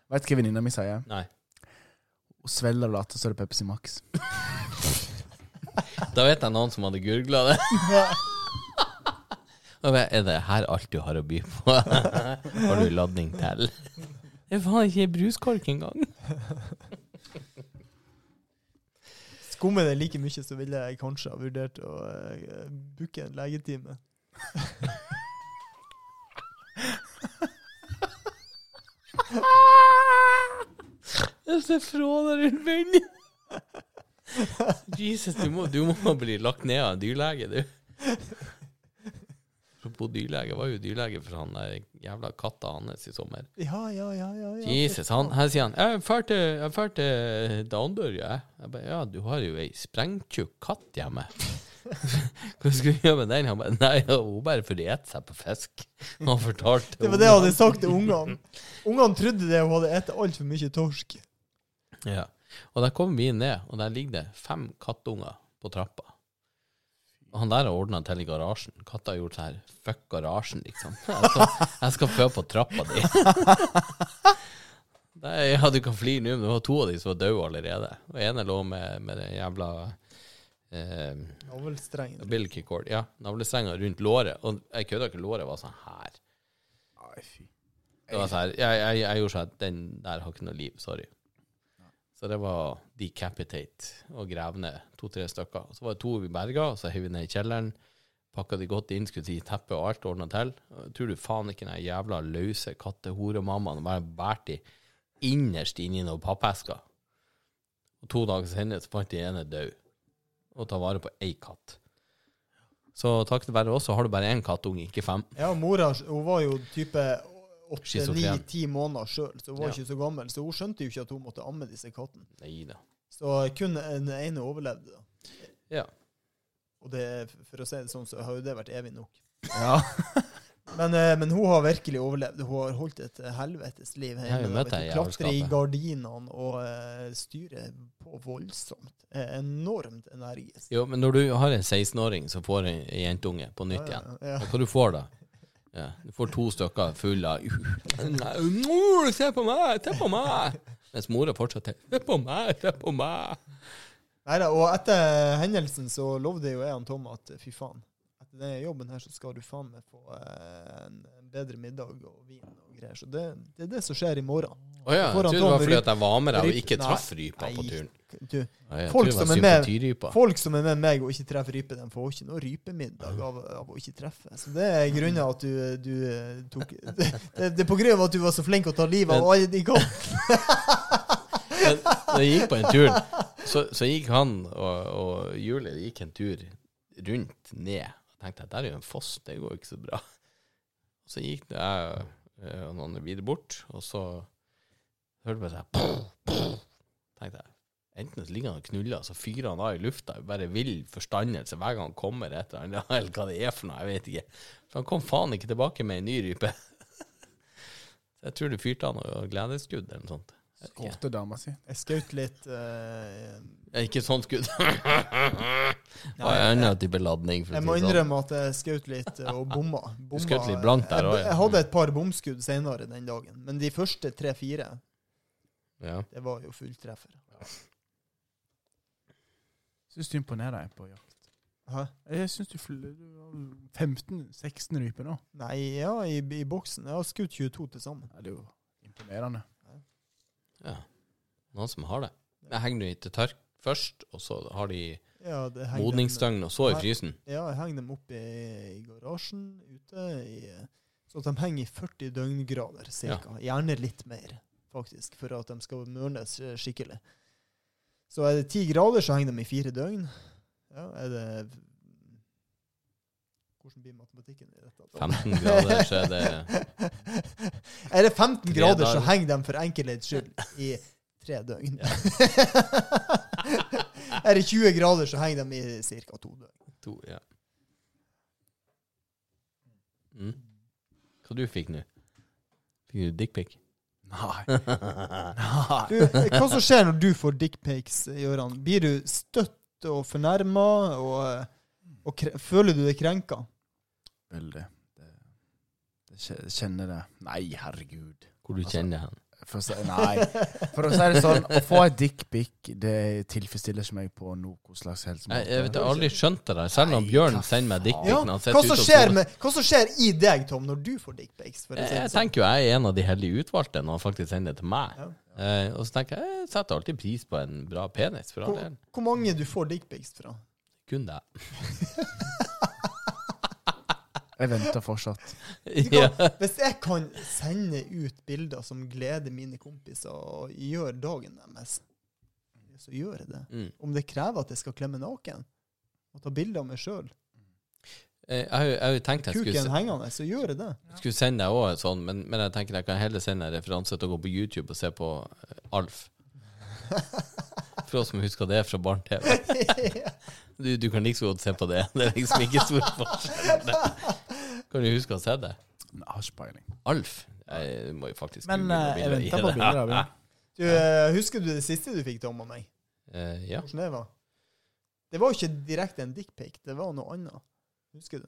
Speaker 4: Vet du hva venninna mi sier?
Speaker 1: Nei.
Speaker 4: Hun svelger og later som det er Pepsi Max.
Speaker 1: Da vet jeg noen som hadde gurgla det. Og jeg, er det her alt du har å by på? <laughs> har du ladning til? Det er faen ikke ei bruskork engang.
Speaker 3: Skummer det like mye, så ville jeg kanskje ha vurdert å eh, booke en legetime.
Speaker 1: Ah! Jeg ser fra deg rundt munnen. Jesus, du må, du må bli lagt ned av en dyrlege, du. Apropos dyrlege, jeg var jo dyrlege for han der jævla katta hans i sommer.
Speaker 3: Ja, ja, ja. ja, ja.
Speaker 1: Jesus, han, her sier han Jeg førte, jeg førte Downbør, jeg. Jeg bare, ja, du har jo ei sprengtjukk katt hjemme. <laughs> Hva skal vi gjøre med den? Han bare, nei, hun bare får ete seg på fisk. Han fortalte
Speaker 3: Det var det jeg hadde sagt til ungene. Ungene trodde det hun hadde spist altfor mye torsk.
Speaker 1: Ja. Og der kom vi ned, og der ligger det fem kattunger på trappa. Og han der har ordna til i garasjen. Katta har gjort sånn her Fuck garasjen, liksom. <laughs> Jeg skal, jeg skal fø på trappa di. <laughs> Nei, ja, du kan flire nå, men det var to av de som var døde allerede. Og ene lå med, med den jævla eh,
Speaker 3: Avlstreng.
Speaker 1: umbilical cord, ja, navlestrenga rundt låret. Og jeg kødder ikke, låret var sånn her. Det var sånn her, jeg, jeg, jeg gjorde sånn at den der har ikke noe liv, sorry. Så det var decapitate og grave ned to-tre stykker. Og Så var det to vi berga, og så heiv vi ned i kjelleren. Pakka de godt inn, skulle si teppe og alt, ordna til. Og Tror du faen ikke den jævla løse kattehoremammaen bare bært de innerst inni noen pappesker? Og to dager senere så fant de ene død. Og ta vare på ei katt. Så takket være oss så har du bare én kattunge, ikke fem.
Speaker 3: Ja, mora hun var jo type
Speaker 1: Schizofren.
Speaker 3: 8-9-10 måneder sjøl, så hun var
Speaker 1: Ja.
Speaker 3: ikke så gammel. Så hun skjønte jo ikke at hun måtte amme disse kattene.
Speaker 1: Nei da.
Speaker 3: Så kun den ene overlevde. da.
Speaker 1: Ja.
Speaker 3: Og det, for å si det sånn, så har jo det vært evig nok.
Speaker 4: <laughs> Ja.
Speaker 3: Men, eh, men hun har virkelig overlevd. Hun har holdt et helvetes liv
Speaker 1: Jeg har jo
Speaker 3: hjemme.
Speaker 1: møtt
Speaker 3: Vet
Speaker 1: henne i
Speaker 3: du, Klatre i
Speaker 1: jævelskapet.
Speaker 3: gardinene og eh, styre på voldsomt. Eh, enormt energisk.
Speaker 1: Jo, men når du har en 16-åring som får en en jentunge på nytt igjen,
Speaker 3: Ja, ja.
Speaker 1: og hva du får da? Ja, du får to stykker full av Uh, Mor, se på meg! Se på meg! Mens mora fortsatt er Se på meg! Se på meg!
Speaker 3: Neida, og etter hendelsen så lovde jo jeg han Tom at fy faen, etter denne jobben her så skal du faen meg få eh, en en bedre middag og vin og greier. Så det, det er det som skjer i morgen.
Speaker 1: Å ja, jeg
Speaker 3: Foran
Speaker 1: trodde det var
Speaker 3: Tom
Speaker 1: fordi at jeg var med deg og
Speaker 3: Ryp-
Speaker 1: ikke
Speaker 3: Nei.
Speaker 1: traff rypa på
Speaker 3: Nei.
Speaker 1: turen.
Speaker 3: Du,
Speaker 1: Å, jeg
Speaker 3: Folk
Speaker 1: trodde det var
Speaker 3: som er med-
Speaker 1: sympatirypa.
Speaker 3: folk som er med meg og ikke treffer rype, de får ikke noe rypemiddag av, av å ikke treffe. Så det er grunnen at du, du eh, tok <laughs> det, det er på grunn av at du var så flink å ta livet av alle de kom.
Speaker 1: Men når jeg gikk på en tur, så, så gikk han og, og Julie de gikk en tur rundt ned. Jeg tenkte at der er jo en foss, det går jo ikke så bra. Så gikk det jeg eh, og noen videre bort, og så hørte jeg sånn «pow, pow». Tenkte jeg, enten så ligger han og knuller, så fyrer han av i lufta, i bare vill forstandelse hver gang han kommer et eller annet, <laughs> eller hva det er for noe, jeg vet ikke. For han kom faen ikke tilbake med en ny rype. <laughs> Så Jeg tror du fyrte han og gledesskudd eller noe sånt. Jeg vet ikke.
Speaker 4: Skåpte dama si.
Speaker 3: Jeg skjøt litt eh,
Speaker 1: Ja, Ikke sånn <laughs> skudd. Det var en annen type ladning. For å
Speaker 3: Jeg
Speaker 1: si
Speaker 3: må
Speaker 1: det sånn.
Speaker 3: innrømme at jeg skjøt litt
Speaker 1: <laughs>
Speaker 3: eh, og bomma. bomma.
Speaker 1: skjøt litt blankt der
Speaker 3: Jeg-
Speaker 1: også, ja.
Speaker 3: Jeg hadde et par bomskudd senere den dagen, men de første tre-fire,
Speaker 1: Ja.
Speaker 3: det var jo fulltreffer.
Speaker 4: Syns du imponerer deg på jakt?
Speaker 3: Hæ?
Speaker 4: Jeg syns du flyr 15-16 ryper nå.
Speaker 3: Nei, ja, i, i boksen. Jeg har skutt 22 til sammen.
Speaker 4: Ja, det er jo imponerende.
Speaker 1: ja. Noen som har det. Jeg henger nå i til tørk først, og så har de
Speaker 3: Ja, det henger dem-
Speaker 1: modningsdøgn, og så i
Speaker 3: <laughs>
Speaker 1: frysen.
Speaker 3: Ja, jeg henger dem opp i, i garasjen ute, i, så at de henger i 40 døgngrader cirka. Gjerne litt mer, faktisk, for at de skal mørnes eh, skikkelig. Så er det 10 grader, så henger de i fire døgn. Ja, er det Hvordan blir matematikken i dette?
Speaker 1: 15 grader, så er det
Speaker 3: <laughs> er det 15
Speaker 1: eh, Tre
Speaker 3: grader, så
Speaker 1: dager.
Speaker 3: henger de for enkelhets skyld i tre døgn. <laughs> er det 20 grader, så henger de i ca. to døgn.
Speaker 1: to ja. mm. Hva du fikk nå? Fikk du dickpic? <laughs>
Speaker 4: Nei. Nei.
Speaker 3: Du, hva som skjer når du får dickpics, Gøran? Blir du støtt og fornærma, og, og kre føler du deg krenka?
Speaker 4: Veldig. Det, det kje- jeg kjenner det. Nei, herregud.
Speaker 1: Hvor du
Speaker 3: Altså,
Speaker 1: kjenner hen?
Speaker 4: For å si, nei. For å si det sånn, å få ei dickpic det tilfredsstiller ikke meg på noe slags helst
Speaker 1: Jeg, jeg vet jeg har
Speaker 4: måte.
Speaker 1: aldri skjønt det der. Selv om
Speaker 4: Nei,
Speaker 1: Bjørn
Speaker 4: hva
Speaker 1: sender meg dickpic
Speaker 3: Ja,
Speaker 1: når han
Speaker 3: hva
Speaker 1: sitter ute
Speaker 3: som
Speaker 1: og
Speaker 3: skjer,
Speaker 1: soler.
Speaker 3: med, hva som skjer i deg, Tom, når du får dickpics? for å
Speaker 1: Jeg,
Speaker 3: si det
Speaker 1: jeg
Speaker 3: sånn?
Speaker 1: tenker jo jeg er en av de heldige utvalgte når han faktisk sender det til meg.
Speaker 3: Ja.
Speaker 1: Eh, og så tenker jeg jeg setter alltid pris på en bra penis, for all
Speaker 3: Hvor,
Speaker 1: del.
Speaker 3: hvor mange du får dickpics fra?
Speaker 1: Kun det.
Speaker 3: <laughs>
Speaker 4: Jeg venter fortsatt.
Speaker 1: Ja.
Speaker 3: Hvis jeg kan sende ut bilder som gleder mine kompiser og gjør dagen deres, så gjør jeg det.
Speaker 1: Mm.
Speaker 3: Om det krever at jeg skal klemme naken og ta bilde av meg sjøl,
Speaker 1: Eh, Jeg har jo- jeg har jo tenkt jeg skulle,
Speaker 3: kuken
Speaker 1: se-
Speaker 3: hengende, så gjør jeg det.
Speaker 1: skulle sende deg òg en sånn, men, men jeg tenker jeg kan heller sende en referanse til å gå på YouTube og se på eh, Alf. For oss som husker det fra barne-TV.
Speaker 3: <laughs>
Speaker 1: Du, du kan like så godt se på det. <laughs> Det er liksom ikke stor forskjell.
Speaker 3: <laughs>
Speaker 1: Kan du huske å se det?
Speaker 4: Jeg har ikke peiling.
Speaker 1: Alf? Jeg må jo faktisk
Speaker 4: Men
Speaker 1: google noen
Speaker 4: eh, jeg
Speaker 1: bilder i
Speaker 4: venter på
Speaker 1: det.
Speaker 4: bilder
Speaker 1: <laughs>
Speaker 4: av det.
Speaker 3: Du, eh, husker du det siste du fikk, Tom og meg?
Speaker 1: Eh, ja.
Speaker 3: Hvordan det var? Det var jo ikke direkte en dickpic, det var noe annet. Husker du?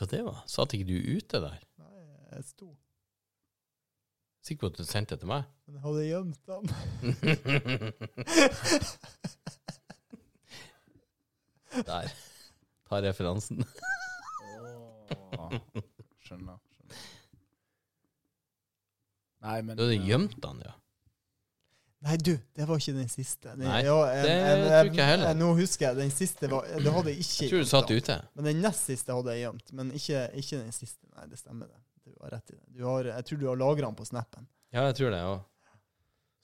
Speaker 1: Hva det var? Satt ikke du ute der?
Speaker 3: Nei, jeg sto.
Speaker 1: Sikker på at du sendte det til meg?
Speaker 3: Men jeg hadde gjemt dem.
Speaker 1: <laughs> <laughs> Der. Ta referansen.
Speaker 4: Skjønner. skjønner. Nei, men
Speaker 1: Du hadde
Speaker 4: eh,
Speaker 1: gjemt den, ja.
Speaker 3: Nei, du, det var ikke den siste. Den,
Speaker 1: Nei,
Speaker 3: ja, en-
Speaker 1: det
Speaker 3: en-
Speaker 1: tror
Speaker 3: en-
Speaker 1: ikke jeg heller.
Speaker 3: en- Nå husker jeg, den siste var Det hadde jeg ikke
Speaker 1: Jeg tror du
Speaker 3: gjemt
Speaker 1: satt
Speaker 3: dem.
Speaker 1: ute.
Speaker 3: Men den nest siste hadde jeg gjemt, men ikke, ikke den siste. Nei, det stemmer det. Du har rett i det. Du har, jeg tror du har lagra den på
Speaker 1: <laughs>
Speaker 3: snappen.
Speaker 1: Ja, jeg tror det òg.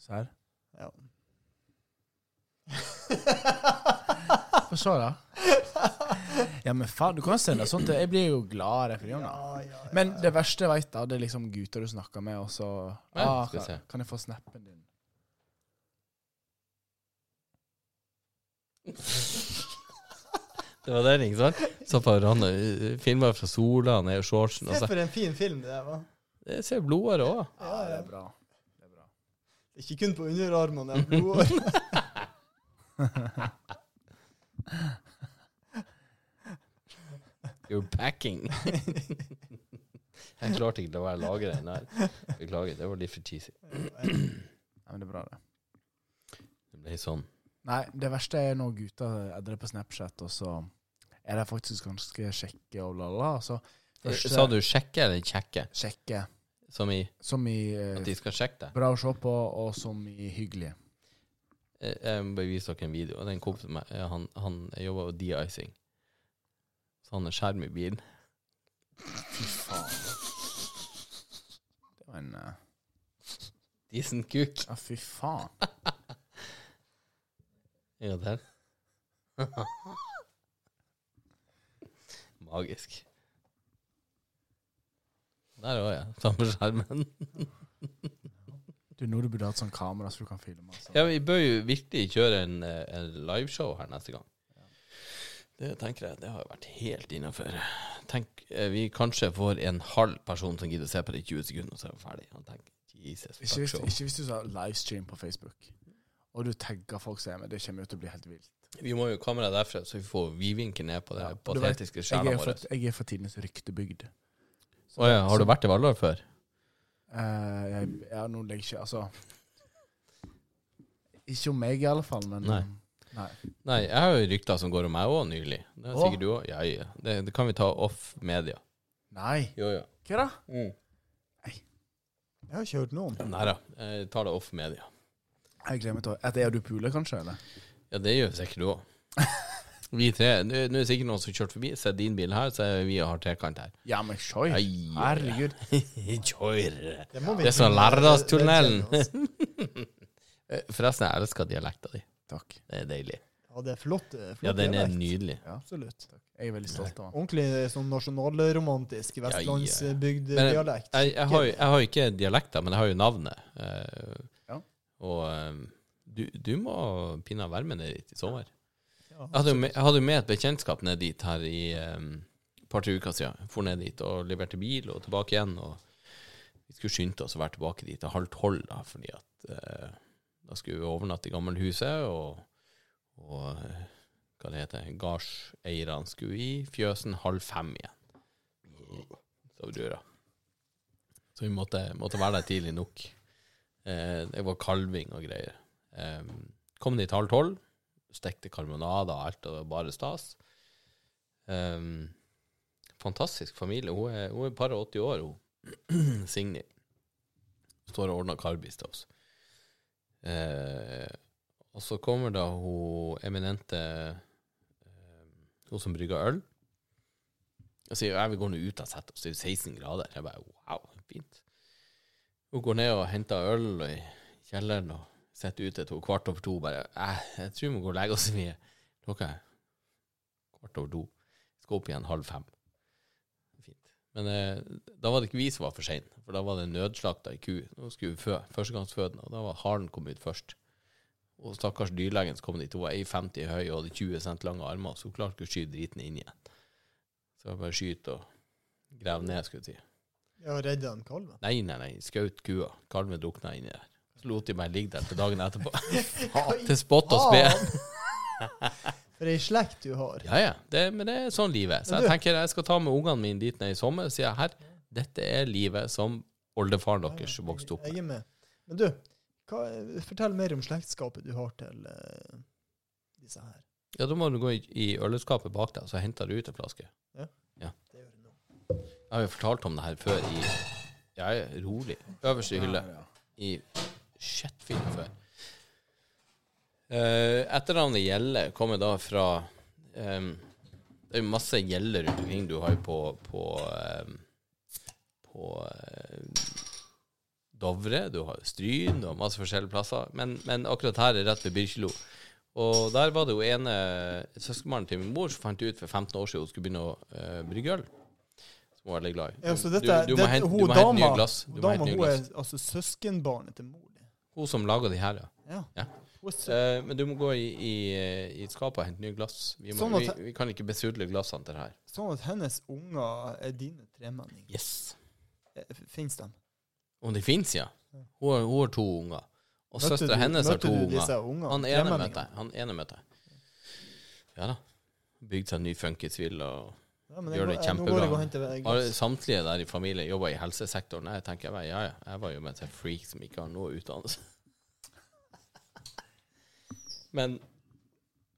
Speaker 4: Se her.
Speaker 3: Ja.
Speaker 4: Få se, da. Ja, men faen, du kan jo sende sånt. Jeg blir jo glad av referansene.
Speaker 3: Ja, ja, ja.
Speaker 4: Men det verste jeg veit, da, det er liksom gutter du snakker med, og så
Speaker 1: Ja,
Speaker 4: ah,
Speaker 1: skal vi
Speaker 4: kan,
Speaker 1: se.
Speaker 4: kan jeg få snappen din?
Speaker 1: Det var den, ikke sant? Satt på verandaen, filma eh, fra sola, ned i shortsen og
Speaker 3: Se
Speaker 1: så
Speaker 3: for en fin film det der var.
Speaker 1: Jeg ser blodåre òg.
Speaker 4: Ja, det er bra. Det er bra.
Speaker 3: Ikke kun på underarmene, det er
Speaker 1: <laughs>
Speaker 3: blodår.
Speaker 1: You're packing. <laughs> Jeg klarte ikke å la være å lagre den der. Beklager, det var litt for cheesy.
Speaker 4: Nei, men det er bra, det.
Speaker 1: Det ble sånn.
Speaker 4: Nei, det verste er når gutter adder på Snapchat, og så er de faktisk ganske kjekke og la-la. Så første
Speaker 1: Sa du sjekke eller kjekke?
Speaker 4: kjekke,
Speaker 1: Som i
Speaker 4: som i eh,
Speaker 1: at de skal sjekke deg?
Speaker 4: bra å se på, og som i hyggelig.
Speaker 1: Jeg- Eh, Jeg må bare vise dere en video. Og den kompisen meg, eh, han, han jobber med de-icing. Så han har skjerm i bilen.
Speaker 4: Fy faen. Det var en eh,
Speaker 1: Decent cook.
Speaker 4: Ja, fy faen.
Speaker 1: En gang til. <laughs> Magisk. Der òg, ja. Samme skjermen.
Speaker 4: Du, nå du burde hatt sånn kamera så du kan filme. Altså.
Speaker 1: Ja, vi bør jo virkelig kjøre en, eh, en liveshow her neste gang. Det tenker jeg, det har jo vært helt innafor. Tenk, eh, vi kanskje får en halv person som gidder å se på det i 20 sekunder, og så er vi ferdig. Og tenk, Jesus,
Speaker 4: Ikke
Speaker 1: fuck
Speaker 4: hvis,
Speaker 1: show.
Speaker 4: ikke hvis du sa livestream på Facebook, og du tagger folk som er med. Det kommer jo til å bli helt vilt.
Speaker 1: Vi må jo kamera derfra, så vi får vidvinkel ned på det
Speaker 4: Ja, du vet,
Speaker 1: patetiske
Speaker 4: Jeg
Speaker 1: skjermen
Speaker 4: er
Speaker 1: vår.
Speaker 4: for, jeg er for tidens ryktebygd.
Speaker 1: Å ja, har du vært i Valhall før?
Speaker 4: Eh, jeg, ja, nå legger jeg ikke Altså Ikke om meg, i alle fall, men
Speaker 1: Nei.
Speaker 4: Nei.
Speaker 1: Nei, jeg har jo rykter som går om meg òg nylig. Det er
Speaker 4: Å.
Speaker 1: sikkert du òg. Ja, ja. Det, det kan vi ta off media.
Speaker 4: Nei.
Speaker 1: Jo, ja.
Speaker 4: Hva da?
Speaker 3: Jeg har ikke hørt noe om det.
Speaker 1: Nei da, jeg tar det off media.
Speaker 4: Jeg glemmer til å At jeg og du puler, kanskje? eller?
Speaker 1: Ja, det gjør sikkert du òg. Vi tre. Nå nå er det sikkert noen som kjørte forbi. Se din bil her, så er vi og har trekant her.
Speaker 4: Ja, men sjoi.
Speaker 1: Ai, ai, ai.
Speaker 4: Herregud.
Speaker 1: <laughs> Kjør.
Speaker 3: Det, må vi
Speaker 1: Det er sånn
Speaker 3: kunne-
Speaker 1: Lærdalstunnelen.
Speaker 3: det- altså. det kjenner oss.
Speaker 1: <laughs> Eh, Forresten, jeg elsker dialekta di.
Speaker 4: Takk.
Speaker 1: Det er deilig.
Speaker 3: Ja, det er flott. eh, flott
Speaker 1: Ja, den er
Speaker 3: dialekt.
Speaker 1: nydelig.
Speaker 3: Absolutt.
Speaker 4: Jeg er veldig stolt av han.
Speaker 3: Ordentlig eh, sånn nasjonalromantisk
Speaker 1: ja. Men-
Speaker 3: vestlandsbygd-dialekt.
Speaker 1: Jeg, jeg, har, jo- jeg har jo ikke dialekta, men jeg har jo navnet. Eh,
Speaker 4: Ja.
Speaker 1: Og eh, du, du må pinadø være med ned dit i sommer.
Speaker 3: Ja.
Speaker 1: Jeg hadde jo med, jeg hadde jo med et bekjentskap ned dit her i um, et par-tre uker siden. For ned dit og leverte bil og tilbake igjen. Og vi skulle skynde oss å være tilbake dit til halv tolv, da, fordi at eh, da skulle vi overnatte i gammelhuset, og, og eh, hva det heter Gardseierne skulle i fjøsen halv fem igjen. Så, brura. så vi måtte, måtte være der tidlig nok. Eh, det var kalving og greier. Eh, kom dit halv tolv stekte karbonader og alt, og det var bare stas. Ehm, fantastisk familie. Hun er, hun er par og 80 år, hun. <clears throat> Signy. Står og ordner karbis til oss. Eh, og så kommer da hun eminente eh, Hun som brygger øl. Og sier ja, vi går nå ut og setter oss, det er jo 16 grader. Jeg bare wow, fint. Hun går ned og henter øl i kjelleren. og sitter ute til kvart over to bare eh, Jeg tror vi må gå og legge oss mye. Klokka er kvart over to. Skal opp igjen halv fem. Fint. Men eh, da var det ikke vi som var for sein, for da var det nødslakta ei ku. Nå skulle vi fø, førstegangsfødende, og da var haren kommet ut først. Og stakkars dyrlegen som kom dit, hun var 1,50 høy og hadde 20 cent lange armer, så hun klarte ikke å skyte driten inn igjen. Så jeg bare skyte og grave ned, skulle jeg si.
Speaker 3: Jeg har redda en kalv.
Speaker 1: Nei, nei, nei, skaut kua. Kalven drukna inni der. Så lot de meg ligge der til dagen etterpå.
Speaker 3: <laughs>
Speaker 1: til spott og spe. <laughs>
Speaker 3: For ei slekt du har.
Speaker 1: Ja, ja. Det, men det er sånn livet er. Så
Speaker 3: Men
Speaker 1: jeg tenker jeg skal ta med ungene mine dit ned i sommer og si her, dette er livet som oldefaren deres vokste opp med.
Speaker 3: Jeg er med. Men du, hva, fortell mer om slektskapet du har til eh, disse her.
Speaker 1: Ja, da må du gå i, i øleskapet bak deg, så henter du ut en flaske.
Speaker 3: Det gjør du nå.
Speaker 1: Jeg har jo fortalt om det her før i Jeg er rolig. Øverste hylle. I shitfilm før. Uh, Etternavnet Gjelle kommer da fra ehm, Det er jo masse gjeller rundt omkring. Du har jo på på, ehm, på eh, Dovre, du har Stryn, du har masse forskjellige plasser. Men, men akkurat her er rett ved Byrkjelo. Og der var det jo ene søskenbarnet til min mor som fant ut for 15 år siden hun skulle begynne å eh, brygge øl. Som hun var veldig glad i.
Speaker 3: Ja, så dette,
Speaker 1: du, du må
Speaker 3: dette-
Speaker 1: hente,
Speaker 3: hun
Speaker 1: du må hente nye
Speaker 3: dama-
Speaker 1: glass. Du
Speaker 3: Hun
Speaker 1: må
Speaker 3: dama,
Speaker 1: hente nye
Speaker 3: hun er
Speaker 1: glass.
Speaker 3: altså søskenbarnet til mor di.
Speaker 1: Hun som laga de her, ja.
Speaker 3: Ja.
Speaker 1: Ja.
Speaker 3: Hun er sø
Speaker 1: Eh, men du må gå i, i, i skapet og hente nye glass. Vi, må,
Speaker 3: Sånn at-
Speaker 1: vi, vi kan ikke besudle glassene til det her.
Speaker 3: sånn at hennes unger er dine tremenninger.
Speaker 1: Yes.
Speaker 3: Eh, Fins de?
Speaker 1: Om de fins, ja. Hun har, hun har to unger. Og
Speaker 3: Møtte du-
Speaker 1: søstera hennes har
Speaker 3: møtte
Speaker 1: to
Speaker 3: du
Speaker 1: unger.
Speaker 3: disse ungene?
Speaker 1: Han ene
Speaker 3: tremenningene?
Speaker 1: møtte jeg. Han ene møtte jeg. Ja da. Bygd seg en ny funkisvilla. og
Speaker 3: Ja, men jeg
Speaker 1: Gjør
Speaker 3: går-
Speaker 1: det
Speaker 3: jeg- Nå går jeg og
Speaker 1: kjempebra.
Speaker 3: henter glass.
Speaker 1: har Samtlige der i familien jobber i helsesektoren. Jeg tenker meg, ja ja, jeg var jo med til en freak som ikke har noe utdannelse. <laughs> Men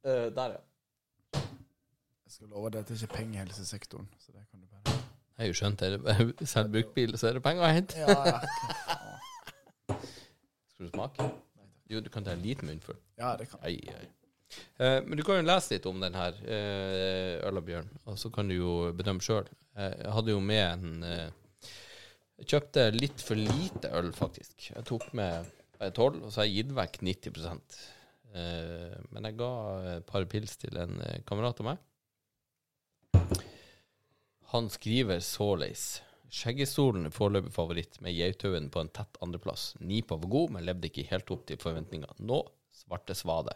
Speaker 1: eh, Der, ja.
Speaker 4: Jeg skal love deg at det er ikke penger i helsesektoren. Så det kan du bare
Speaker 1: Jeg har jo skjønt det. <laughs> Selv brukt bil, så er det penger å hente.
Speaker 4: Ja, ja.
Speaker 1: <laughs> Skal du smake? Jo, du kan ta en liten munnfull.
Speaker 4: ja det kan
Speaker 1: Ai, ai. Eh, men du kan jo lese litt om den her, eh, Øl og bjørn, og så kan du jo bedømme sjøl. jeg hadde jo med en eh, Jeg kjøpte litt for lite øl, faktisk. Jeg tok med bare 12, og så har jeg gitt vekk 90 eh, Men jeg ga et par pils til en eh, kamerat av meg. Han skriver såleis. Skjeggestolen er foreløpig favoritt, med Geithaugen på en tett andreplass. Nipa var god, men levde ikke helt opp til forventningene. Nå Svarte Svade.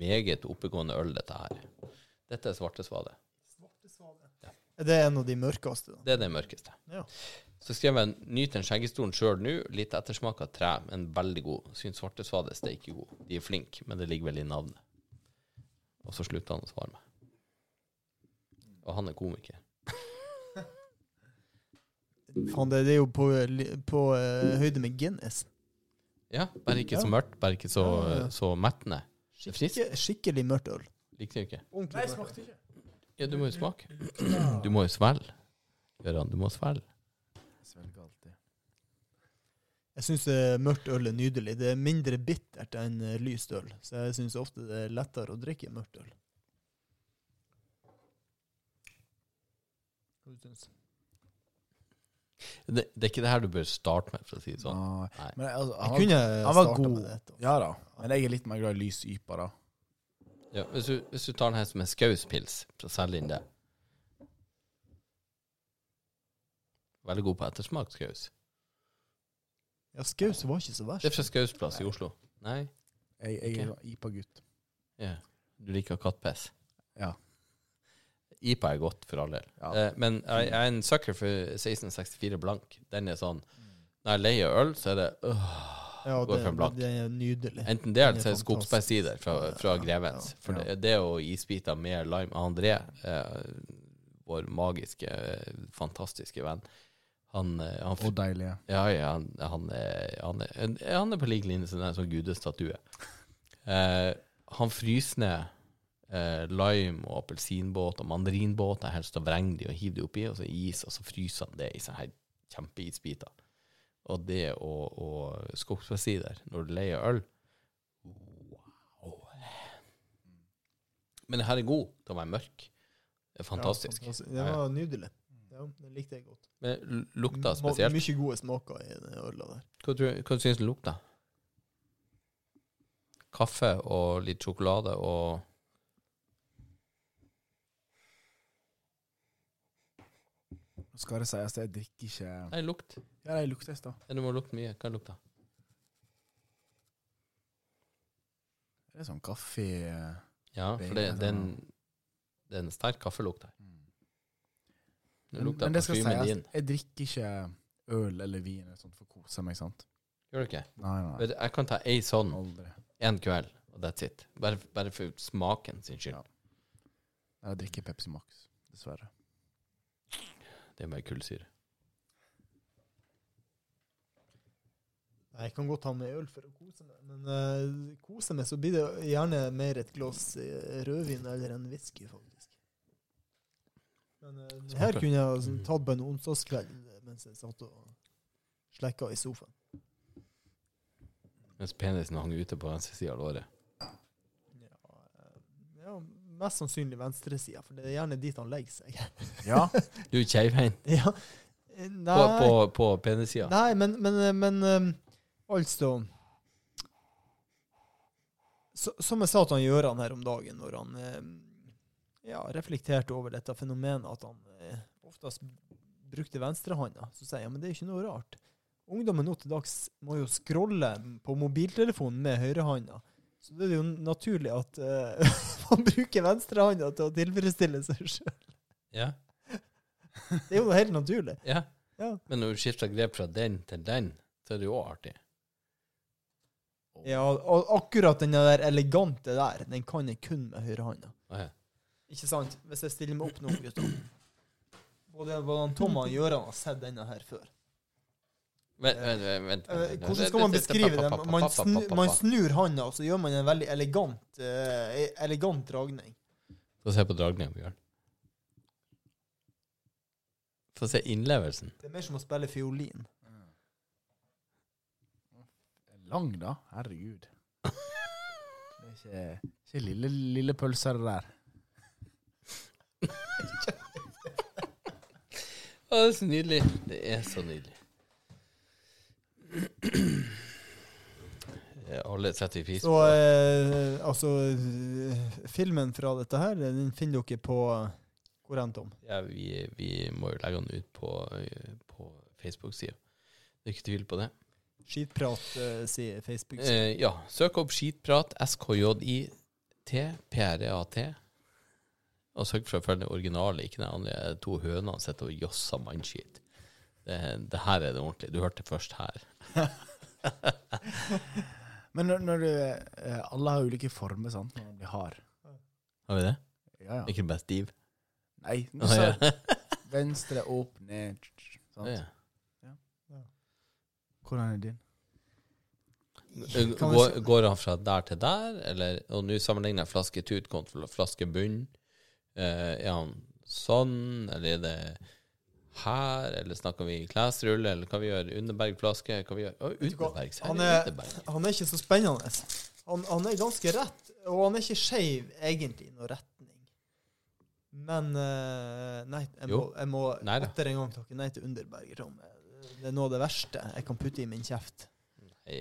Speaker 1: Meget oppegående øl, dette her. Dette er Svarte Svade.
Speaker 3: Er det en av de mørkeste? da?
Speaker 1: Det er det mørkeste.
Speaker 3: Ja.
Speaker 1: Så skrev jeg 'Nyt den skjeggestolen sjøl nå'. Litt ettersmak av tre, men veldig god. Syns Svarte Svade er steike god. De er flinke, men det ligger vel i navnet. Og så slutta han å svare meg. Og han er komiker.
Speaker 3: Faen, det, det er jo på, li- på eh, høyde med Guinness.
Speaker 1: Ja, bare ikke
Speaker 3: Ja.
Speaker 1: så mørkt, bare ikke så,
Speaker 3: Ja, ja, ja.
Speaker 1: så mettende. Det er friskt.
Speaker 3: Skikke, skikkelig mørkt øl.
Speaker 1: Likte du ikke?
Speaker 3: Ordentlig mørkt.
Speaker 4: smakte ikke.
Speaker 1: Ja, du må jo smake. Du må jo svelge. Gøran, du må svelge.
Speaker 4: Svelger alltid.
Speaker 3: Jeg syns mørkt øl er nydelig. Det er mindre bittert enn eh, lyst øl, så jeg syns ofte det er lettere å drikke mørkt øl. Hva du syns?
Speaker 1: Det, det er ikke det her du bør starte med, for å si det sånn. Nei.
Speaker 4: Nei. Men altså,
Speaker 3: Jeg
Speaker 4: han,
Speaker 3: kunne
Speaker 4: han var
Speaker 3: starta
Speaker 4: god.
Speaker 3: med det. da.
Speaker 4: ja da. Men jeg er litt mer glad i lys ypa, da.
Speaker 1: Ja, hvis, du, hvis du tar den her som en skauspils, så selg inn det. Veldig god på ettersmak, skaus.
Speaker 3: Ja, Skaus var ikke så
Speaker 1: Det er
Speaker 3: verst.
Speaker 1: fra Skausplass i Oslo. Nei?
Speaker 4: Jeg, jeg er
Speaker 1: Ok.
Speaker 4: ypa-gutt.
Speaker 1: Ja. Du liker kattpiss?
Speaker 4: Ja.
Speaker 1: IPA er godt, for all del.
Speaker 4: Ja.
Speaker 1: Eh, men jeg, jeg er en sucker for 1664 blank. Den er sånn Når jeg er lei av øl, så er det øh,
Speaker 3: Ja,
Speaker 1: går
Speaker 3: det,
Speaker 1: for en blakk.
Speaker 3: det er nydelig.
Speaker 1: enten det eller så er det
Speaker 3: Den er fantastisk.
Speaker 1: skogsbærsider fra, fra
Speaker 3: Ja,
Speaker 1: Grevens.
Speaker 3: ja,
Speaker 1: For
Speaker 4: ja.
Speaker 1: det, det og isbiter med lime André, eh, vår magiske, eh, fantastiske venn, han, eh, han
Speaker 4: Og deilige.
Speaker 1: Ja, ja han, han, er, han, er, en- han er på lik linje som en sånn gudestatue. <laughs> Eh, han fryser ned eh, lime og appelsinbåt og mandarinbåt. Jeg helst å vrenge de og hive de oppi, og så is, og så fryser han det i sånne her kjempeisbiter. Og det og, og skogsbærsider når du leier øl Wow. Men det her er god til å være mørk. Det er fantastisk.
Speaker 3: Ja, fantastisk. Det var nydelig. Ja, det likte jeg godt.
Speaker 1: Men l- lukta spesielt.
Speaker 3: Mye gode smaker i det ølet der.
Speaker 1: Hva, tror- hva syns du lukta? Kaffe og litt sjokolade og
Speaker 4: Nå skal det sies at jeg drikker ikke Ja,
Speaker 1: Nei, lukt.
Speaker 4: det lukter i stad.
Speaker 1: Ja, Du må lukte mye. Hva lukta?
Speaker 4: Det er sånn kaffe
Speaker 1: Ja, for det, det, er en, det er en sterk kaffelukt her. Det
Speaker 4: Men,
Speaker 1: lukta
Speaker 4: Mm. men det skal
Speaker 1: parfymen
Speaker 4: sies,
Speaker 1: din.
Speaker 4: jeg drikker ikke øl eller vin eller sånt for å kose meg, sant?
Speaker 1: Gjør du ikke?
Speaker 4: Nei, nei.
Speaker 1: Vet du, Jeg kan ta ei sånn
Speaker 4: Aldri.
Speaker 1: en kveld, og that's it. Bare, bare for smaken sin skyld.
Speaker 4: Ja. Jeg drikker Pepsi Max, dessverre.
Speaker 1: <laughs> Det er bare kullsyre.
Speaker 3: Nei, Jeg kan godt ta med øl for å kose meg, men eh, kose meg så blir det gjerne mer et glass eh, rødvin eller en whisky, faktisk. Men eh, det her
Speaker 1: Smaker.
Speaker 3: kunne jeg altså,
Speaker 1: Mm.
Speaker 3: tatt på en onsdagskveld eh, mens jeg satt og slekka i sofaen.
Speaker 1: Mens penisen hang ute på venstre side av låret.
Speaker 3: Ja, eh, ja, mest sannsynlig venstresida, for det er gjerne dit han legger seg. <laughs>
Speaker 4: Ja,
Speaker 1: Du er keivhendt
Speaker 3: ja. eh,
Speaker 1: på,
Speaker 3: Nei,
Speaker 1: på, på penissida.
Speaker 3: nei men, men, men eh, altså så, Som jeg sa til han Gjøran her om dagen, når han eh, ja, reflekterte over dette fenomenet at han eh, oftest brukte venstrehånda, så sier jeg ja, men det er ikke noe rart. Ungdommen nå til dags må jo scrolle på mobiltelefonen med høyrehånda. Så det er jo naturlig at eh, <laughs> man bruker venstrehånda til å tilfredsstille seg sjøl.
Speaker 1: Ja,
Speaker 3: Det er jo helt naturlig.
Speaker 1: ja.
Speaker 3: Ja.
Speaker 1: Men når du skifter grep fra den til den, så er det jo også artig.
Speaker 3: Ja, og akkurat den der elegante der, den kan jeg kun med høyrehånda.
Speaker 1: Å, ja.
Speaker 3: Ikke sant? Hvis jeg stiller meg opp nå, gutter. Både, både han Tom og han Gøran har sett denne her før.
Speaker 1: Vent, vent, vent, vent.
Speaker 3: Eh, Hvordan skal man beskrive det? Man, snu, man snur handa, og så gjør man en veldig elegant, eh, elegant dragning.
Speaker 1: Få se på dragninga, Bjørn. Få se innlevelsen.
Speaker 3: Det er mer som å spille fiolin.
Speaker 4: lang da. Herregud. Det er ikke, ikke lille, lille pølser det der.
Speaker 1: Å, det er så nydelig. Det er så
Speaker 3: <clears throat>
Speaker 1: nydelig. Ja, Eh, Alle setter pris
Speaker 3: Så
Speaker 1: på det.
Speaker 3: eh, altså eh, Filmen fra dette her, den finner dere på eh, Hvor enn, Tom?
Speaker 1: Ja, vi, vi må jo legge den ut på, eh, på Facebook-sida. Det er ikke tvil på det.
Speaker 3: Skitprat, eh, sier Facebook.
Speaker 1: Eh, ja. Søk opp Skitprat, SKJIT, PRAT. E Og søk for å følge det originale, ikke den andre to hønene sitter og josser mannskit. Det, det her er det ordentlige. Du hørte det først her.
Speaker 4: Men når, når du eh, Alle har ulike former, sant, når man blir hard.
Speaker 1: Har vi det?
Speaker 4: Ja, ja.
Speaker 1: Ikke bare stiv?
Speaker 4: Nei,
Speaker 1: <laughs>
Speaker 4: nå
Speaker 1: Å,
Speaker 4: sa
Speaker 1: ja.
Speaker 4: jeg venstre opp, ned sant?
Speaker 1: Ja.
Speaker 4: Hvordan er din?
Speaker 3: Kan vi
Speaker 1: Går,
Speaker 3: se-
Speaker 1: går han fra der til der, eller Og nå sammenligner jeg flasketut kontra flaskebunn. Eh, er han sånn, eller er det her, eller snakker vi klesrulle, eller hva vi gjør? Underberg-flaske? Hva vi gjør? Å, Underberg, seriøst,
Speaker 3: Han er-
Speaker 1: Underberg.
Speaker 3: Han er ikke så spennende. Han, han er ganske rett, og han er ikke skeiv egentlig i noen retning. Men eh, Nei, jeg må,
Speaker 1: Jo.
Speaker 3: jeg må
Speaker 1: Neida.
Speaker 3: atter en gang takke nei til Underberger, Tom. Det er noe av det verste jeg kan putte i min kjeft.
Speaker 1: Nei,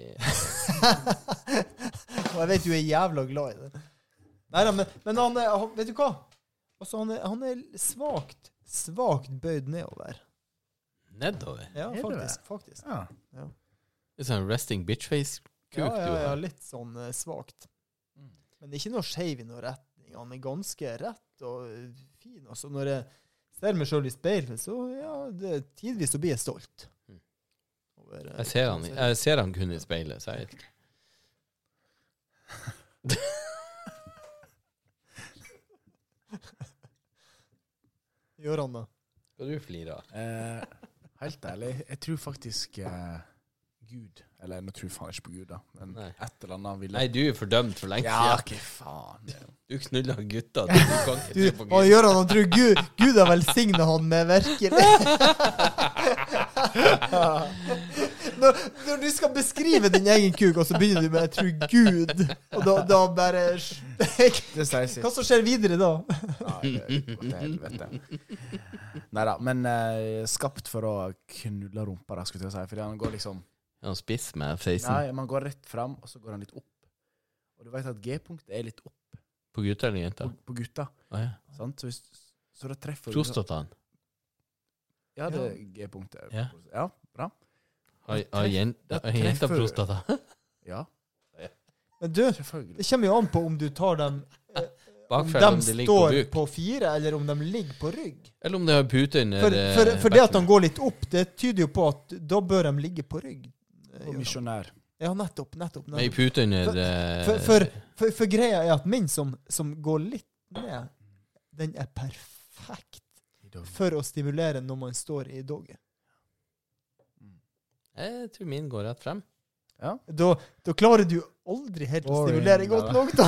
Speaker 3: og jeg vet du er jævla glad i det. Neida, men, men han er han, Vet du hva? Altså, han er, han er svakt, svakt bøyd nedover.
Speaker 1: Nedover?
Speaker 3: Ja,
Speaker 4: Er du
Speaker 3: faktisk. faktisk.
Speaker 4: Ja.
Speaker 1: Litt sånn resting bitch-face-kuk
Speaker 3: Ja, ja,
Speaker 1: du
Speaker 3: ja,
Speaker 1: har.
Speaker 3: litt sånn eh, svakt.
Speaker 4: Mm.
Speaker 3: Men ikke noe skeiv i noen retning. Han er ganske rett og eh, fin. Altså, når jeg ser meg sjøl i speilet, så ja, det, tidvis så blir jeg stolt.
Speaker 1: Mm.
Speaker 3: Over, eh,
Speaker 1: Jeg ser han,
Speaker 3: hvordan
Speaker 1: jeg ser han kun i speilet, så jeg vet ikke.
Speaker 3: Gjør han det?
Speaker 1: Skal du flire av?
Speaker 4: Eh, helt ærlig, jeg tror faktisk eh, Gud Eller nå tror jeg faen ikke på Gud, da, men
Speaker 1: Nei.
Speaker 4: et eller annet ville
Speaker 1: Nei, du er fordømt for lenge
Speaker 4: Ja,
Speaker 1: siden.
Speaker 4: hva faen.
Speaker 1: Du knulla gutta. Du kan ikke
Speaker 3: <laughs> Du,
Speaker 1: tro på
Speaker 3: og
Speaker 1: Gud.
Speaker 3: gjør han, han tror Gud, Gud har velsigna han med
Speaker 1: <laughs>
Speaker 3: virkelig når, når du skal beskrive din egen kuk, og så begynner du med 'jeg tror Gud', og da, da bare
Speaker 4: Det sier
Speaker 3: <laughs> Hva
Speaker 4: sitt.
Speaker 3: som skjer videre da?
Speaker 4: Nei, det går til helvete. Neida, men eh, skapt for å knulle rumpa, da, skulle jeg til å si. Fordi han går liksom
Speaker 1: Han spiss med feisen.
Speaker 4: Nei, man går rett fram, og så går han litt opp. Og du vet at G-punktet er litt opp
Speaker 1: På gutter eller
Speaker 4: på,
Speaker 1: jenter?
Speaker 4: på gutta.
Speaker 1: Å ja.
Speaker 4: Sant? Så, hvis, så da treffer du
Speaker 1: Prostataen.
Speaker 4: Ja, det er G-punktet.
Speaker 1: Ja.
Speaker 4: ja, bra.
Speaker 1: Har har jen-
Speaker 4: Da
Speaker 1: har jenta
Speaker 4: treffer du.
Speaker 1: prostata?
Speaker 4: Ja,
Speaker 3: Men du,
Speaker 4: selvfølgelig.
Speaker 3: det kommer jo an på om du tar dem Om
Speaker 1: Bakfra, om
Speaker 3: de
Speaker 1: det ligger på
Speaker 3: står
Speaker 1: buk.
Speaker 3: på fire, eller om de ligger på rygg.
Speaker 1: Eller om det har pute under
Speaker 3: For, for,
Speaker 1: eh,
Speaker 3: for det at
Speaker 1: bekken.
Speaker 3: han går litt opp, det tyder jo på at da bør de ligge på rygg. eh,
Speaker 4: og
Speaker 3: gjør han.
Speaker 4: misjonær.
Speaker 3: Ja, nettopp. nettopp,
Speaker 1: Med ei
Speaker 3: nettopp.
Speaker 1: pute under
Speaker 3: For-
Speaker 1: eh,
Speaker 3: For, for, for, for greia er at min som, som går litt ned, den er perfekt for å stimulere når man står i dogget.
Speaker 1: Jeg tror min går rett frem.
Speaker 3: Da, da klarer du aldri helt å
Speaker 4: Boring,
Speaker 3: stimulere godt
Speaker 4: da.
Speaker 3: nok,
Speaker 1: <laughs>
Speaker 3: da.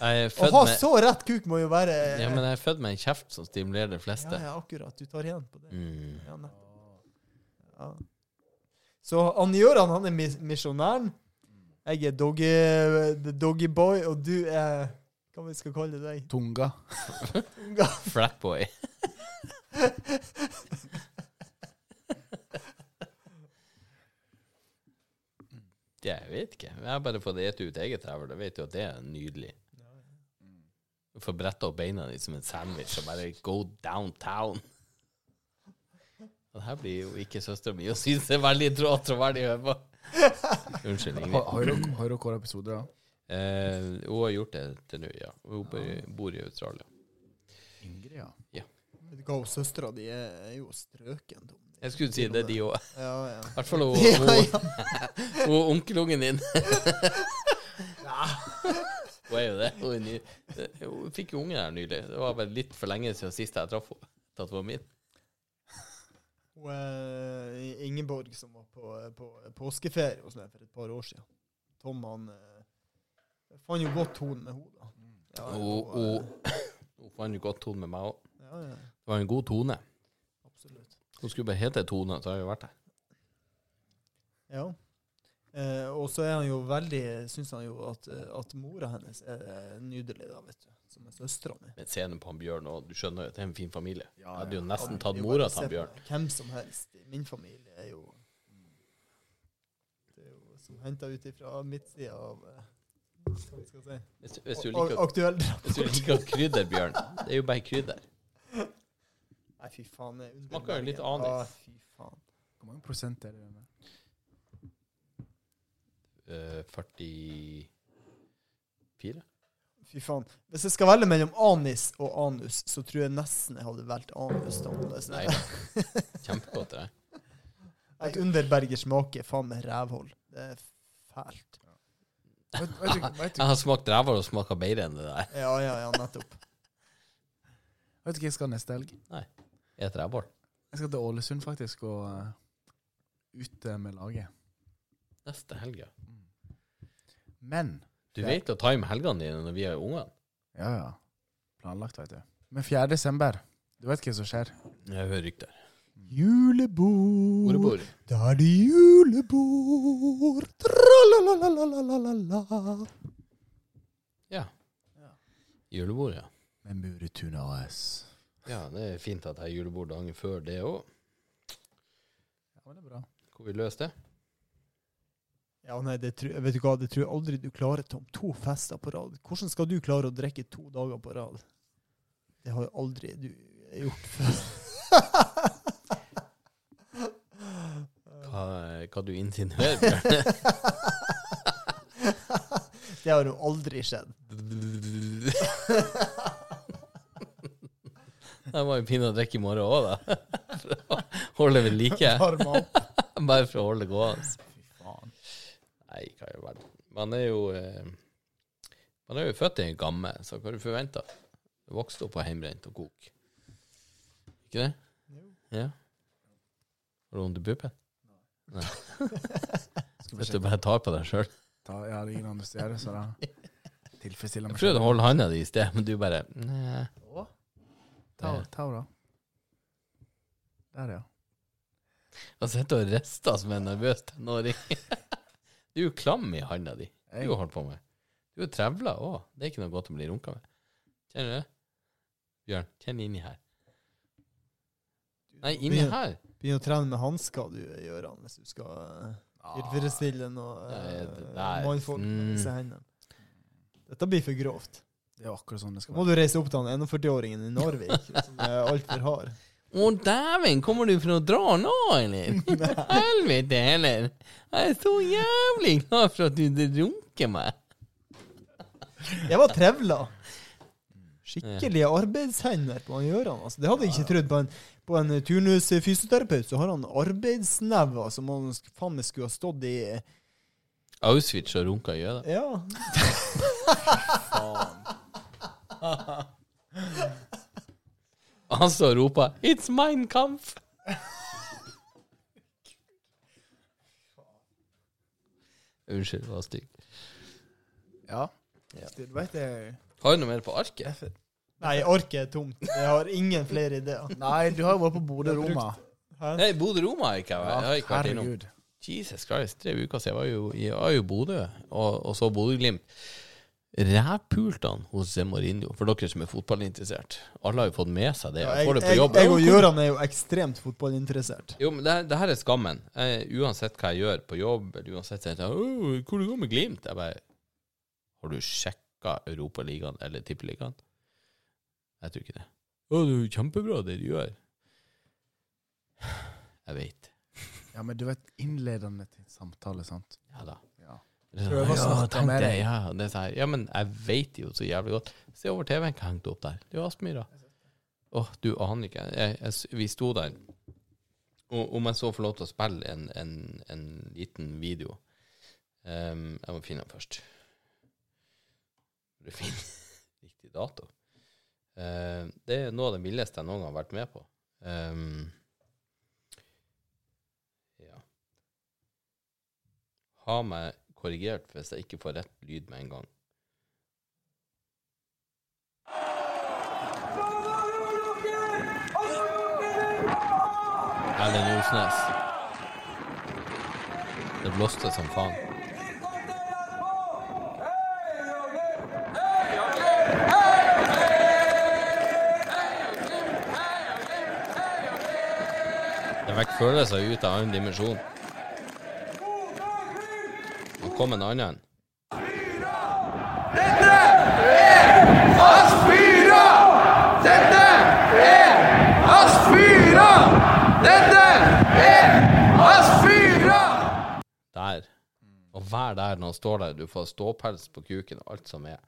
Speaker 1: Jeg er
Speaker 3: Å
Speaker 1: født
Speaker 3: ha
Speaker 1: med,
Speaker 3: så rett kuk må jo være
Speaker 1: ja, men jeg er født med en kjeft som stimulerer de fleste.
Speaker 3: Ja, ja, akkurat. Du tar igjen på det.
Speaker 1: Mm.
Speaker 3: Ja, nettopp. Ja. Så han Gøran, han er mis misjonæren. Jeg er doggy, the doggy boy, og du er Hva vi skal kalle deg?
Speaker 4: Tunga.
Speaker 1: Flatboy. Jeg vet ikke. Jeg har bare fått ete ut eget rævel. Jeg vet jo at det er nydelig. Du får bretta opp beina ditt som en sandwich og bare go downtown. Og det her blir jo ikke søstera mi og synes det er veldig trått og veldig høy på. Unnskyld,
Speaker 4: Har-
Speaker 1: Ingrid.
Speaker 4: Har dere- har dere hver episode, da?
Speaker 1: Eh, hun har gjort det til nå, ja. Hun bor- bor i Australia.
Speaker 4: Ingrid, ja.
Speaker 3: Vet du hva, Søstera di er er jo strøken. dum.
Speaker 1: Jeg skulle si det, er de òg.
Speaker 3: Ja, ja.
Speaker 1: I hvert fall hun,
Speaker 3: Ja,
Speaker 1: hun,
Speaker 3: ja.
Speaker 1: <laughs> Og onkelungen din. <laughs> Hun er jo det. Hun, er ny. hun fikk jo unge her nylig. Det var vel litt for lenge siden sist jeg traff henne. At hun var min.
Speaker 3: <laughs> Hun er I- Ingeborg som var på, på påskeferie hos meg for et par år siden. Tom han eh, fant jo godt tone med henne. da. Ja,
Speaker 1: Hun-
Speaker 3: og,
Speaker 1: Hun hun fant jo godt tone med meg òg.
Speaker 3: eh, ja, ja,
Speaker 1: Det var en god tone.
Speaker 3: absolutt.
Speaker 1: Hun skulle bare hete Tone, så har jeg jo vært her.
Speaker 3: Ja. Eh, og så er han jo veldig Syns han jo at, eh, at mora hennes er eh, nydelig, da, vet du. Som er søstera mi.
Speaker 1: Men ser du på han Bjørn og du skjønner jo at det er en fin familie. Jeg
Speaker 4: Ja,
Speaker 1: hadde jo
Speaker 3: Han
Speaker 1: nesten
Speaker 3: er
Speaker 1: tatt
Speaker 3: jo
Speaker 1: mora
Speaker 3: bare
Speaker 1: til han
Speaker 3: se på
Speaker 1: Bjørn.
Speaker 3: Hvem som helst i min familie er jo mm, Det er jo som henta ut ifra midtsida av eh, Hva skal vi si?
Speaker 1: Hvis du- Hvis du
Speaker 3: Ak-
Speaker 1: liker å-
Speaker 3: Aktuell
Speaker 1: hvis du liker å krydder, Bjørn. Det er jo bare krydder.
Speaker 3: <laughs> Nei, fy faen. det er under
Speaker 1: Smaker jo litt
Speaker 3: Bergen.
Speaker 1: anis.
Speaker 3: Ja, Ah, fy faen.
Speaker 4: Hvor mange prosent er det? med?
Speaker 1: Eh, 44?
Speaker 3: Fy faen. Hvis jeg skal velge mellom anis og anus, så tror jeg nesten jeg hadde valgt anus. da. Det er sånn-
Speaker 1: Nei.
Speaker 3: <laughs>
Speaker 1: Kjempegodt, det.
Speaker 3: Nei, Underberger smaker faen meg rævhold. Det er fælt.
Speaker 4: Vet, vet, du- vet, du-
Speaker 1: Jeg har smakt ræva og smaka bedre enn det der.
Speaker 3: Ja, ja, ja, nettopp.
Speaker 4: vet du hva jeg skal neste helg?
Speaker 1: Et rævhål.
Speaker 4: Jeg skal til Ålesund, faktisk, og eh, ut eh, med laget.
Speaker 1: Neste helg, ja.
Speaker 4: Men
Speaker 1: Du
Speaker 4: Ja.
Speaker 1: vet å time helgene dine når vi er ungene.
Speaker 4: Ja, ja. Planlagt, vet du. Men 4. desember, du vet hva som skjer?
Speaker 1: Jeg hører rykter.
Speaker 4: Mm.
Speaker 3: Julebord,
Speaker 1: Ordbord.
Speaker 3: da er det julebord. Tra-la-la-la-la-la-la.
Speaker 1: Ja.
Speaker 4: Ja.
Speaker 1: Julebord, ja.
Speaker 4: Med Muretun AS.
Speaker 1: Ja, det er fint at jeg har julebord dagen før det òg.
Speaker 4: Ja, men det er bra.
Speaker 1: Hvor vi løser det.
Speaker 3: Ja, nei, det tror, jeg- vet du hva, det tror jeg aldri du klarer, Tom. To fester på rad. Hvordan skal du klare å drikke to dager på rad? Det har jo aldri du gjort <laughs> før.
Speaker 4: Eh.
Speaker 1: Hva, hva du insinuerer, <laughs> Bjørn.
Speaker 3: det har jo aldri skjedd.
Speaker 1: Det var jo pinadø å drikke i morgen òg, da. <laughs> For å Holde ved like.
Speaker 3: Arma opp.
Speaker 1: Bare for å holde det gående.
Speaker 4: Fy faen.
Speaker 1: Nei, hva i all verden. Man er jo eh, Man er jo født i en gamme, så hva du forventer Du vokste opp på heimbrent og kok. Ikke det? Ja. Har du vondt i puppen?
Speaker 4: Skal vi
Speaker 1: Hvis du
Speaker 4: sjekke?
Speaker 1: bare tar på deg sjøl.
Speaker 4: Ta, ja, det er ingen andre steder, så da <laughs> tilfredsstiller
Speaker 1: Jeg
Speaker 4: meg
Speaker 1: prøvde
Speaker 4: selv.
Speaker 1: å holde handa di i sted, men du bare Nei.
Speaker 4: Ta, ta da. Der, ja.
Speaker 1: Jeg sitter og rister som en nervøs tenåring. <laughs> Du er jo klam i handa di. Du
Speaker 4: Jeg,
Speaker 1: har holdt på med Du er trevla òg. Det er ikke noe godt å bli runka med. Kjenner du det? Bjørn, kjenn inni her. Nei, inni
Speaker 3: Begynn-
Speaker 1: her.
Speaker 3: Begynn å trene med hansker, du, Gøran, hvis du skal eh, tilfredsstille noe
Speaker 1: Nei,
Speaker 3: eh,
Speaker 1: det der-
Speaker 3: mannfolk med disse hendene. Dette blir for grovt.
Speaker 4: det er akkurat sånn det
Speaker 3: Så
Speaker 4: skal
Speaker 3: må
Speaker 4: være.
Speaker 3: du reise opp til han 41-åringen i
Speaker 1: <laughs>
Speaker 3: Narvik, som er altfor hard.
Speaker 1: Å, dæven, kommer du for å dra nå, <laughs> eller? Helvete heller. Jeg er så jævlig glad for at du runker meg.
Speaker 3: Jeg var trevla. Skikkelige arbeidshender på han Gøran. Altså. Det hadde jeg ikke trodd. På en, på en turnusfysioterapeut så har han arbeidsnever som han sk- faen meg skulle ha stått i
Speaker 1: Auschwitz og runka i øyet.
Speaker 3: Ja.
Speaker 1: Han står og roper 'It's mine kampf'! Unnskyld, det var stygg.
Speaker 4: Ja.
Speaker 1: Ja.
Speaker 4: Du vet det.
Speaker 1: Har du noe mer på arket?
Speaker 3: Nei, arket er tomt. Jeg har ingen flere ideer.
Speaker 4: Nei, du har jo vært på Bodø-Roma.
Speaker 3: Hæ?
Speaker 1: Nei, Bodø-Roma har jeg ikke vært- jeg har ikke vært innom.
Speaker 4: herregud.
Speaker 1: Jesus Christ, tre uker siden jeg var jo, jeg var jo i Bodø, og, og så Bodø-Glimt. Rævpultene hos Mourinho, for dere som er fotballinteressert. Alle har jo fått med seg det.
Speaker 3: Ja,
Speaker 1: Jeg
Speaker 3: jeg,
Speaker 1: får det på
Speaker 3: jeg,
Speaker 1: jobb.
Speaker 3: jeg og Gøran er jo ekstremt fotballinteressert.
Speaker 1: Jo, men det, her- det her er skammen. Jeg, uansett hva jeg gjør på jobb, eller uansett så er det sånn, «Åh, Hvor det går med Glimt? Jeg bare Har du sjekka Europaligaen eller Tippeligaen? Jeg tror ikke det. Å, det er jo kjempebra det de gjør. Jeg veit.
Speaker 4: Ja, men du vet, innledende til samtale, sant?
Speaker 1: Ja da.
Speaker 4: Ja.
Speaker 1: Det er
Speaker 4: Prøv
Speaker 1: sånn,
Speaker 4: å
Speaker 1: ja,
Speaker 4: snakke
Speaker 1: tenk
Speaker 4: med
Speaker 1: det,
Speaker 4: deg.
Speaker 1: ja, det er sånn her. ja, men jeg veit jo så jævlig godt. Se over TV-en hva jeg hengte opp der. Det er jo Aspmyra. Åh, du aner ikke. Jeg, jeg, s- vi sto der. Og om jeg så får lov til å spille en, en, en liten video Ehm, Jeg må finne den først. Du finner <laughs> riktig dato. Ehm, det er noe av det villeste jeg noen gang har vært med på. Ehm, ja. Ha meg korrigert hvis jeg ikke får rett lyd med en gang. Erlend Osnes. Det blåste som faen. Det vekker følelser ut av en annen dimensjon. Nå kom en annen.
Speaker 5: Aspira! Dette er Aspira! Dette er Aspira!
Speaker 1: Der. Og vær der når han står der. Du får ståpels på kuken og alt som er.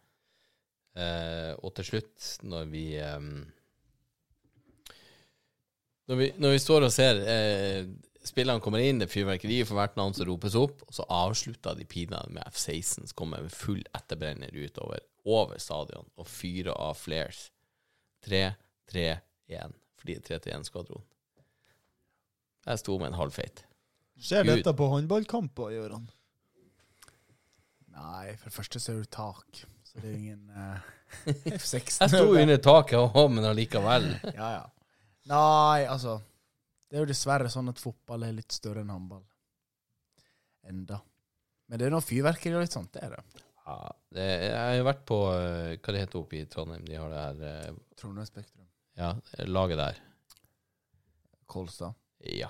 Speaker 1: Eh, og til slutt, når vi eh, når, vi, når vi står og ser eh, spillerne kommer inn, det er fyrverkeri for hvert navn som ropes opp, og så avslutter de pinadø med F-16, som kommer med full etterbrenner utover over stadion og fyrer av flares. 3-3-1, fordi 3-1-skvadron. Jeg sto med en halvfeit.
Speaker 3: Skjer
Speaker 1: Gud.
Speaker 3: dette på håndballkamper, Gøran?
Speaker 4: Nei, for det første så er du tak. Så det er jo ingen eh,
Speaker 1: <laughs>
Speaker 4: <laughs> F16.
Speaker 1: Jeg sto jo under taket, og- men allikevel.
Speaker 4: <laughs> Ja, ja. Nei, altså. Det er jo dessverre sånn at fotball er litt større enn håndball. Enda. Men det er noe fyrverkeri og litt sånt, det er det.
Speaker 1: Ja, det, jeg har jo vært på eh, Hva det heter oppe i Trondheim? De har det her eh,
Speaker 4: Trondheim Spektrum.
Speaker 1: Ja, laget der.
Speaker 4: Kolstad.
Speaker 1: Ja.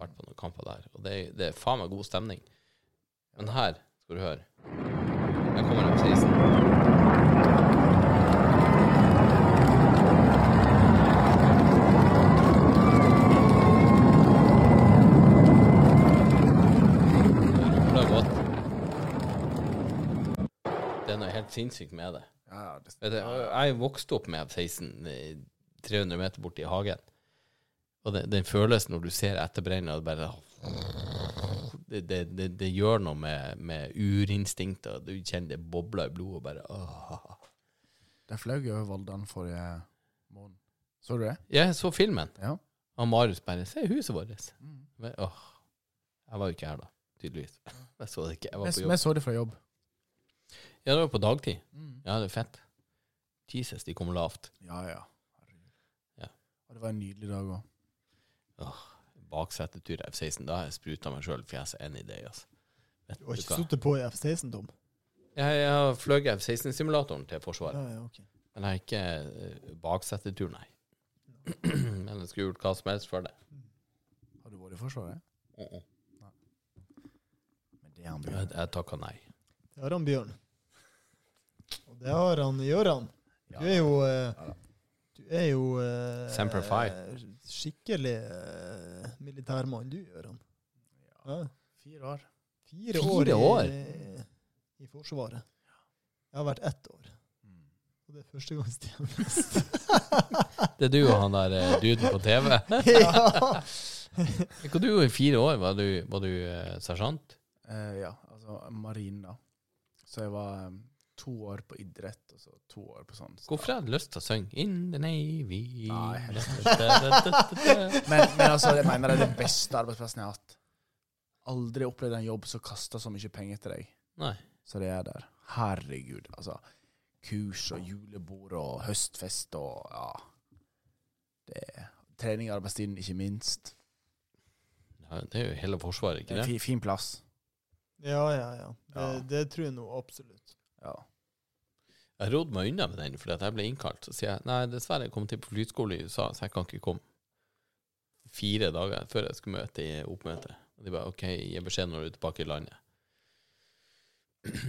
Speaker 1: Vært på noen kamper der. Og det, det er faen meg god stemning. Men her skal du høre. Her kommer F-16. Det er godt. Det er noe helt sinnssykt med det.
Speaker 4: Ja, ja, det
Speaker 1: Vet du, jeg vokste opp med F-16 eh, 300 meter borti hagen. Og den, den følelsen når du ser etterbrenninga, det bare det, det, det, det gjør noe med, med urinstinktet. og Du kjenner det bobler i blodet og bare åh.
Speaker 4: De fløy jo over Voldan forrige måned. Så du det?
Speaker 1: Jeg så filmen,
Speaker 4: Ja.
Speaker 1: og Marius bare 'Se huset vårt'. Men, åh. Jeg var jo ikke her da, tydeligvis. Jeg så det ikke. Jeg var på
Speaker 4: Vi
Speaker 1: jobb.
Speaker 4: vi så det fra jobb.
Speaker 1: Ja, det var på dagtid. Ja, det er fett. Jesus, de kom lavt.
Speaker 4: Ja, ja. Herregud.
Speaker 1: Ja.
Speaker 4: Og det var en nydelig dag òg.
Speaker 1: Åh, baksetetur F-16. Da har jeg spruta meg sjøl i fjeset en idé, altså. Vet
Speaker 3: Du har ikke
Speaker 1: hva?
Speaker 3: sittet på i F-16, Tom?
Speaker 1: Jeg, jeg har fløyet F-16-simulatoren til Forsvaret,
Speaker 3: Ja, ja, ok.
Speaker 1: men jeg har ikke eh, baksetetur, nei. <clears throat> men jeg skulle gjort hva som helst for det.
Speaker 4: Har du vært i Forsvaret? Men det er han
Speaker 1: Jeg,
Speaker 4: bjørn.
Speaker 1: jeg takka nei.
Speaker 3: Det har han Bjørn. Og det har han Gøran. Du er jo eh, Du er jo eh,
Speaker 1: Semper Fi.
Speaker 3: Skikkelig eh, militærmann, du, Gøran. Ja.
Speaker 4: Fire år.
Speaker 3: Fire,
Speaker 1: Fire
Speaker 3: år,
Speaker 1: år? Mm.
Speaker 3: I, i Forsvaret. Jeg har vært ett år. Og Og det er <laughs> førstegangstjeneste.
Speaker 1: <laughs> Det er du og han der eh, duden på TV.
Speaker 3: <laughs> ja.
Speaker 1: <laughs> Hva du gjorde i fire år? Var du, var du eh, sersjant?
Speaker 4: Eh, ja, altså marinen, da. Så jeg var eh, to år på idrett, og så to år på sånn.
Speaker 1: Hvorfor hadde du lyst til å synge In the Navy?
Speaker 4: Nei,
Speaker 1: Nei,
Speaker 4: Men, men altså, jeg mener det er den beste arbeidsplassen jeg har hatt. Aldri opplevd en jobb som kaster så mye penger til deg. Så det er der. Herregud, altså. Kurs og julebord og høstfest og ja. Det er trening i arbeidstiden, ikke minst.
Speaker 1: Ja, det er jo hele Forsvaret,
Speaker 4: Det
Speaker 1: ikke
Speaker 4: er en
Speaker 1: det?
Speaker 4: fi, fin plass.
Speaker 3: ja, ja, ja. Det,
Speaker 4: Ja.
Speaker 3: det tror jeg nå absolutt.
Speaker 4: Ja.
Speaker 1: Jeg rodde meg unna med den fordi at jeg ble innkalt. Så sier jeg nei, dessverre, jeg kom til på flyskole i USA, så jeg kan ikke komme. Fire dager før jeg skulle møte i oppmøtet. Og de bare OK, gi beskjed når du er tilbake i landet. <clears throat>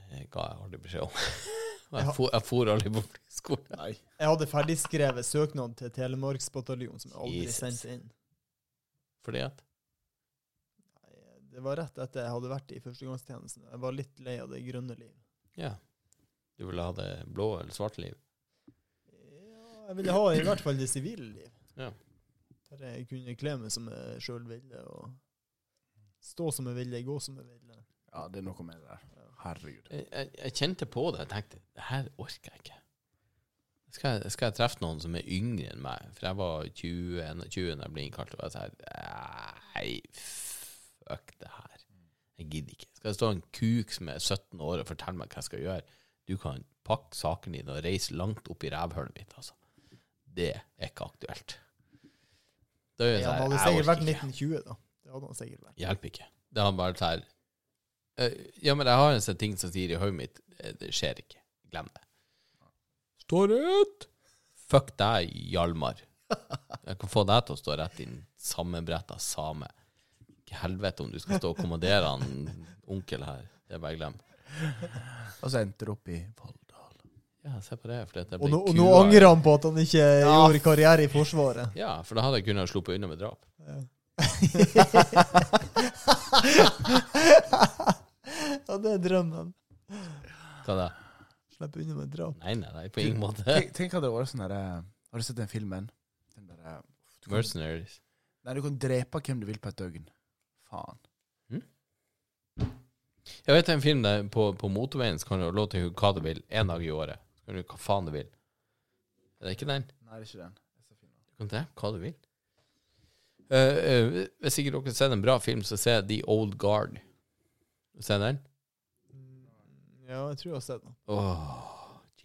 Speaker 1: Det ga jeg aldri beskjed om. <laughs> Og jeg for, jeg for aldri på flyskole.
Speaker 4: Nei.
Speaker 3: Jeg hadde ferdigskrevet søknad til Telemarksbataljonen, som jeg aldri
Speaker 1: Jesus.
Speaker 3: sendte inn.
Speaker 1: Fordi at
Speaker 3: Det var rett etter jeg hadde vært i førstegangstjenesten. Jeg var litt lei av det grønne liv.
Speaker 1: Ja. Du ville ha det blå eller svarte liv?
Speaker 3: Ja, jeg ville ha i hvert fall det sivile liv.
Speaker 1: Ja.
Speaker 3: Der jeg kunne kle meg som jeg sjøl ville, og stå som jeg ville, gå som jeg ville.
Speaker 4: Ja, det er noe med det der. Herregud.
Speaker 1: Jeg, jeg, jeg kjente på det. Jeg tenkte det her orker jeg ikke. Skal jeg, skal jeg treffe noen som er yngre enn meg? For jeg var 20, 21 da jeg ble innkalt. Og jeg sa nei, fuck det her. Jeg gidder ikke. Skal det stå en kuk som er 17 år og fortelle meg hva jeg skal gjøre? Du kan pakke sakene dine og reise langt opp i rævhølet mitt, altså. Det er ikke aktuelt. Da gjør jeg
Speaker 3: Ja,
Speaker 1: sånn her,
Speaker 3: han hadde
Speaker 1: jeg
Speaker 3: sikkert
Speaker 1: orker
Speaker 3: vært
Speaker 1: ikke.
Speaker 3: 1920, da. Det hadde han sikkert vært.
Speaker 1: hjelper ikke. Det har bare sånn uh, Ja, men jeg har en sånn ting som sier i hodet mitt eh, Det skjer ikke. Glem det. Stå rett! Fuck deg, Hjalmar. Jeg kan få deg til å stå rett i den sammenbretta same. Ikke helvete om du skal stå og kommandere han onkel her. Det er bare glem.
Speaker 4: Og så endte du opp i Valldal.
Speaker 1: Ja, se på det. For det
Speaker 3: Og
Speaker 1: ble
Speaker 3: nå, og nå
Speaker 1: kua.
Speaker 3: angrer han på at han ikke gjorde karriere i Forsvaret.
Speaker 1: Ja, for da hadde jeg kunnet sluppet unna med drap.
Speaker 3: Ja, det er drømmen.
Speaker 1: Hva da?
Speaker 3: Slipp unna med drap.
Speaker 1: Nei, nei, nei, på ingen måte.
Speaker 4: Tenk, tenk hadde det vært sånn der eh, Har du sett den filmen? Den der, eh, du, kan,
Speaker 1: Mercenaries.
Speaker 4: nei, du kan drepe hvem du vil på et døgn. Faen.
Speaker 1: Jeg vet en film der på, på motorveien så kan du ha lov til å hugge hva du vil én dag i året. Så kan du hva faen du vil. Er det ikke den?
Speaker 4: Nei, det er ikke den. Jeg ser filmen.
Speaker 1: Du kan drepe hva du vil. Eh, eh, hvis ikke dere ser en bra film, så se The Old Guard. Ser du den?
Speaker 3: Ja, jeg tror jeg har sett den.
Speaker 1: Åh,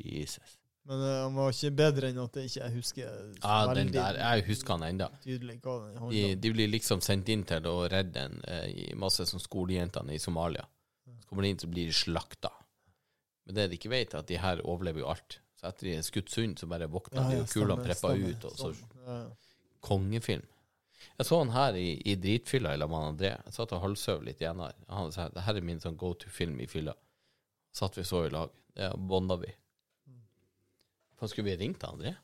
Speaker 1: Jesus.
Speaker 3: Men eh, han var ikke bedre enn at jeg ikke jeg husker
Speaker 1: Ja, den
Speaker 3: veldig
Speaker 1: der. Jeg husker han ennå.
Speaker 3: tydelig hva den handler
Speaker 1: De,
Speaker 3: om.
Speaker 1: de blir liksom sendt inn til å redde en eh, i masse sånn skolejentene i Somalia.
Speaker 3: Mm.
Speaker 1: Så kommer de inn, så blir de slakta. Men det de ikke vet, er at de her overlever jo alt. Så etter de er skutt sund, så bare våkner
Speaker 3: Ja,
Speaker 1: de,
Speaker 3: ja,
Speaker 1: og kulene
Speaker 3: stemmer,
Speaker 1: prepper
Speaker 3: stemmer,
Speaker 1: ut, og så
Speaker 3: stemmer. Ja, ja.
Speaker 1: kongefilm. Jeg så han her i, i dritfylla i lag med han André. Jeg satt og halvsøv litt igjen her. Han sa det her er min sånn go to-film i fylla. Satt vi så i lag. Det bonda vi.
Speaker 3: Mm.
Speaker 1: Faen, skulle vi ringt han, André?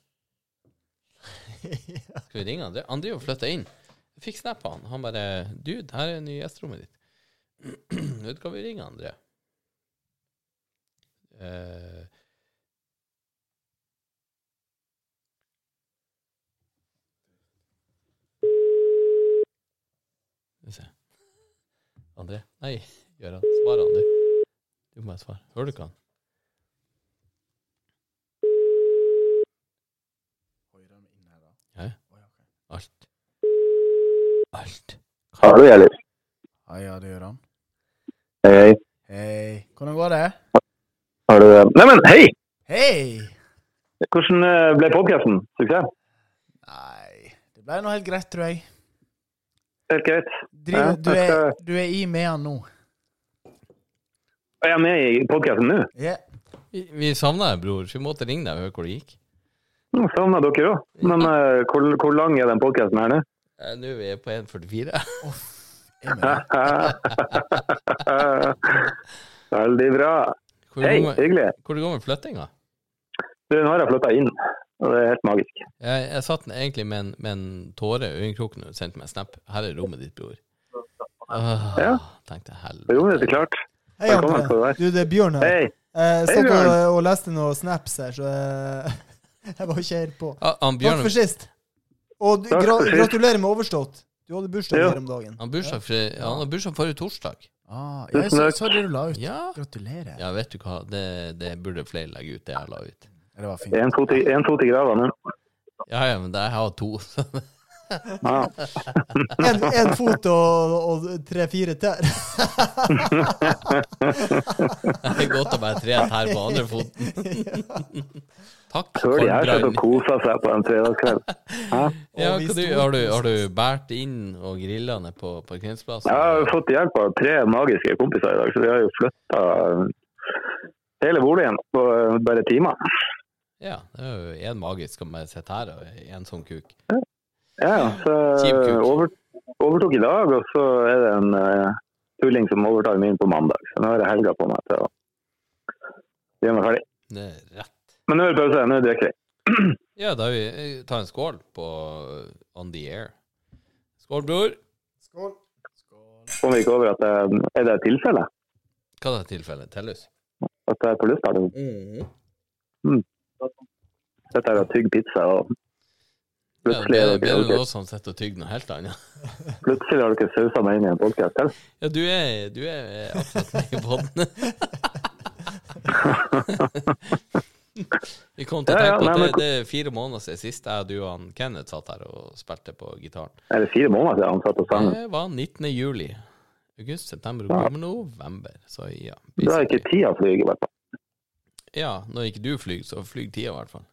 Speaker 3: <laughs>
Speaker 1: Skal vi ringe André? André har flytta inn. Jeg fikk snap av han. Han bare 'Dude, her er nye gjesterommet ditt'. <clears throat> Nå skal vi ringe André. Eh, Skal vi se. André? Nei, gjør han. Svar han, du. Du må svare. Hører du ikke han?
Speaker 4: Oi, den er inne her da.
Speaker 1: Ja, ja.
Speaker 4: Oi, ok.
Speaker 1: Alt. Alt.
Speaker 6: Hallo, Elif.
Speaker 4: Ja, Ah, ja, det gjør han.
Speaker 6: Hei, hei.
Speaker 4: Hei. Hvordan går det?
Speaker 6: Har du Neimen, hei!
Speaker 4: Hei!
Speaker 6: Hvordan eh, ble podkasten? Suksess?
Speaker 4: Nei, det ble nå helt greit, tror jeg.
Speaker 6: Helt greit.
Speaker 4: Driver,
Speaker 6: Ja,
Speaker 4: du,
Speaker 6: jeg
Speaker 4: er,
Speaker 6: skal-
Speaker 4: du er i med han nå.
Speaker 6: Er jeg med i podkasten nå?
Speaker 4: Ja.
Speaker 1: Vi, vi savna deg, bror, så vi måtte ringe deg og høre hvor det gikk.
Speaker 6: Nå savner jeg dere òg. Men eh, hvor, hvor lang er den podkasten her nå? <laughs>
Speaker 1: Eh, Nå er vi på 1,44.
Speaker 4: Jeg mener,
Speaker 6: Veldig bra.
Speaker 1: <laughs> Hvor
Speaker 6: Hei,
Speaker 1: går
Speaker 6: hyggelig.
Speaker 1: det går med flyttinga?
Speaker 6: Du, nå har jeg flytta inn, og det er helt magisk.
Speaker 1: Jeg, jeg satt den egentlig med en, med en tåre i øyekroken og sendte meg en snap. Her er rommet ditt, bror. Åh,
Speaker 6: Ja.
Speaker 1: Tenkte jeg,
Speaker 6: Jo, det er
Speaker 1: helvete.
Speaker 6: klart.
Speaker 3: Hei,
Speaker 6: Velkommen skal du
Speaker 3: André.
Speaker 6: være.
Speaker 3: Du, det er Bjørn her.
Speaker 6: Hei.
Speaker 3: Jeg satt og,
Speaker 6: Bjørn.
Speaker 3: og leste noen snaps her, så jeg, <laughs> jeg var ikke helt på.
Speaker 1: Ah, han
Speaker 3: Takk
Speaker 1: Bjørn
Speaker 3: for sist. Og du-
Speaker 6: Takk
Speaker 3: gra
Speaker 6: for sist.
Speaker 3: gratulerer med overstått. Du hadde bursdag
Speaker 6: Ja.
Speaker 3: her om dagen.
Speaker 1: han bursdag for, ja, han har bursdag forrige torsdag.
Speaker 4: Ah, ja, jeg så, så det du la ut.
Speaker 1: Ja.
Speaker 4: Gratulerer.
Speaker 1: ja, vet du hva, det, det burde flere legge ut, det jeg la ut.
Speaker 4: Det var fint.
Speaker 6: En, to til- en, to til grava nå.
Speaker 1: Ja, ja, men det- jeg har to. <laughs>
Speaker 6: Ja.
Speaker 3: En, en fot og, og tre-fire tær.
Speaker 1: Det er godt å bare tre tær på andre foten. <laughs> Takk.
Speaker 6: Hør de her
Speaker 1: Kolbrand.
Speaker 6: sitter og koser seg på en fredagskveld. Hæ?
Speaker 1: Ja,
Speaker 3: Og vi
Speaker 1: hva du,
Speaker 3: sto-
Speaker 1: har, du, har du båret inn og grilla ned på parkeringsplassen?
Speaker 6: Jeg har jo fått hjelp av tre magiske kompiser i dag, så vi har jo flytta hele boligen på eh, bare timer.
Speaker 1: Ja, det er jo en magisk som bare sitter her, og en sånn kuk.
Speaker 6: Ja, ja, så
Speaker 1: Kjip kuk.
Speaker 6: over, overtok i dag, og så er det en eh, tulling som overtar min på mandag. Så nå er det helga på meg til å gjøre meg ferdig.
Speaker 1: Det er rett.
Speaker 6: Men nå er det pause, nå er det drikker vi.
Speaker 1: Ja, da vi eh, tar en skål på eh, On The Air. Skål, bror.
Speaker 6: Kom vi ikke over at jeg, er det et tilfelle
Speaker 1: Hva er det tilfellet? Tellus?
Speaker 6: at jeg er på lufta? nå? Dette er å tygge pizza, og
Speaker 1: Ja,
Speaker 6: plutselig,
Speaker 1: det
Speaker 6: er
Speaker 1: er
Speaker 6: dere-
Speaker 1: bedre enn
Speaker 6: dere-
Speaker 1: noe som sitter og tygger noe helt annet.
Speaker 6: plutselig har dere sausa meg inn i en podkast selv.
Speaker 1: Ja, du er, du er akkurat med i båten. Vi kom til å
Speaker 6: Ja, ja,
Speaker 1: tenke på
Speaker 6: nei,
Speaker 1: at det,
Speaker 6: men-
Speaker 1: det er fire måneder siden sist jeg, du og han Kenneth satt her og spilte på gitaren.
Speaker 6: Er det fire måneder siden han satt og sang?
Speaker 1: Det var 19. juli. August, september, oktober, november. Så ja.
Speaker 6: Da er ikke tida flyg, i hvert fall.
Speaker 1: Ja, når ikke du flyr, så flyr tida i hvert fall.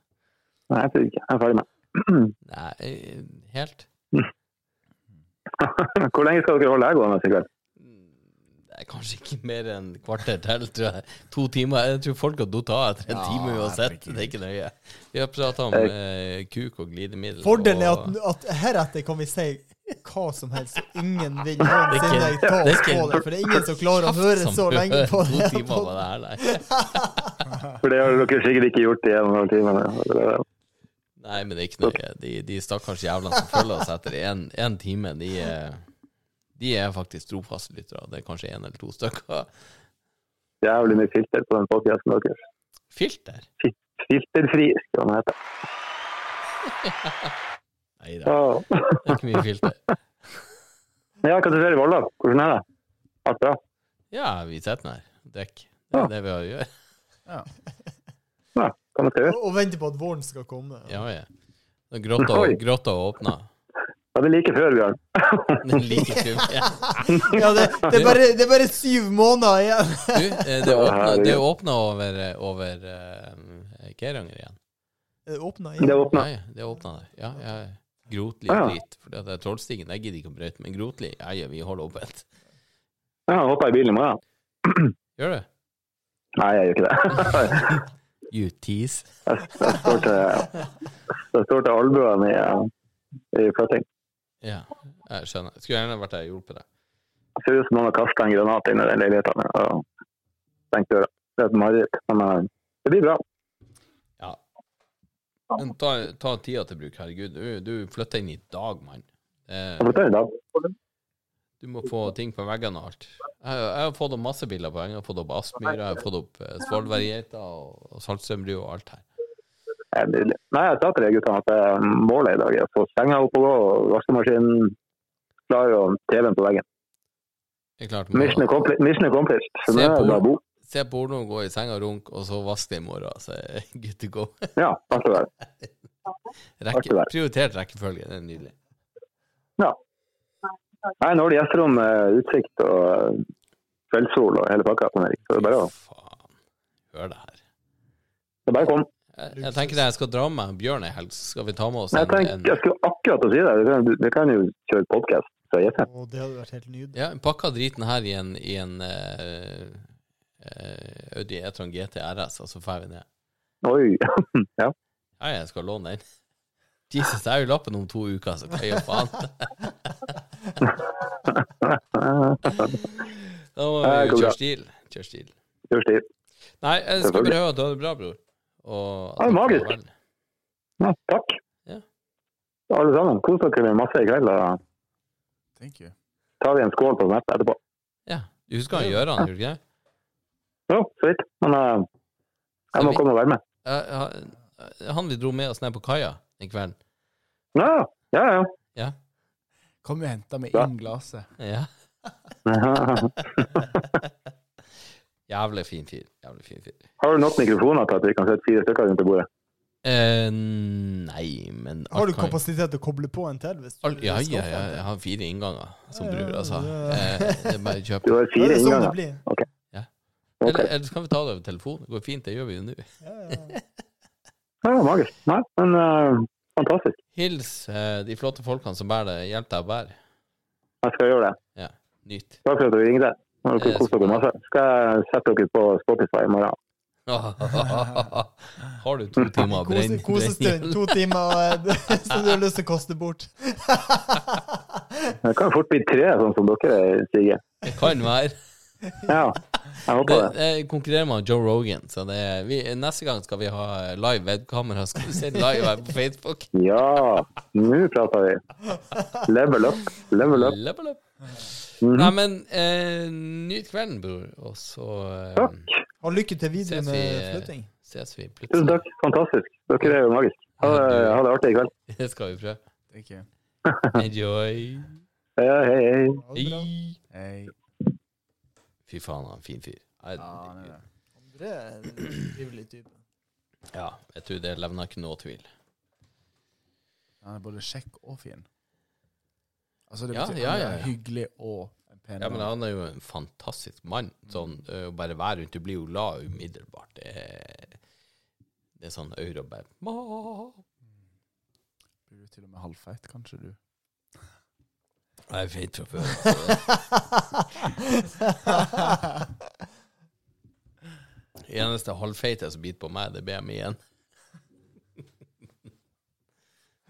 Speaker 6: Nei, jeg flyr ikke. Jeg er ferdig med
Speaker 1: Nei, eh, helt.
Speaker 6: <laughs> Hvor lenge skal dere holde jeg gående i kveld?
Speaker 1: Det er kanskje ikke mer enn kvarter til, tror jeg. To timer. Jeg tror folk har datt av etter en
Speaker 4: Ja,
Speaker 1: time uansett.
Speaker 4: herregud.
Speaker 1: Det er ikke nøye. Vi har prata om eh, kuk og glidemiddel.
Speaker 3: Fordelen er
Speaker 1: og-
Speaker 3: at, at heretter kan vi si hva som helst, og ingen vil
Speaker 1: Det
Speaker 3: noensinne
Speaker 1: er ikke-
Speaker 3: ta
Speaker 1: det er
Speaker 3: oss på
Speaker 1: ikke-
Speaker 3: det. For det er ingen som klarer å
Speaker 1: Kjapt
Speaker 3: høre
Speaker 1: som
Speaker 3: så
Speaker 1: du <laughs>
Speaker 3: lenge
Speaker 1: hører
Speaker 3: på det.
Speaker 1: To timer på det her, nei.
Speaker 6: For det har dere sikkert ikke gjort i en og en halv time.
Speaker 1: Nei, men det er ikke nøye. De, de stakkars jævlene som følger oss etter én time, de, eh, de er faktisk trofaste lyttere. Det er kanskje én eller to stykker.
Speaker 6: Jævlig mye filter på den podkasten deres.
Speaker 1: Filter?
Speaker 6: Filterfri, skal den hete.
Speaker 1: Nei da,
Speaker 6: <laughs> Åh.
Speaker 1: det er ikke mye filter.
Speaker 6: Ja, hva du ser i Volda? Hvordan er det? Alt bra?
Speaker 1: Ja, vi sitter nå her. Drikk. Det er det vi har å gjøre.
Speaker 6: Ja, hva man skal gjøre?
Speaker 3: Og, og venter på at våren skal komme.
Speaker 1: Ja, ja. Det er Grått og,
Speaker 6: Oi.
Speaker 1: grått og åpna.
Speaker 6: Ja, det er like før, Bjørn.
Speaker 1: Den
Speaker 6: <laughs>
Speaker 1: liker ikke vi.
Speaker 3: Ja, det, det, er bare, det er bare syv måneder igjen! <laughs>
Speaker 1: Du, eh, det åpna, det åpna over, eh, over eh, Geiranger igjen.
Speaker 3: Er det åpnet
Speaker 6: Det
Speaker 3: igjen?
Speaker 6: åpna.
Speaker 1: Nei, det åpna der. Ja, ja. Grotli
Speaker 6: Ja.
Speaker 1: drit. For det er Trollstigen, jeg gidder ikke å brøyte, men Grotli, ja, ja, vi holder åpent.
Speaker 6: Ja, jeg hopper i bilen i morgen.
Speaker 1: Gjør det?
Speaker 6: Nei, jeg gjør ikke det. <laughs>
Speaker 1: You tease.
Speaker 6: Jeg, jeg står til, jeg står til albuene i, eh, i flytting.
Speaker 1: Ja, jeg skjønner. Skulle gjerne vært der og hjulpet deg.
Speaker 6: Det ser ut som noen har kastet en granat inn i den leiligheten min og stengt døra. Det er et mareritt, men eh, det blir bra.
Speaker 1: Ja. Men ta, ta tida til bruk, herregud. Du, du flytter inn i dag, mann. Eh,
Speaker 6: Jeg flytter i dag.
Speaker 1: du må få ting på veggene og alt. Jeg, jeg har fått opp masse bilder på henne. Jeg har fått opp Aspmyra, jeg har fått opp eh, Svolværgeita og, og Saltstrømbrua og alt her.
Speaker 6: Eh, Det er nydelig. Nei, jeg sa til de guttene at eh, målet i dag er å få senga opp og gå, og vaskemaskinen klar og TV-en på veggen.
Speaker 1: Det er klart,
Speaker 6: Mission
Speaker 1: må,
Speaker 6: accomplished. Mission accomplished. Så
Speaker 1: Se
Speaker 6: nå er
Speaker 1: på.
Speaker 6: det bare bo.
Speaker 1: se porno, gå i senga og runk, og så vask det i morgen. Så er good to go. <laughs>
Speaker 6: Ja, alt det der. Artig
Speaker 1: Rekke,
Speaker 6: der.
Speaker 1: prioritert rekkefølge, det er nydelig.
Speaker 6: Nei, nå er det gjesterom med utsikt og eh, kveldssol og hele pakka. Sånn, Erik. Så det er bare å
Speaker 1: Faen. Hør det her.
Speaker 6: det er bare å komme.
Speaker 1: Jeg, jeg tenker jeg skal dra med Bjørn ei helg, så skal vi ta med oss
Speaker 6: Jeg,
Speaker 1: en,
Speaker 6: tenker,
Speaker 1: en
Speaker 6: jeg skulle akkurat til å si det. Vi kan, vi kan jo kjøre podkast fra gjesten.
Speaker 3: Og det hadde vært helt nydelig.
Speaker 1: Ja, pakka driten her i en, i en eh, eh, Audi E-tron GT RS, og så drar vi ned.
Speaker 6: Oi. <laughs> ja.
Speaker 1: Ja, jeg skal låne den. <laughs> Jesus, jeg er jo lappen om to uker, så hva gjør faen?
Speaker 6: Eh,
Speaker 1: Da må
Speaker 6: <laughs> Ja,
Speaker 1: vi
Speaker 6: det går
Speaker 1: jo
Speaker 6: bra.
Speaker 1: kjøre stil. Kjøre stil.
Speaker 6: Gjør stil.
Speaker 1: Nei, jeg skal bare høre at du har det bra, bror. Og
Speaker 6: Ja, det er magisk.
Speaker 1: vel.
Speaker 6: Ja, takk.
Speaker 1: Ja.
Speaker 6: Alle sammen, kos dere med masse i kveld. Og
Speaker 4: Thank you.
Speaker 6: tar vi en skål på Snap etterpå.
Speaker 1: Ja. Du husker han Gøran, gjør du ikke det?
Speaker 6: Jo, så vidt. Men eh, jeg må komme og være med.
Speaker 1: Eh, eh, Han vi dro med oss ned på kaia den kvelden.
Speaker 6: Ja, ja, ja. <laughs>
Speaker 4: Kom og henta meg
Speaker 6: Ja.
Speaker 4: inn glasset.
Speaker 1: Ja.
Speaker 6: Har
Speaker 1: Jævlig fin fyr. Jævlig fin fyr.
Speaker 6: du nok mikrofoner til at vi kan sette fire stykker rundt i bordet?
Speaker 1: Eh, nei, men
Speaker 3: Har du
Speaker 1: alt kan-
Speaker 3: kapasitet til å koble på en til? hvis du
Speaker 1: alt- Ja,
Speaker 3: hvis du
Speaker 1: ja,
Speaker 3: skal
Speaker 1: ja,
Speaker 3: få en
Speaker 1: jeg
Speaker 3: til?
Speaker 1: har fire innganger som
Speaker 3: Ja, ja,
Speaker 1: bruker, altså.
Speaker 3: det-
Speaker 1: Eh, det er bare å
Speaker 3: <laughs>
Speaker 1: kjøpe.
Speaker 6: Du har
Speaker 3: Ja,
Speaker 6: fire
Speaker 3: det er sånn det
Speaker 6: innganger.
Speaker 3: blir.
Speaker 6: Ok.
Speaker 1: Eller, eller så kan vi ta det over telefonen. Det går fint, det gjør vi jo nå.
Speaker 3: Ja, ja.
Speaker 6: Ja, magisk. Nei, men eh, fantastisk.
Speaker 1: Hils eh, de flotte folkene som bærer det. Hjelp deg å bære.
Speaker 6: Jeg skal gjøre det.
Speaker 1: Nyt. <laughs>
Speaker 6: Takk for at du ringte. Nå har
Speaker 1: Eh,
Speaker 6: dere kost dere
Speaker 1: skal-
Speaker 6: masse. Skal jeg sette dere på Spotify i morgen?
Speaker 1: har du
Speaker 3: <laughs>
Speaker 1: to timer
Speaker 3: Kose,
Speaker 1: brenn?
Speaker 3: kosestund. To timer eh, <laughs> som du har lyst til å koste bort.
Speaker 6: Det kan fort bli tre, sånn som dere er, Sigge.
Speaker 1: Det kan være.
Speaker 6: Ja, jeg håper
Speaker 1: Det,
Speaker 6: det.
Speaker 1: det konkurrerer med Joe Rogan, så det er, vi, neste gang skal vi ha live webkamera. Skal vi se live her på Facebook?
Speaker 3: <laughs>
Speaker 6: Ja, nå prater vi. Level up, level up.
Speaker 1: Level up.
Speaker 6: Mhm.
Speaker 1: Nei, men eh, nyt kvelden, bror, og så eh,
Speaker 6: Takk.
Speaker 3: Og lykke til videre
Speaker 1: Ses vi,
Speaker 3: med
Speaker 1: eh,
Speaker 3: flytting.
Speaker 1: ses vi
Speaker 6: Tusen
Speaker 1: plutselig.
Speaker 6: takk. Fantastisk. Dere er jo magiske. Ha det, ha det artig i kveld.
Speaker 1: <laughs> Det skal vi prøve.
Speaker 4: Det er ikke
Speaker 1: Enjoy.
Speaker 6: Ja, hei, hei.
Speaker 3: Ha det bra.
Speaker 4: Hei.
Speaker 1: Fy faen, han er en fin fyr. Nei,
Speaker 4: Ja, han er det.
Speaker 3: Andre er en trivelig <laughs> type.
Speaker 1: ja, jeg tror det levner ikke noe tvil.
Speaker 4: Han er både kjekk og fin. Altså, det
Speaker 1: Ja,
Speaker 4: betyr
Speaker 1: ja,
Speaker 4: han er
Speaker 1: ja, ja.
Speaker 4: hyggelig og en pen.
Speaker 1: Ja, men
Speaker 4: mann.
Speaker 1: han er jo en fantastisk mann. Sånn, ø, å bare være rundt, du blir jo glad umiddelbart. Det er, det er sånn øre og bare «Ma».
Speaker 4: Blir du til og med halvfeit, kanskje du?
Speaker 1: Jeg er feit fra før. Altså. Eneste halvfeite som biter på meg, det er BMI-en.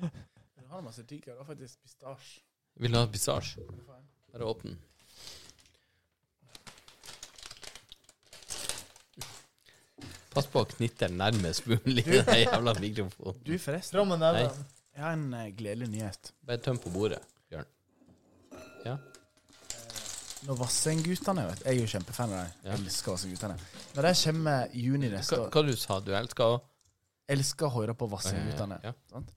Speaker 4: Du har masse digger, du har faktisk pistasje.
Speaker 1: Vil du ha pistasje? Bare åpne den. Pass på å knitte den nærmest <laughs> mulig i den jævla mikrofonen.
Speaker 4: Du, forresten,
Speaker 3: Fram med neven.
Speaker 4: jeg har en eh, gledelig nyhet.
Speaker 1: Bare tøm på bordet, Bjørn. Ja?
Speaker 4: Når Vassendgutene vet Jeg er jo kjempefan av dem. Elsker Vassendgutene. Når de kommer i juni neste
Speaker 1: Hva,
Speaker 4: år
Speaker 1: hva du sa du? Elsker å
Speaker 4: Elsker å høre på Vassendgutene.
Speaker 1: Ja. Mm.
Speaker 4: sant?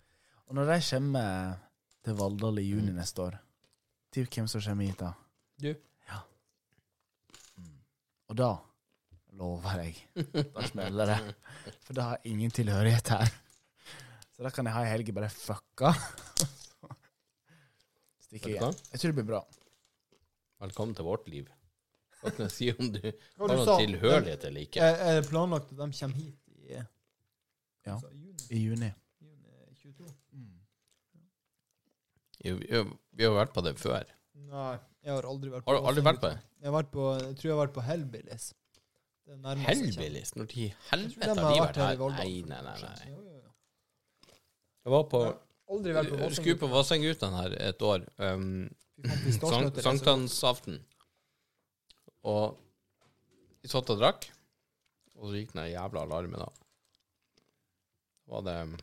Speaker 4: Og når de kommer til Valldal i juni neste år Til hvem som kommer hit da?
Speaker 1: Du.
Speaker 4: Ja. Mm. Og da lover jeg. Da smeller det. For da har jeg ingen tilhørighet her. Så da kan jeg ha ei helg bare fucka. Stikker
Speaker 1: Vet du
Speaker 4: igjen. Jeg tror det blir bra.
Speaker 1: Velkommen til vårt liv. Hva kan jeg si om du
Speaker 3: Hva
Speaker 1: har
Speaker 3: du
Speaker 1: noen
Speaker 3: sa?
Speaker 1: tilhørighet eller ikke?
Speaker 3: Er er det planlagt at de kommer hit i eh,
Speaker 4: Ja.
Speaker 3: altså, juni,
Speaker 4: I juni.
Speaker 3: juni 22?
Speaker 1: Jo, Vi har- vi har vært på det før.
Speaker 3: Nei, jeg har aldri vært på
Speaker 1: Har du aldri vært på det?
Speaker 3: Jeg, har vært på, jeg tror jeg har vært på Hellbillies. Det er nærmest jeg kommer.
Speaker 1: Helbillis? Når i
Speaker 3: Jeg tror
Speaker 1: helvete
Speaker 3: de
Speaker 1: har de vært
Speaker 3: i
Speaker 1: her?
Speaker 3: Volda.
Speaker 1: Nei, nei, nei. nei.
Speaker 3: Jo, jo, jo.
Speaker 1: Jeg var på
Speaker 3: Aldri vært på Vossen.
Speaker 1: Skulle på Vassendgutene her et år. Um,
Speaker 3: Fy faen, pistajenøtter er så godt.
Speaker 1: Sankthansaften. Og vi satt og drakk, og så gikk den der jævla alarmen av. Så var det um,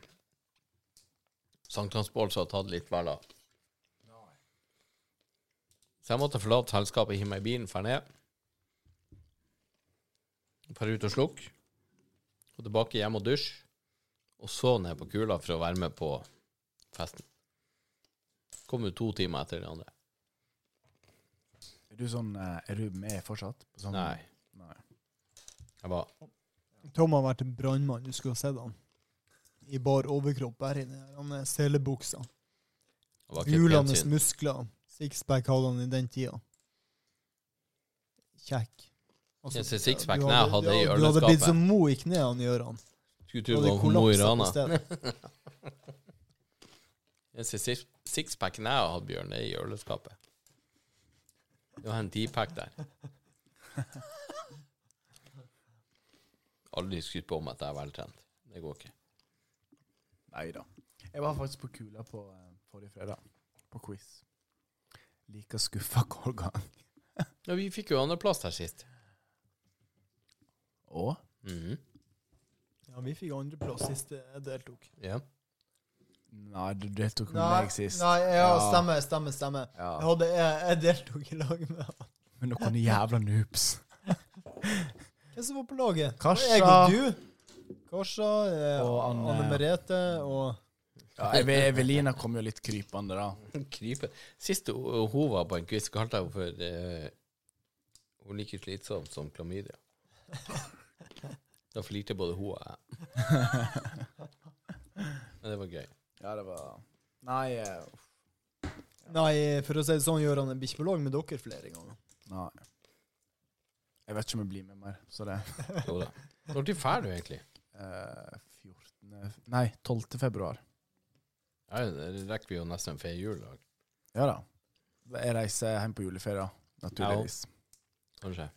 Speaker 1: sankthansbål som hadde tatt litt vel av. Så jeg måtte forlate selskapet, hive meg i bilen, dra ned. Dra ut og slukke. Og tilbake hjem og dusje. Og så ned på kula for å være med på festen. Kom jo to timer etter de andre.
Speaker 4: Er du sånn eh, Er du med fortsatt? På sånn-
Speaker 1: Nei.
Speaker 4: Nei.
Speaker 1: Jeg var
Speaker 3: Tom har vært brannmann, du skulle ha sett han. I bar overkropp, bare i den her, han er selebuksa.
Speaker 1: jeg var ikke
Speaker 3: Hjulende
Speaker 1: pensin.
Speaker 3: muskler. Sixpack hadde han i den tida. Kjekk. Altså,
Speaker 1: Jeg ser sixpack
Speaker 3: du
Speaker 1: når jeg hadde i
Speaker 3: ja, Du hadde
Speaker 1: øleskapet.
Speaker 3: blitt så mo i knærne, Gøran.
Speaker 1: Skulle
Speaker 3: Du
Speaker 1: tro det
Speaker 3: hadde
Speaker 1: var Mo i
Speaker 3: kollapsa på
Speaker 1: Rana.
Speaker 3: stedet.
Speaker 1: <laughs> Jeg ser six- Sixpacken jeg hadde, Bjørn, det er i øleskapet. Det var en tipack der. Aldri skutt på meg at jeg er veltrent. Det går ikke.
Speaker 4: Nei da. Jeg var faktisk på Kula på eh, forrige fredag, på quiz. Like skuffa hver gang.
Speaker 1: Ja, vi fikk jo andreplass der sist.
Speaker 4: Og
Speaker 1: Mhm.
Speaker 3: Ja, vi fikk andreplass sist jeg deltok.
Speaker 1: Ja.
Speaker 4: Nei, du deltok med
Speaker 3: Nei,
Speaker 4: meg sist.
Speaker 3: nei ja,
Speaker 4: Ja.
Speaker 3: stemmer, stemmer, stemmer. Jeg,
Speaker 4: Ja.
Speaker 3: hadde, jeg, jeg deltok i lag med han.
Speaker 4: Men noen jævla noobs.
Speaker 3: Hvem som var på laget? Det var
Speaker 4: Karsa.
Speaker 3: Jeg og du. Karsa eh,
Speaker 4: Og Anne.
Speaker 3: Anne Merete og
Speaker 4: Ja, Eve- Evelina kom jo litt krypende, da.
Speaker 1: Krype. Sist hun hun var på en quiz, kalte jeg henne for eh, Hun er like slitsom som klamydia. Da flirte både hun og jeg. Men det var gøy.
Speaker 4: Ja, det var Nei. eh, uff,
Speaker 3: Nei, for å si det sånn, Gøran, jeg blir ikke på lag med dere flere ganger.
Speaker 4: Nei. Jeg vet ikke om jeg blir med mer, så det
Speaker 1: Jo da. Når drar du egentlig?
Speaker 4: eh, 14. Nei, 12. februar.
Speaker 1: Ja, det rekker vi jo nesten før jul, da,
Speaker 4: Ja da. Jeg reiser hjem på juleferie, da, naturligvis.
Speaker 1: kanskje.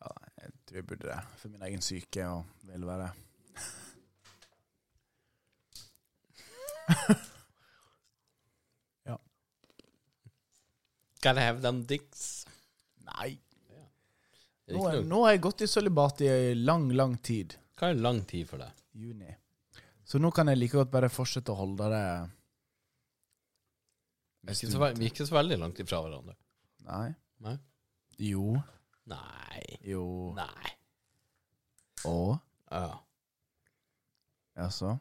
Speaker 4: Ja, jeg tror jeg burde det. For min egen syke og velvære.
Speaker 1: Gotta have them dicks.
Speaker 4: Nei.
Speaker 1: Er det
Speaker 4: Nå,
Speaker 1: ikke
Speaker 4: er,
Speaker 1: noe-
Speaker 4: nå har jeg gått i sølibat i lang, lang tid.
Speaker 1: Hva er lang tid for deg?
Speaker 4: Juni. Så nå kan jeg like godt bare fortsette å holde det
Speaker 1: Vi er ikke så, ve- vi er ikke så veldig langt ifra hverandre.
Speaker 4: Nei.
Speaker 1: Nei.
Speaker 4: Jo.
Speaker 1: Nei.
Speaker 4: Jo.
Speaker 1: Nei.
Speaker 4: Og?
Speaker 1: Ja.
Speaker 4: Jaså?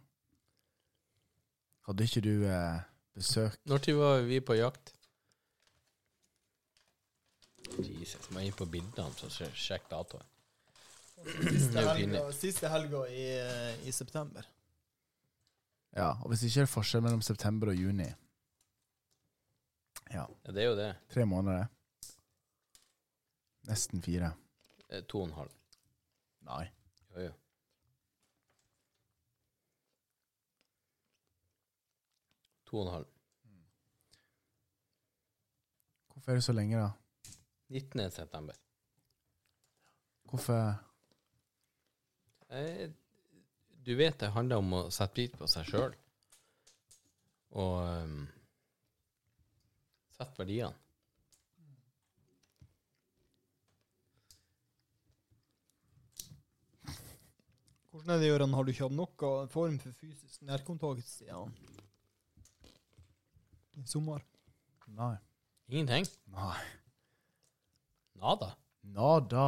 Speaker 4: Hadde ikke du eh, besøk
Speaker 1: Når tid var vi på jakt? Jesus, må jeg inn på bildene og sjekke datoen. Det
Speaker 3: Siste
Speaker 1: er jo
Speaker 3: helga,
Speaker 1: pinlig.
Speaker 3: siste helga i, eh, i september.
Speaker 4: Ja, og hvis ikke er det forskjell mellom september og juni Ja,
Speaker 1: Ja, det er jo det.
Speaker 4: tre måneder. Nesten fire.
Speaker 1: Eh, To og en halv.
Speaker 4: Nei.
Speaker 1: Jo, jo. To og en halv.
Speaker 4: Hvorfor er det så lenge, da?
Speaker 1: 19. september.
Speaker 4: Hvorfor
Speaker 1: Eh, Du vet det handler om å sette pris på seg sjøl. Og um, sette verdiene.
Speaker 3: Hvordan er det, Gøran? Har du ikke hatt noen form for fysisk nærkontakt siden i sommer?
Speaker 4: Nei.
Speaker 1: Ingenting.
Speaker 4: Nei.
Speaker 1: Nada.
Speaker 4: Nada.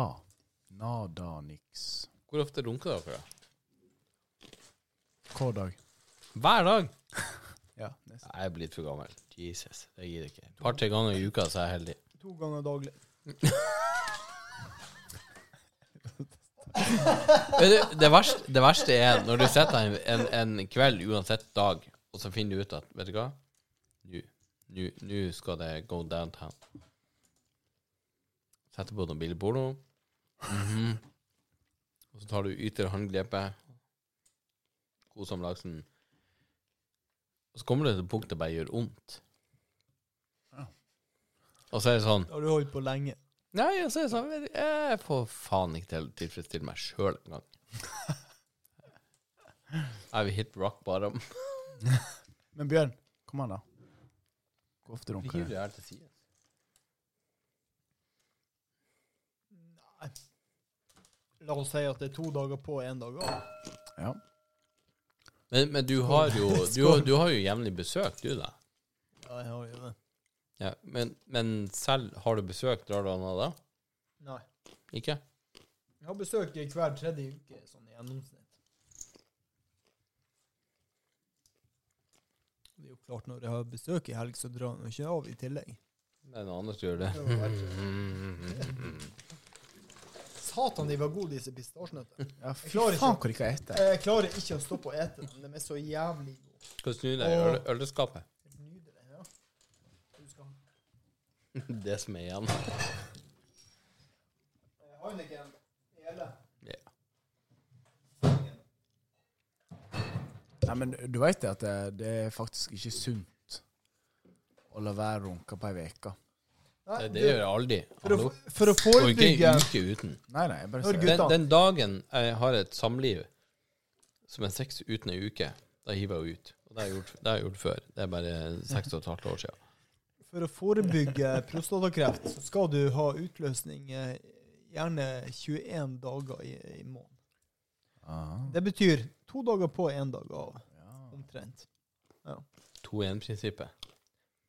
Speaker 4: Nada niks.
Speaker 1: Hvor ofte runker dere? da?
Speaker 4: Hver dag.
Speaker 1: Hver dag!
Speaker 4: <laughs> Ja, nesten.
Speaker 1: Jeg er blitt for gammel. Jesus, det gidder jeg ikke. Et par-tre ganger i uka så er jeg heldig.
Speaker 3: To ganger daglig.
Speaker 1: Vet du, det, verste, det verste er når du sitter en, en, en kveld, uansett dag, og så finner du ut at Vet du hva? Nå- Nå nå skal det go downtown. Setter på noe billig porno. Mhm. Og så tar du ytre håndgrepet. God som laksen. Og så kommer det til punktet bare gjør vondt. Og så er det sånn
Speaker 3: Det har du holdt på lenge.
Speaker 1: Nei, altså, jeg, sa, vet- jeg får faen ikke til å tilfredsstille meg sjøl engang. <laughs> I will hit rock bottom.
Speaker 4: Men Bjørn, kom an, da. Hvor ofte runker du?
Speaker 1: her til siden.
Speaker 3: La oss si at det er to dager på og én dag av.
Speaker 4: Ja.
Speaker 1: Men, men du har jo Du, har- du har jo jevnlig besøk, du, da.
Speaker 3: Ja, jeg har jo det.
Speaker 1: Ja, men, men selv har du besøk, drar du an da?
Speaker 3: Nei.
Speaker 1: Ikke?
Speaker 3: Jeg har besøk i hver tredje uke, sånn i gjennomsnitt. Det er jo klart, når jeg har besøk i helg, så drar jeg nå ikke av i tillegg.
Speaker 1: Det er noen andre som gjør det. Mm,
Speaker 3: Satan, de var gode, disse pistasjenøttene.
Speaker 4: ja fy
Speaker 3: klarer ikke.
Speaker 4: faen hvor ikke jeg eter.
Speaker 3: Jeg klarer ikke å stoppe å ete dem. De er så jævlig gode.
Speaker 1: Skal du snu deg i øl- øleskapet?
Speaker 3: Nydelig. Ja. Du skal
Speaker 1: <laughs> Det som er igjen.
Speaker 3: Eh, Heineken. Hele.
Speaker 1: Ja.
Speaker 4: Nei, men du veit det at det, det er faktisk ikke sunt å la være å runke på ei uke.
Speaker 3: Nei,
Speaker 1: Det, det
Speaker 3: du,
Speaker 1: gjør jeg aldri.
Speaker 3: for,
Speaker 1: Hallo.
Speaker 3: å, for å
Speaker 1: Og ikke
Speaker 3: forebygge
Speaker 1: en uke uten.
Speaker 4: Nei, nei, jeg bare
Speaker 3: Når
Speaker 4: sier
Speaker 1: Den,
Speaker 3: gutta-
Speaker 1: den dagen jeg har et samliv som er sex uten ei uke, da hiver jeg ut. Og det har jeg gjort, det har jeg gjort før. Det er bare seks og et halvt år siden.
Speaker 3: For å forebygge prostatakreft så skal du ha utløsning eh, gjerne 21 dager i, i måneden.
Speaker 4: Ah,
Speaker 3: Det betyr to dager på, én dag av,
Speaker 4: ja.
Speaker 3: omtrent.
Speaker 1: To i én-prinsippet.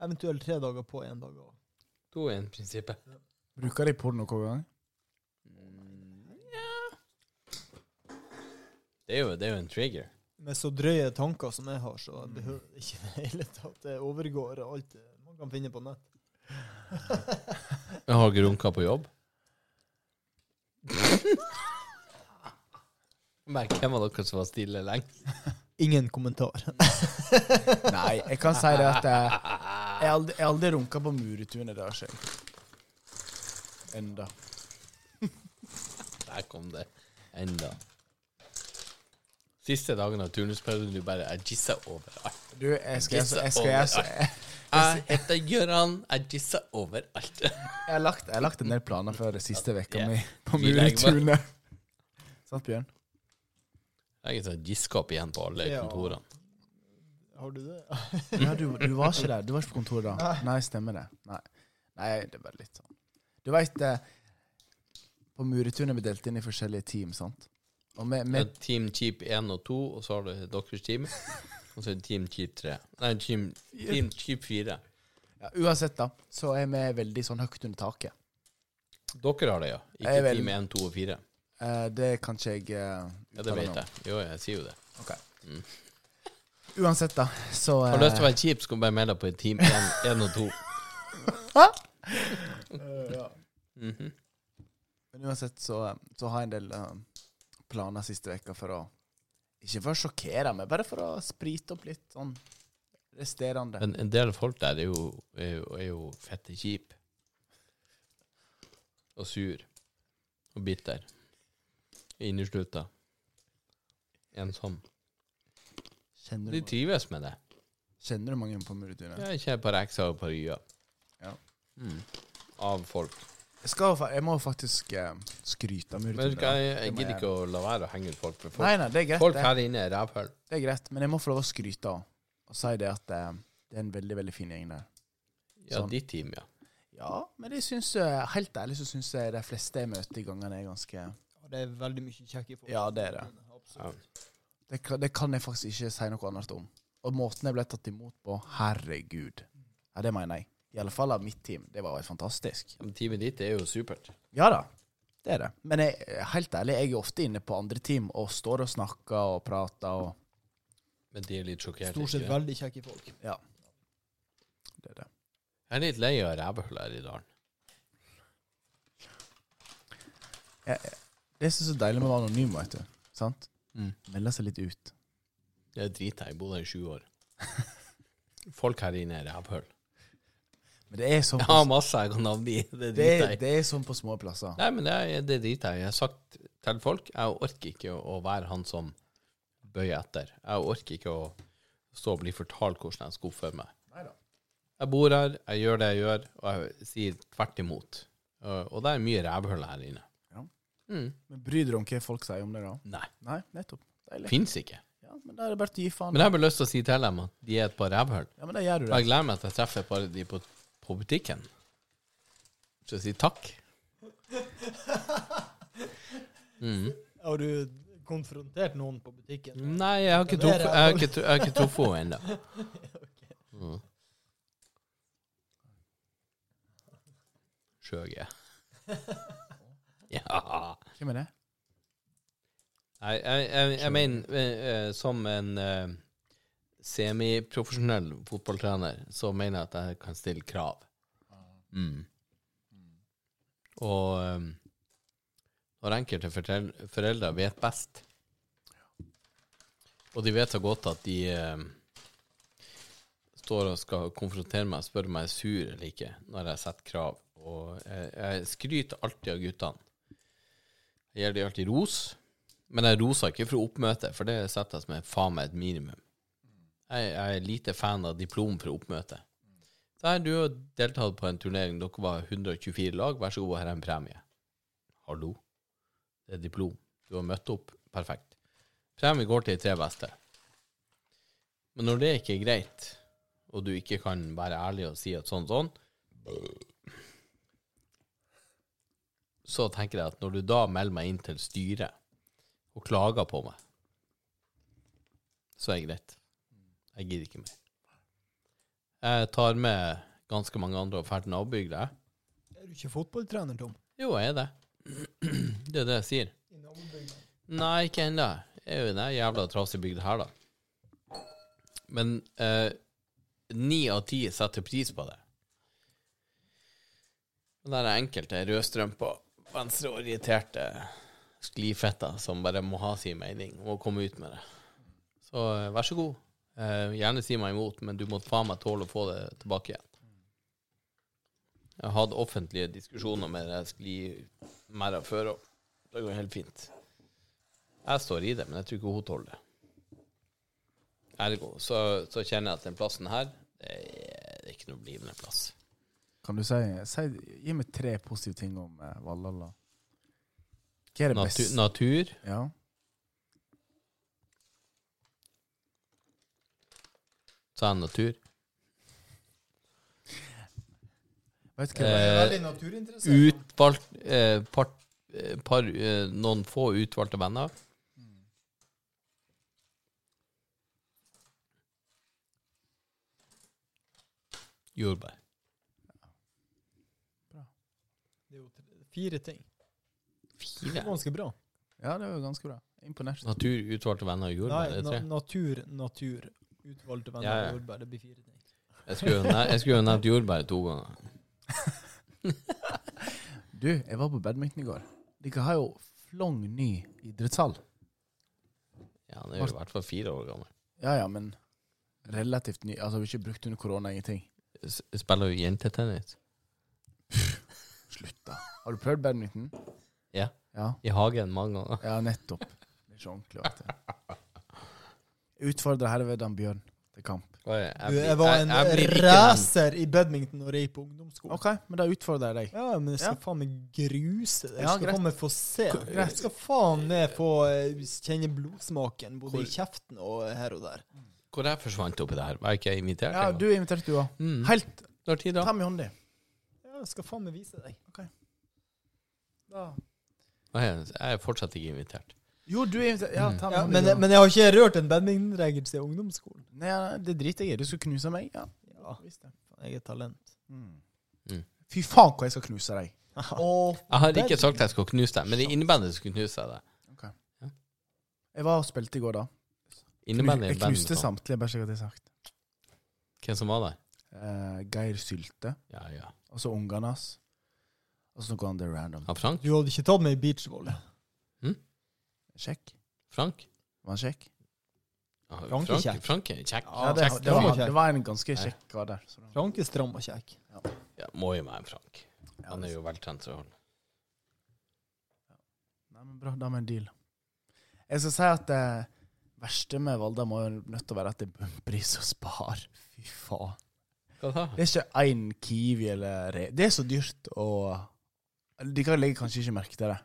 Speaker 3: Eventuelt tre dager på, én dag av.
Speaker 1: To i én-prinsippet.
Speaker 4: Bruker de porno hver gang?
Speaker 1: Det er jo, det er jo en trigger.
Speaker 3: Med så drøye tanker som jeg har, så behøver det ikke <laughs> i det hele tatt. Det overgår alt det man kan finne på nett.
Speaker 1: Jeg har grunka på jobb. <laughs> Men hvem av dere som var stille lenge?
Speaker 3: Ingen kommentar.
Speaker 4: Nei, jeg kan si det at eh, jeg aldri, jeg aldri runka på Muretunet der selv. Enda.
Speaker 1: Der kom det. Enda. Siste dagen av turnusperioden du bare Jeg jissa overalt.
Speaker 4: Du, jeg skal jeg, jeg, skal, jeg, jeg,
Speaker 1: Jeg heter Gøran. Jeg jissa overalt.
Speaker 4: jeg, har lagt, jeg har lagt en del planer for det siste vekka
Speaker 1: Ja.
Speaker 4: mi på
Speaker 1: Vi legger bare-
Speaker 4: Muretunet. Sant, Bjørn?
Speaker 1: Jeg er sånn jisskap igjen på alle
Speaker 3: Ja.
Speaker 1: kontorene.
Speaker 3: Har du det?
Speaker 4: Ja, du, du var ikke der. Du var ikke på kontoret da. Nei, stemmer det. Nei, Nei det er bare litt sånn. Du veit, på Muretunet er vi delt inn i forskjellige team, sant? Og vi, vi
Speaker 1: Det er Team Cheap 1 og 2, og så har du deres
Speaker 4: <laughs>
Speaker 1: team. Og så er det Team Cheap 3. Nei, Team, team Cheap 4.
Speaker 4: ja, Uansett, da, så er vi veldig sånn høyt under taket.
Speaker 1: Dere har det, ja. Ikke
Speaker 4: Jeg vel-
Speaker 1: Team 1, 2 og 4.
Speaker 4: Eh, det kan ikke jeg eh,
Speaker 1: Ja, det
Speaker 4: uttale meg
Speaker 1: vet
Speaker 4: om.
Speaker 1: jeg. Jo, jeg sier jo det.
Speaker 4: Ok.
Speaker 1: Mm.
Speaker 4: Uansett, da, så
Speaker 1: Har du lyst til å
Speaker 4: eh,
Speaker 1: være kjip, skal du bare melde deg på i Team 1, 1 og 2.
Speaker 4: <laughs>
Speaker 1: Mhm.
Speaker 4: men Uansett, så, eh, så har jeg en del eh, planer siste vekka for å Ikke for å sjokkere, men bare for å sprite opp litt sånn resterende.
Speaker 1: Men en del folk der er jo, er jo, er jo fette kjip. Og sur. Og bitter. Inneslutta. Ensom.
Speaker 4: Kjenner
Speaker 1: De
Speaker 4: du,
Speaker 1: trives med det.
Speaker 4: kjenner du mange på Muretunet?
Speaker 1: Jeg kjenner på Reksa og på Rya.
Speaker 4: Ja.
Speaker 1: Mm. Av folk.
Speaker 4: Jeg, skal, fa- jeg må faktisk eh, skryte av
Speaker 1: Men
Speaker 4: Muretunet.
Speaker 1: skal jeg, jeg
Speaker 4: Det må
Speaker 1: gidder ikke å la være å henge ut folk, for folk,
Speaker 4: Nei, nei, det er greit.
Speaker 1: folk
Speaker 4: det.
Speaker 1: her inne er rævhull.
Speaker 4: Det er greit, men jeg må få lov å skryte av og si det at eh, det er en veldig, veldig fin gjeng der.
Speaker 1: Ja,
Speaker 4: Sånn.
Speaker 1: ditt team, ja.
Speaker 4: Ja, men jeg synes, eh, helt ærlig så syns jeg de fleste jeg møter i gangene, er ganske
Speaker 3: Det er veldig mye kjekke folk.
Speaker 4: Ja, det er det.
Speaker 3: Absolutt.
Speaker 4: det kan, det kan jeg faktisk ikke si noe annet om. Og måten jeg ble tatt imot på, herregud. Ja, det mener jeg. I alle fall av mitt team. Det var jo helt fantastisk.
Speaker 1: Men Teamet ditt er jo supert.
Speaker 4: Ja da, det er det. Men jeg, helt ærlig, jeg er ofte inne på andre team og står og snakker og prater og
Speaker 1: Men de er litt sjokkert.
Speaker 3: Stort sett
Speaker 1: ikke?
Speaker 3: veldig kjekke folk.
Speaker 4: Ja. Det er det.
Speaker 1: Jeg er litt lei av rævhull her i dalen.
Speaker 4: Det som er så deilig med å være anonym, vet du. Sant?
Speaker 1: Mm.
Speaker 4: Melde seg litt ut.
Speaker 1: Det er drita. Jeg bodde her i sju
Speaker 4: <laughs>
Speaker 1: år. Folk her inne er rævhull.
Speaker 4: Men det er sånn
Speaker 1: Jeg
Speaker 4: på,
Speaker 1: har masse jeg kan navngi. Det
Speaker 4: det er,
Speaker 1: driter jeg i.
Speaker 4: det er sånn på små plasser.
Speaker 1: Nei, men det, er- det driter jeg i. Jeg har sagt til folk jeg orker ikke å å være han som bøyer etter. Jeg orker ikke å stå og bli fortalt hvordan jeg skal oppføre meg. Jeg bor her, jeg gjør det jeg gjør, og jeg sier tvert imot. Og og det er mye rævhull her inne.
Speaker 4: Ja.
Speaker 1: Mm.
Speaker 4: Men bryr dere om hva folk sier om det, da?
Speaker 1: Nei,
Speaker 4: Nei, nettopp. Deilig.
Speaker 1: fins ikke.
Speaker 4: Ja, men da er det bare å gi faen.
Speaker 1: Men jeg har bare lyst til å si til dem at de er et par rævhull.
Speaker 4: Ja, men da gjør du
Speaker 1: Og
Speaker 4: det.
Speaker 1: jeg gleder meg til jeg treffer bare de på, på butikken. Så jeg sier takk. Mm.
Speaker 3: Har du konfrontert noen på butikken?
Speaker 1: Nei, jeg har ikke
Speaker 3: Ja, det er
Speaker 1: truffet- jeg har ikke tru- jeg har ikke truffet henne ennå. Mm. Skjøge. <laughs> Ja.
Speaker 4: Hvem er det?
Speaker 1: Nei, jeg, jeg, jeg mener, eh, eh, som en eh, semiprofesjonell fotballtrener, så mener jeg at jeg kan stille krav. Mm. Og eh, når enkelte fortel- foreldre vet best, og de vet så godt at de eh, står og skal konfrontere meg og spørre om jeg er sur eller ikke, når jeg setter krav. Og jeg, jeg skryter alltid av guttene. Jeg gir dem alltid ros. Men jeg roser ikke for oppmøte, for det setter jeg som en faen meg et minimum. Jeg, jeg er lite fan av diplom for oppmøte. Der du har deltatt på en turnering, dere var 124 lag, vær så god, her er en premie. Hallo. Det er diplom. Du har møtt opp. Perfekt. Premie går til de tre beste. Men når det ikke er greit, og du ikke kan være ærlig og si at sånn, sånn, så tenker jeg at når du da melder meg inn til styret, og klager på meg, så er det greit. Jeg gidder ikke mer. Jeg tar med ganske mange andre og drar til nabobygda.
Speaker 3: Er du ikke fotballtrener, Tom?
Speaker 1: Jo, jeg er <clears throat> det. Det er det jeg sier.
Speaker 3: I nabobygda.
Speaker 1: Nei, ikke ennå. er jo den her jævla trasige bygda her, da. Men eh, ni av ti setter pris på det. Og der er enkelte rødstrømpa, venstreorienterte sklifetter som bare må ha sin mening og komme ut med det. Så eh, vær så god. Eh, gjerne si meg imot, men du må faen meg tåle å få det tilbake igjen. Jeg har hatt offentlige diskusjoner med det sklimerra før, og det går helt fint. Jeg står i det, men jeg tror ikke hun tåler det. Ergo så, så kjenner jeg at den plassen her, det er det er ikke noe blivende plass.
Speaker 4: Kan du si, si Gi meg tre positive ting om eh, Valhalla. Hva er det
Speaker 1: Natu,
Speaker 4: beste?
Speaker 1: natur
Speaker 4: Ja.
Speaker 1: Sa jeg natur?
Speaker 4: Vet du hva det er?
Speaker 1: Eh,
Speaker 7: Veldig naturinteressert.
Speaker 1: utvalgt eh, part, eh, par, eh, Noen få utvalgte venner.
Speaker 4: Mm.
Speaker 1: Jordbær.
Speaker 3: Det er jo tre- fire ting. Det var
Speaker 1: Fire.
Speaker 3: ganske bra.
Speaker 4: Ja, det var ganske bra. Imponert.
Speaker 1: Natur, utvalgte venner og jordbær.
Speaker 3: Nei,
Speaker 1: det er
Speaker 3: na
Speaker 1: tre.
Speaker 3: natur, natur. Utvalgte venner
Speaker 1: Ja, ja.
Speaker 3: og jordbær. Det blir fire ting.
Speaker 1: Jeg skulle jo ne- jeg skulle jo nevnt jordbær to ganger.
Speaker 4: Du, jeg var på badminton i går. Dere har jo flong ny idrettshall.
Speaker 1: Ja, Han er jo i hvert fall fire år gammel.
Speaker 4: Ja ja, men relativt ny. Altså, vi har ikke brukt under korona ingenting.
Speaker 1: S spiller jo jentetennis
Speaker 4: Slutt, da. Har du prøvd badminton?
Speaker 1: Ja.
Speaker 4: Ja,
Speaker 1: i hagen mange ganger.
Speaker 4: ja nettopp. Det er ikke ordentlig. Vet du. Jeg Utfordrer herved han Bjørn til kamp.
Speaker 1: Oi, Jeg,
Speaker 3: Du,
Speaker 1: blir-
Speaker 3: jeg var en
Speaker 1: jeg blir ikke den-
Speaker 3: racer i badminton når jeg gikk på ungdomsskolen.
Speaker 4: OK, men da utfordrer jeg deg.
Speaker 3: Ja, men jeg skal
Speaker 4: Ja.
Speaker 3: faen meg gruse det. Jeg
Speaker 4: Ja,
Speaker 3: skal
Speaker 4: greit.
Speaker 3: faen meg få se. Jeg skal faen meg få eh, kjenne blodsmaken både i kjeften og her og der.
Speaker 1: Hvor jeg forsvant oppi det her? Var ikke jeg invitert?
Speaker 4: Ja,
Speaker 1: engang?
Speaker 4: du er invitert, du òg.
Speaker 1: Mm.
Speaker 4: Helt
Speaker 1: Når tid da?
Speaker 4: tam i hånda.
Speaker 3: Ja, jeg skal faen meg vise deg.
Speaker 4: Da-
Speaker 1: Nei, jeg er fortsatt ikke invitert.
Speaker 4: Jo, du er invitert. Ja,
Speaker 1: Mm.
Speaker 4: tam i
Speaker 3: Ja,
Speaker 4: hånda,
Speaker 3: men,
Speaker 4: du også.
Speaker 3: men jeg har ikke rørt en badmintonregel siden ungdomsskolen.
Speaker 4: Nei, nei, det driter jeg i. Du skal knuse meg. Ja.
Speaker 3: Ja, faen, jeg er et talent.
Speaker 1: Mm.
Speaker 4: Fy faen, hvor jeg skal knuse deg.
Speaker 3: Og
Speaker 1: Jeg har ikke sagt at jeg skulle knuse deg, men det er innebandy som skulle knuse deg.
Speaker 4: Jeg var og spilte i går, da.
Speaker 1: Innebandy
Speaker 4: jeg
Speaker 1: er bandet.
Speaker 4: knuste
Speaker 1: da.
Speaker 4: samtlige, bare så jeg har sagt.
Speaker 1: Hvem som var der?
Speaker 4: Eh, Geir Sylte,
Speaker 1: Ja, ja.
Speaker 4: og så ungene hans. Og så noe annet random.
Speaker 1: Ja, Frank?
Speaker 3: du hadde ikke tatt meg i beachvolley.
Speaker 4: Sjekk.
Speaker 1: Frank?
Speaker 4: Var han kjekk?
Speaker 1: Ja,
Speaker 3: Frank er kjekk.
Speaker 1: Frank er kjekk.
Speaker 4: Ja, det,
Speaker 1: Ah, kjekk.
Speaker 4: det, var,
Speaker 3: kjekk.
Speaker 4: det var en ganske kjekk kar der. Så da-
Speaker 3: Frank er stram og kjekk.
Speaker 1: Ja, må jo være en Frank.
Speaker 4: ja,
Speaker 1: Han er
Speaker 4: det-
Speaker 1: jo veltrent. så han-
Speaker 4: Nei, men bra, da har vi en deal. Jeg skal si at det verste med Valda må jo nødt til å være at det er bunnpris og spar. Fy faen.
Speaker 1: Hva sa
Speaker 4: Det er ikke én Kiwi eller re... Det er så dyrt å De kan legge kanskje ikke merke til det.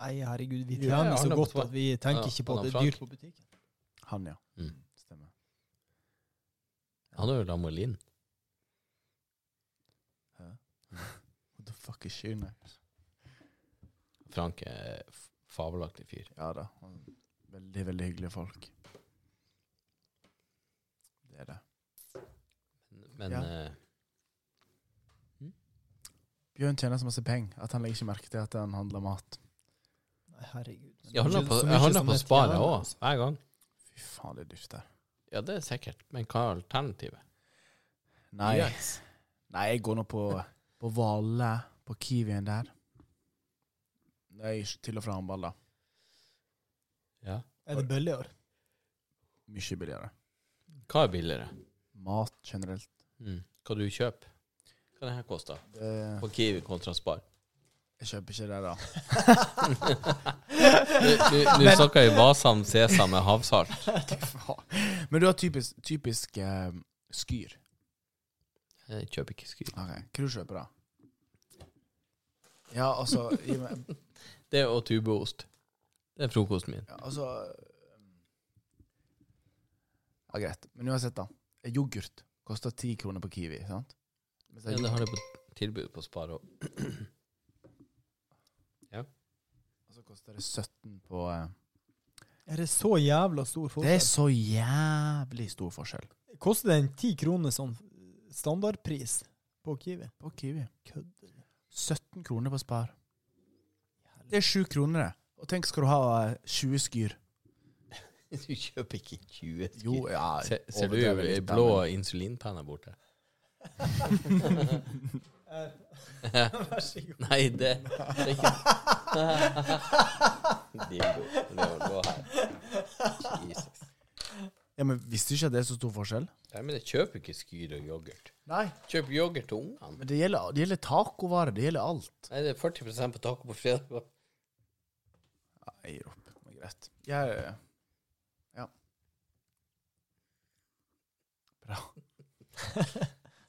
Speaker 3: Nei, herregud, vi
Speaker 1: Ja,
Speaker 3: tjener
Speaker 1: ja, han
Speaker 3: så
Speaker 1: er
Speaker 3: godt
Speaker 1: på-
Speaker 3: at vi tenker
Speaker 1: Ja,
Speaker 3: ikke på
Speaker 1: han
Speaker 3: at
Speaker 1: er
Speaker 3: det er dyrt på butikken.
Speaker 4: Han, ja.
Speaker 1: Mm.
Speaker 4: Stemmer.
Speaker 1: Han er jo Lamolin.
Speaker 4: What the fuck is she now?
Speaker 1: Frank er f- fabelaktig fyr.
Speaker 4: Ja da. han- Veldig, veldig hyggelige folk. Det er det.
Speaker 1: Men
Speaker 4: Ja.
Speaker 1: eh,
Speaker 4: Bjørn tjener så masse penger at han legger ikke merke til at han handler mat.
Speaker 3: Nei, herregud.
Speaker 1: jeg handler
Speaker 3: Så
Speaker 1: på,
Speaker 3: mye
Speaker 1: jeg handler
Speaker 3: som
Speaker 1: på
Speaker 3: jeg
Speaker 1: Spar
Speaker 3: tjener,
Speaker 1: òg,
Speaker 3: altså.
Speaker 1: hver gang.
Speaker 4: Fy faen, det er dyrt der.
Speaker 1: Ja, det er sikkert. Men hva er alternativet?
Speaker 4: Nei.
Speaker 1: Yes.
Speaker 4: Nei, jeg går nå på, på Valle, på Kiwien der. Nei, til og fra håndball, da.
Speaker 1: Ja.
Speaker 3: Er det billigere?
Speaker 4: Mye billigere.
Speaker 1: Hva er billigere?
Speaker 4: Mat generelt.
Speaker 1: Mm. Hva du kjøper? Hva det her koster?
Speaker 4: Det,
Speaker 1: På Kiwi kontra Spar.
Speaker 4: jeg kjøper ikke det, da.
Speaker 1: Nå snakker vi Vasam, sesam med havsalt.
Speaker 4: Faen. Men du har typisk, typisk eh, skyr.
Speaker 1: Jeg kjøper ikke skyr.
Speaker 4: Ok, Hva du kjøper da? Ja, altså, i, ja,
Speaker 1: Det og tubeost. Det er frokosten min.
Speaker 4: altså Ja, greit. Men uansett, da. Yoghurt koster ti kroner på Kiwi, sant? Mens
Speaker 1: Ja,
Speaker 4: jeg-
Speaker 1: det har jeg på tilbud på Spar òg.
Speaker 4: Og så koster det 17 på eh,
Speaker 3: Er det så jævla stor
Speaker 4: Det er
Speaker 3: forskjell?
Speaker 4: så jævlig stor forskjell.
Speaker 3: Koster den ti kroner sånn standardpris på Kiwi?
Speaker 4: På Kiwi.
Speaker 3: Kødder du?
Speaker 4: 17 kroner på Spar. Det er 7 kroner, det. Og tenk, skal du ha eh, 20 skyr?
Speaker 1: Du kjøper ikke 20 skyr.
Speaker 4: Jo, ja.
Speaker 1: ser, ser du
Speaker 4: overdrevet
Speaker 1: ei
Speaker 4: litt, da,
Speaker 1: blå
Speaker 4: men-
Speaker 1: insulinpenne borte?
Speaker 3: Vær så god.
Speaker 1: <laughs> Nei, det, det er
Speaker 4: <laughs>
Speaker 1: ikke Dingo. Det var blå her. Jesus.
Speaker 4: Ja, men Visste du ikke at det er så stor forskjell?
Speaker 1: Nei, men jeg kjøper ikke skyr og yoghurt.
Speaker 4: Nei.
Speaker 1: Kjøp yoghurt til ungene.
Speaker 4: Men det gjelder, det gjelder tacovarer. Det gjelder alt.
Speaker 1: Nei, det er 40 på taco på fredag.
Speaker 4: Jeg gir opp. Det er greit. Jeg Ja. Bra.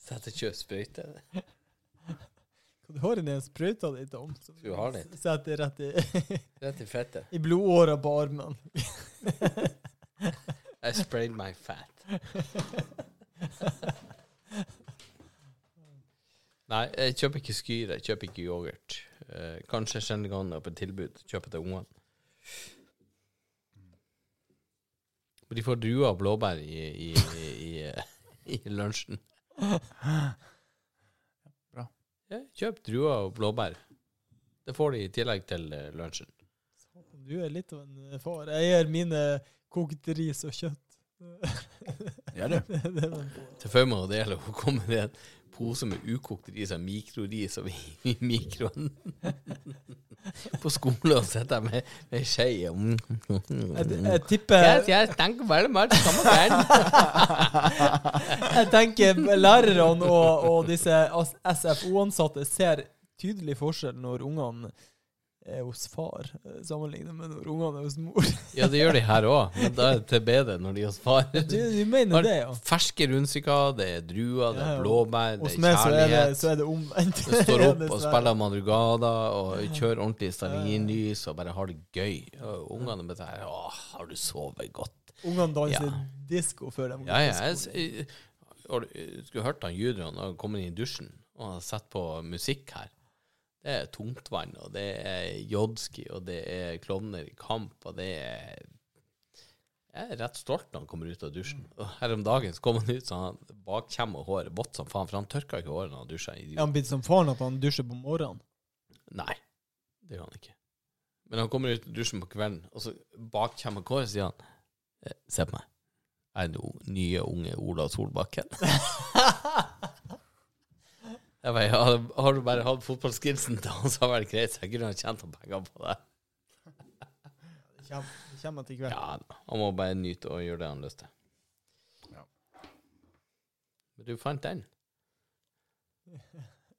Speaker 1: Setter ikke sprøyte.
Speaker 3: Hva Du har i den sprøyta di, Tom. som
Speaker 1: Du har litt.
Speaker 3: Setter rett i,
Speaker 1: Rett i fettet.
Speaker 3: i blodåra på armen.
Speaker 1: I sprayed my fat. Nei, jeg kjøper ikke skyr, jeg kjøper ikke yoghurt. Eh, kanskje jeg kjenner gang det er på tilbud, kjøper til ungene. Men de får druer og blåbær i, i, i, i, i lunsjen.
Speaker 4: Bra.
Speaker 1: Ja, kjøp druer og blåbær. Det får de i tillegg til eh, lunsjen.
Speaker 3: Du er litt av en eh, far. Jeg gjør mine kokt ris og kjøtt.
Speaker 4: Ja, du.
Speaker 3: <laughs> Det er det man får.
Speaker 1: til Fauma og Dele hun kommer i en pose med ukokt ris og mikroris og i <laughs> mikroen. På skolen og sitter jeg med ei skje i mm.
Speaker 3: Jeg,
Speaker 1: mm.
Speaker 3: jeg tipper
Speaker 1: Yes, yes, tenker bare mer samme
Speaker 3: <laughs>
Speaker 1: gang.
Speaker 3: Jeg tenker lærerne og, og disse as- SFO-ansatte ser tydelig forskjell når ungene er hos far, eh, sammenlignet med når ungene er hos mor.
Speaker 1: <laughs> Ja, det gjør de her òg, men da er det til bedre når de er hos far.
Speaker 3: Du, du mener det, ja.
Speaker 1: Ferske rundstykker, det er druer, det
Speaker 3: Ja,
Speaker 1: er
Speaker 3: ja.
Speaker 1: blåbær, det
Speaker 3: Hos
Speaker 1: er
Speaker 3: meg så er det,
Speaker 1: kjærlighet.
Speaker 3: så er det omvendt.
Speaker 1: Du står
Speaker 3: <laughs>
Speaker 1: opp og
Speaker 3: Dessverre.
Speaker 1: spiller madrugada og kjører ordentlig stearinlys og bare har det gøy. Og ungene bare sånn Åh, har du sovet godt?
Speaker 3: Ungene danser
Speaker 1: Ja.
Speaker 3: disko før de går
Speaker 1: Ja, ja.
Speaker 3: på
Speaker 1: Jeg,
Speaker 3: skolen.
Speaker 1: jeg, har du- skulle hørt han judroen når han kommer inn i dusjen og han har sett på musikk her. Det er tungtvann, og det er jodski, og det er klovner i kamp, og det er Jeg er rett stolt når han kommer ut av dusjen. Og her om dagen så kom han ut så han bakkjem og håret vått som faen, for han tørka ikke håret når han dusja. idiot.
Speaker 3: Er han blitt som faren at han dusjer på morgenen?
Speaker 1: Nei, det gjør han ikke. Men han kommer ut av dusjen på kvelden, og så bak kommer Kåre, sier han «Eh, Se på meg. Jeg er den o- nye, unge Ola Solbakken. <laughs> jeg bare, ja, har du bare hatt fotballskillsen til han, så har det vært greit. Så jeg kunne ha tjent noen penger på det.
Speaker 3: Det kommer, det kommer til kveld.
Speaker 1: Ja, da. Han må bare nyte og gjøre det han har lyst til.
Speaker 4: Ja.
Speaker 1: Men du fant den?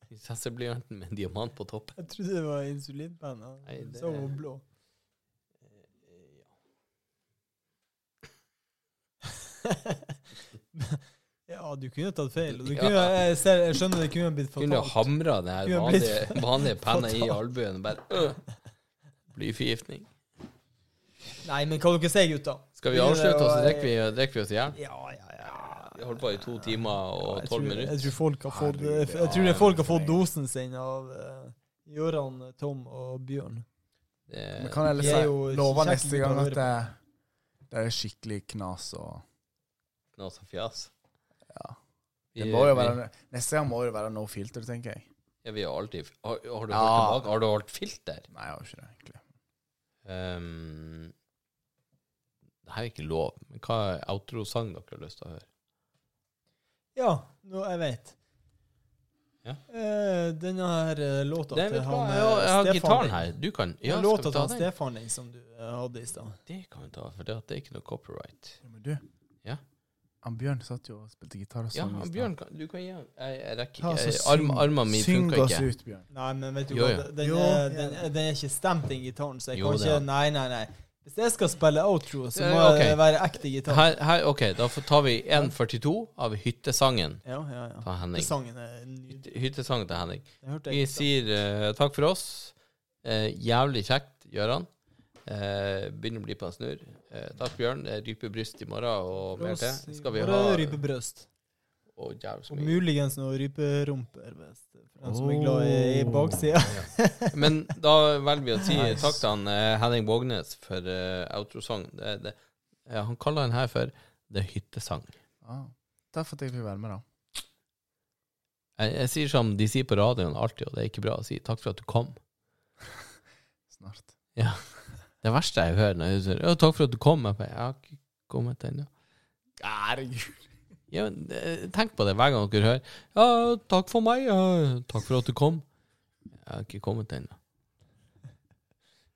Speaker 1: Prinsesseblyanten med en diamant på toppen.
Speaker 3: Jeg trodde det var insulinpenn.
Speaker 1: Nei, det-
Speaker 3: Så hun
Speaker 1: <laughs>
Speaker 3: blå. Ja, du kunne tatt feil. Og du kunne,
Speaker 1: Ja.
Speaker 3: jeg, ser, jeg skjønner det kunne ha blitt
Speaker 1: Kunne jo
Speaker 3: fatalt.
Speaker 1: hamra den her
Speaker 3: Kunne blitt
Speaker 1: vanlige,
Speaker 4: <laughs>
Speaker 1: vanlige penna i
Speaker 3: fatalt.
Speaker 1: albuen og bare øh, Blyforgiftning.
Speaker 3: Nei, men hva dere sier, gutta?
Speaker 1: Skal vi
Speaker 3: Begynner
Speaker 1: avslutte,
Speaker 3: å-
Speaker 1: og så drikker vi, drikker vi oss i hjel?
Speaker 3: Ja, ja, ja.
Speaker 1: Vi holder på i to timer og tolv
Speaker 3: Jeg tror,
Speaker 1: minutter.
Speaker 3: jeg tror folk har fått,
Speaker 4: Herregud,
Speaker 3: jeg tror det er folk har fått dosen sin av uh, Gøran, Tom og Bjørn.
Speaker 1: Det-
Speaker 4: Men kan Eh, jeg
Speaker 3: de er jo
Speaker 4: liksom love
Speaker 3: kjekke
Speaker 4: neste gang
Speaker 3: å høre
Speaker 4: at det, det er skikkelig knas og
Speaker 1: Knas og fjas.
Speaker 4: Ja.
Speaker 1: Vi-
Speaker 4: det må jo
Speaker 1: vi-
Speaker 4: være, Neste gang må det være no filter, tenker jeg.
Speaker 1: ja, vi har alltid Har, har du
Speaker 4: Ja.
Speaker 1: holdt tilbake? Har du holdt filter?
Speaker 4: Nei, jeg har jo ikke det, egentlig.
Speaker 1: Um, det her er ikke lov. Men hva er outro-sang dere har lyst til å høre?
Speaker 3: Ja, nå, jeg vet.
Speaker 1: Ja.
Speaker 3: Eh, denne her eh, låta
Speaker 1: Det,
Speaker 3: til
Speaker 1: vet du hva,
Speaker 3: han
Speaker 1: jeg har, jeg har
Speaker 3: eh, Stefan
Speaker 1: gitaren
Speaker 3: din.
Speaker 1: her. Du kan
Speaker 3: Ja,
Speaker 1: Ja, skal
Speaker 3: låta
Speaker 1: vi
Speaker 3: til
Speaker 1: ta
Speaker 3: han
Speaker 1: den?
Speaker 3: Stefan din som du eh, hadde i stad.
Speaker 1: Det kan vi ta, for det, at det er ikke noe copyright.
Speaker 4: Ja, Men du,
Speaker 1: Ja.
Speaker 4: han Bjørn satt jo og spilte gitar og
Speaker 1: Ja,
Speaker 4: sang. i stad.
Speaker 1: Bjørn, kan- du kan gi han Jeg, jeg rekker
Speaker 4: Ta,
Speaker 1: ikke.
Speaker 4: så
Speaker 1: Jeg-
Speaker 4: syng-
Speaker 1: Arm, armene mine
Speaker 4: syng
Speaker 1: funker
Speaker 4: oss
Speaker 1: ikke.
Speaker 4: ut, Bjørn.
Speaker 3: Nei, men vet du
Speaker 1: Jo,
Speaker 3: hva,
Speaker 1: jo.
Speaker 3: den,
Speaker 4: Jo,
Speaker 3: er,
Speaker 4: ja.
Speaker 3: den, den er ikke stemt, den gitaren, så jeg
Speaker 1: Jo,
Speaker 3: kan
Speaker 1: det
Speaker 3: ikke
Speaker 1: er den.
Speaker 3: Nei, nei, nei. Hvis jeg skal spille outro, så
Speaker 1: Ja, ok.
Speaker 3: må det være ekte gitar.
Speaker 1: Her, her, ok, da får- tar vi 1.42 av Hyttesangen
Speaker 3: Ja, ja, ja.
Speaker 1: til Henning.
Speaker 3: Sangen er nydelig.
Speaker 1: Hyttesangen til Henning.
Speaker 3: Jeg hørte
Speaker 1: Vi
Speaker 3: det i stad.
Speaker 1: sier eh, takk for oss. Eh, jævlig kjekt, Gøran. Eh, begynner å bli på en snurr. Eh, takk, Bjørn. Det er rype bryst i morgen og mer til. Skal vi
Speaker 3: Bare
Speaker 1: ha
Speaker 3: rypebrøst.
Speaker 1: Å, jævlig så
Speaker 3: Og
Speaker 1: mye.
Speaker 3: muligens noe ryperumper, hvis det- for den som er glad i, i baksida. <laughs>
Speaker 1: Men da velger vi å si takk til han, eh, Henning Vågnes for eh, outrosang. Det, det, eh, han kaller den her for Det er hyttesang.
Speaker 4: Ah, takk for at jeg fikk være med, da.
Speaker 1: Jeg, jeg sier som de sier på radioen alltid, og det er ikke bra å si. Takk for at du kom.
Speaker 4: Snart.
Speaker 1: Ja. Det verste jeg hører når jeg sier «Å, 'takk for at du kom', jeg bare, jeg har ikke kommet ennå.
Speaker 4: Herregud.
Speaker 1: Ja, men, eh, tenk på det hver gang dere hører 'ja, takk for meg', ja, 'takk for at du kom'. Jeg har ikke kommet ennå.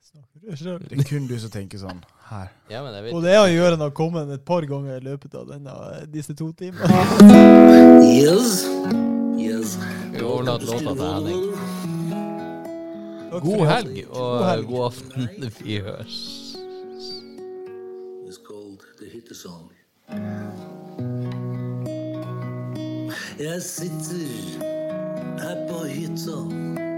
Speaker 3: Snakker du selv?
Speaker 4: Det er kun du som tenker sånn. Her.
Speaker 1: Ja, men jeg vet
Speaker 3: Og det har Jøren har kommet et par ganger i løpet av denne, disse to timene.
Speaker 7: Yes. Yes.
Speaker 1: Vi overlater låta til Henning.
Speaker 3: Takk for i
Speaker 1: God
Speaker 3: aften.
Speaker 1: helg og
Speaker 3: God helg.
Speaker 1: god aften. Vi høres.
Speaker 7: It's called the hitter song. Jeg sitter her på hytta er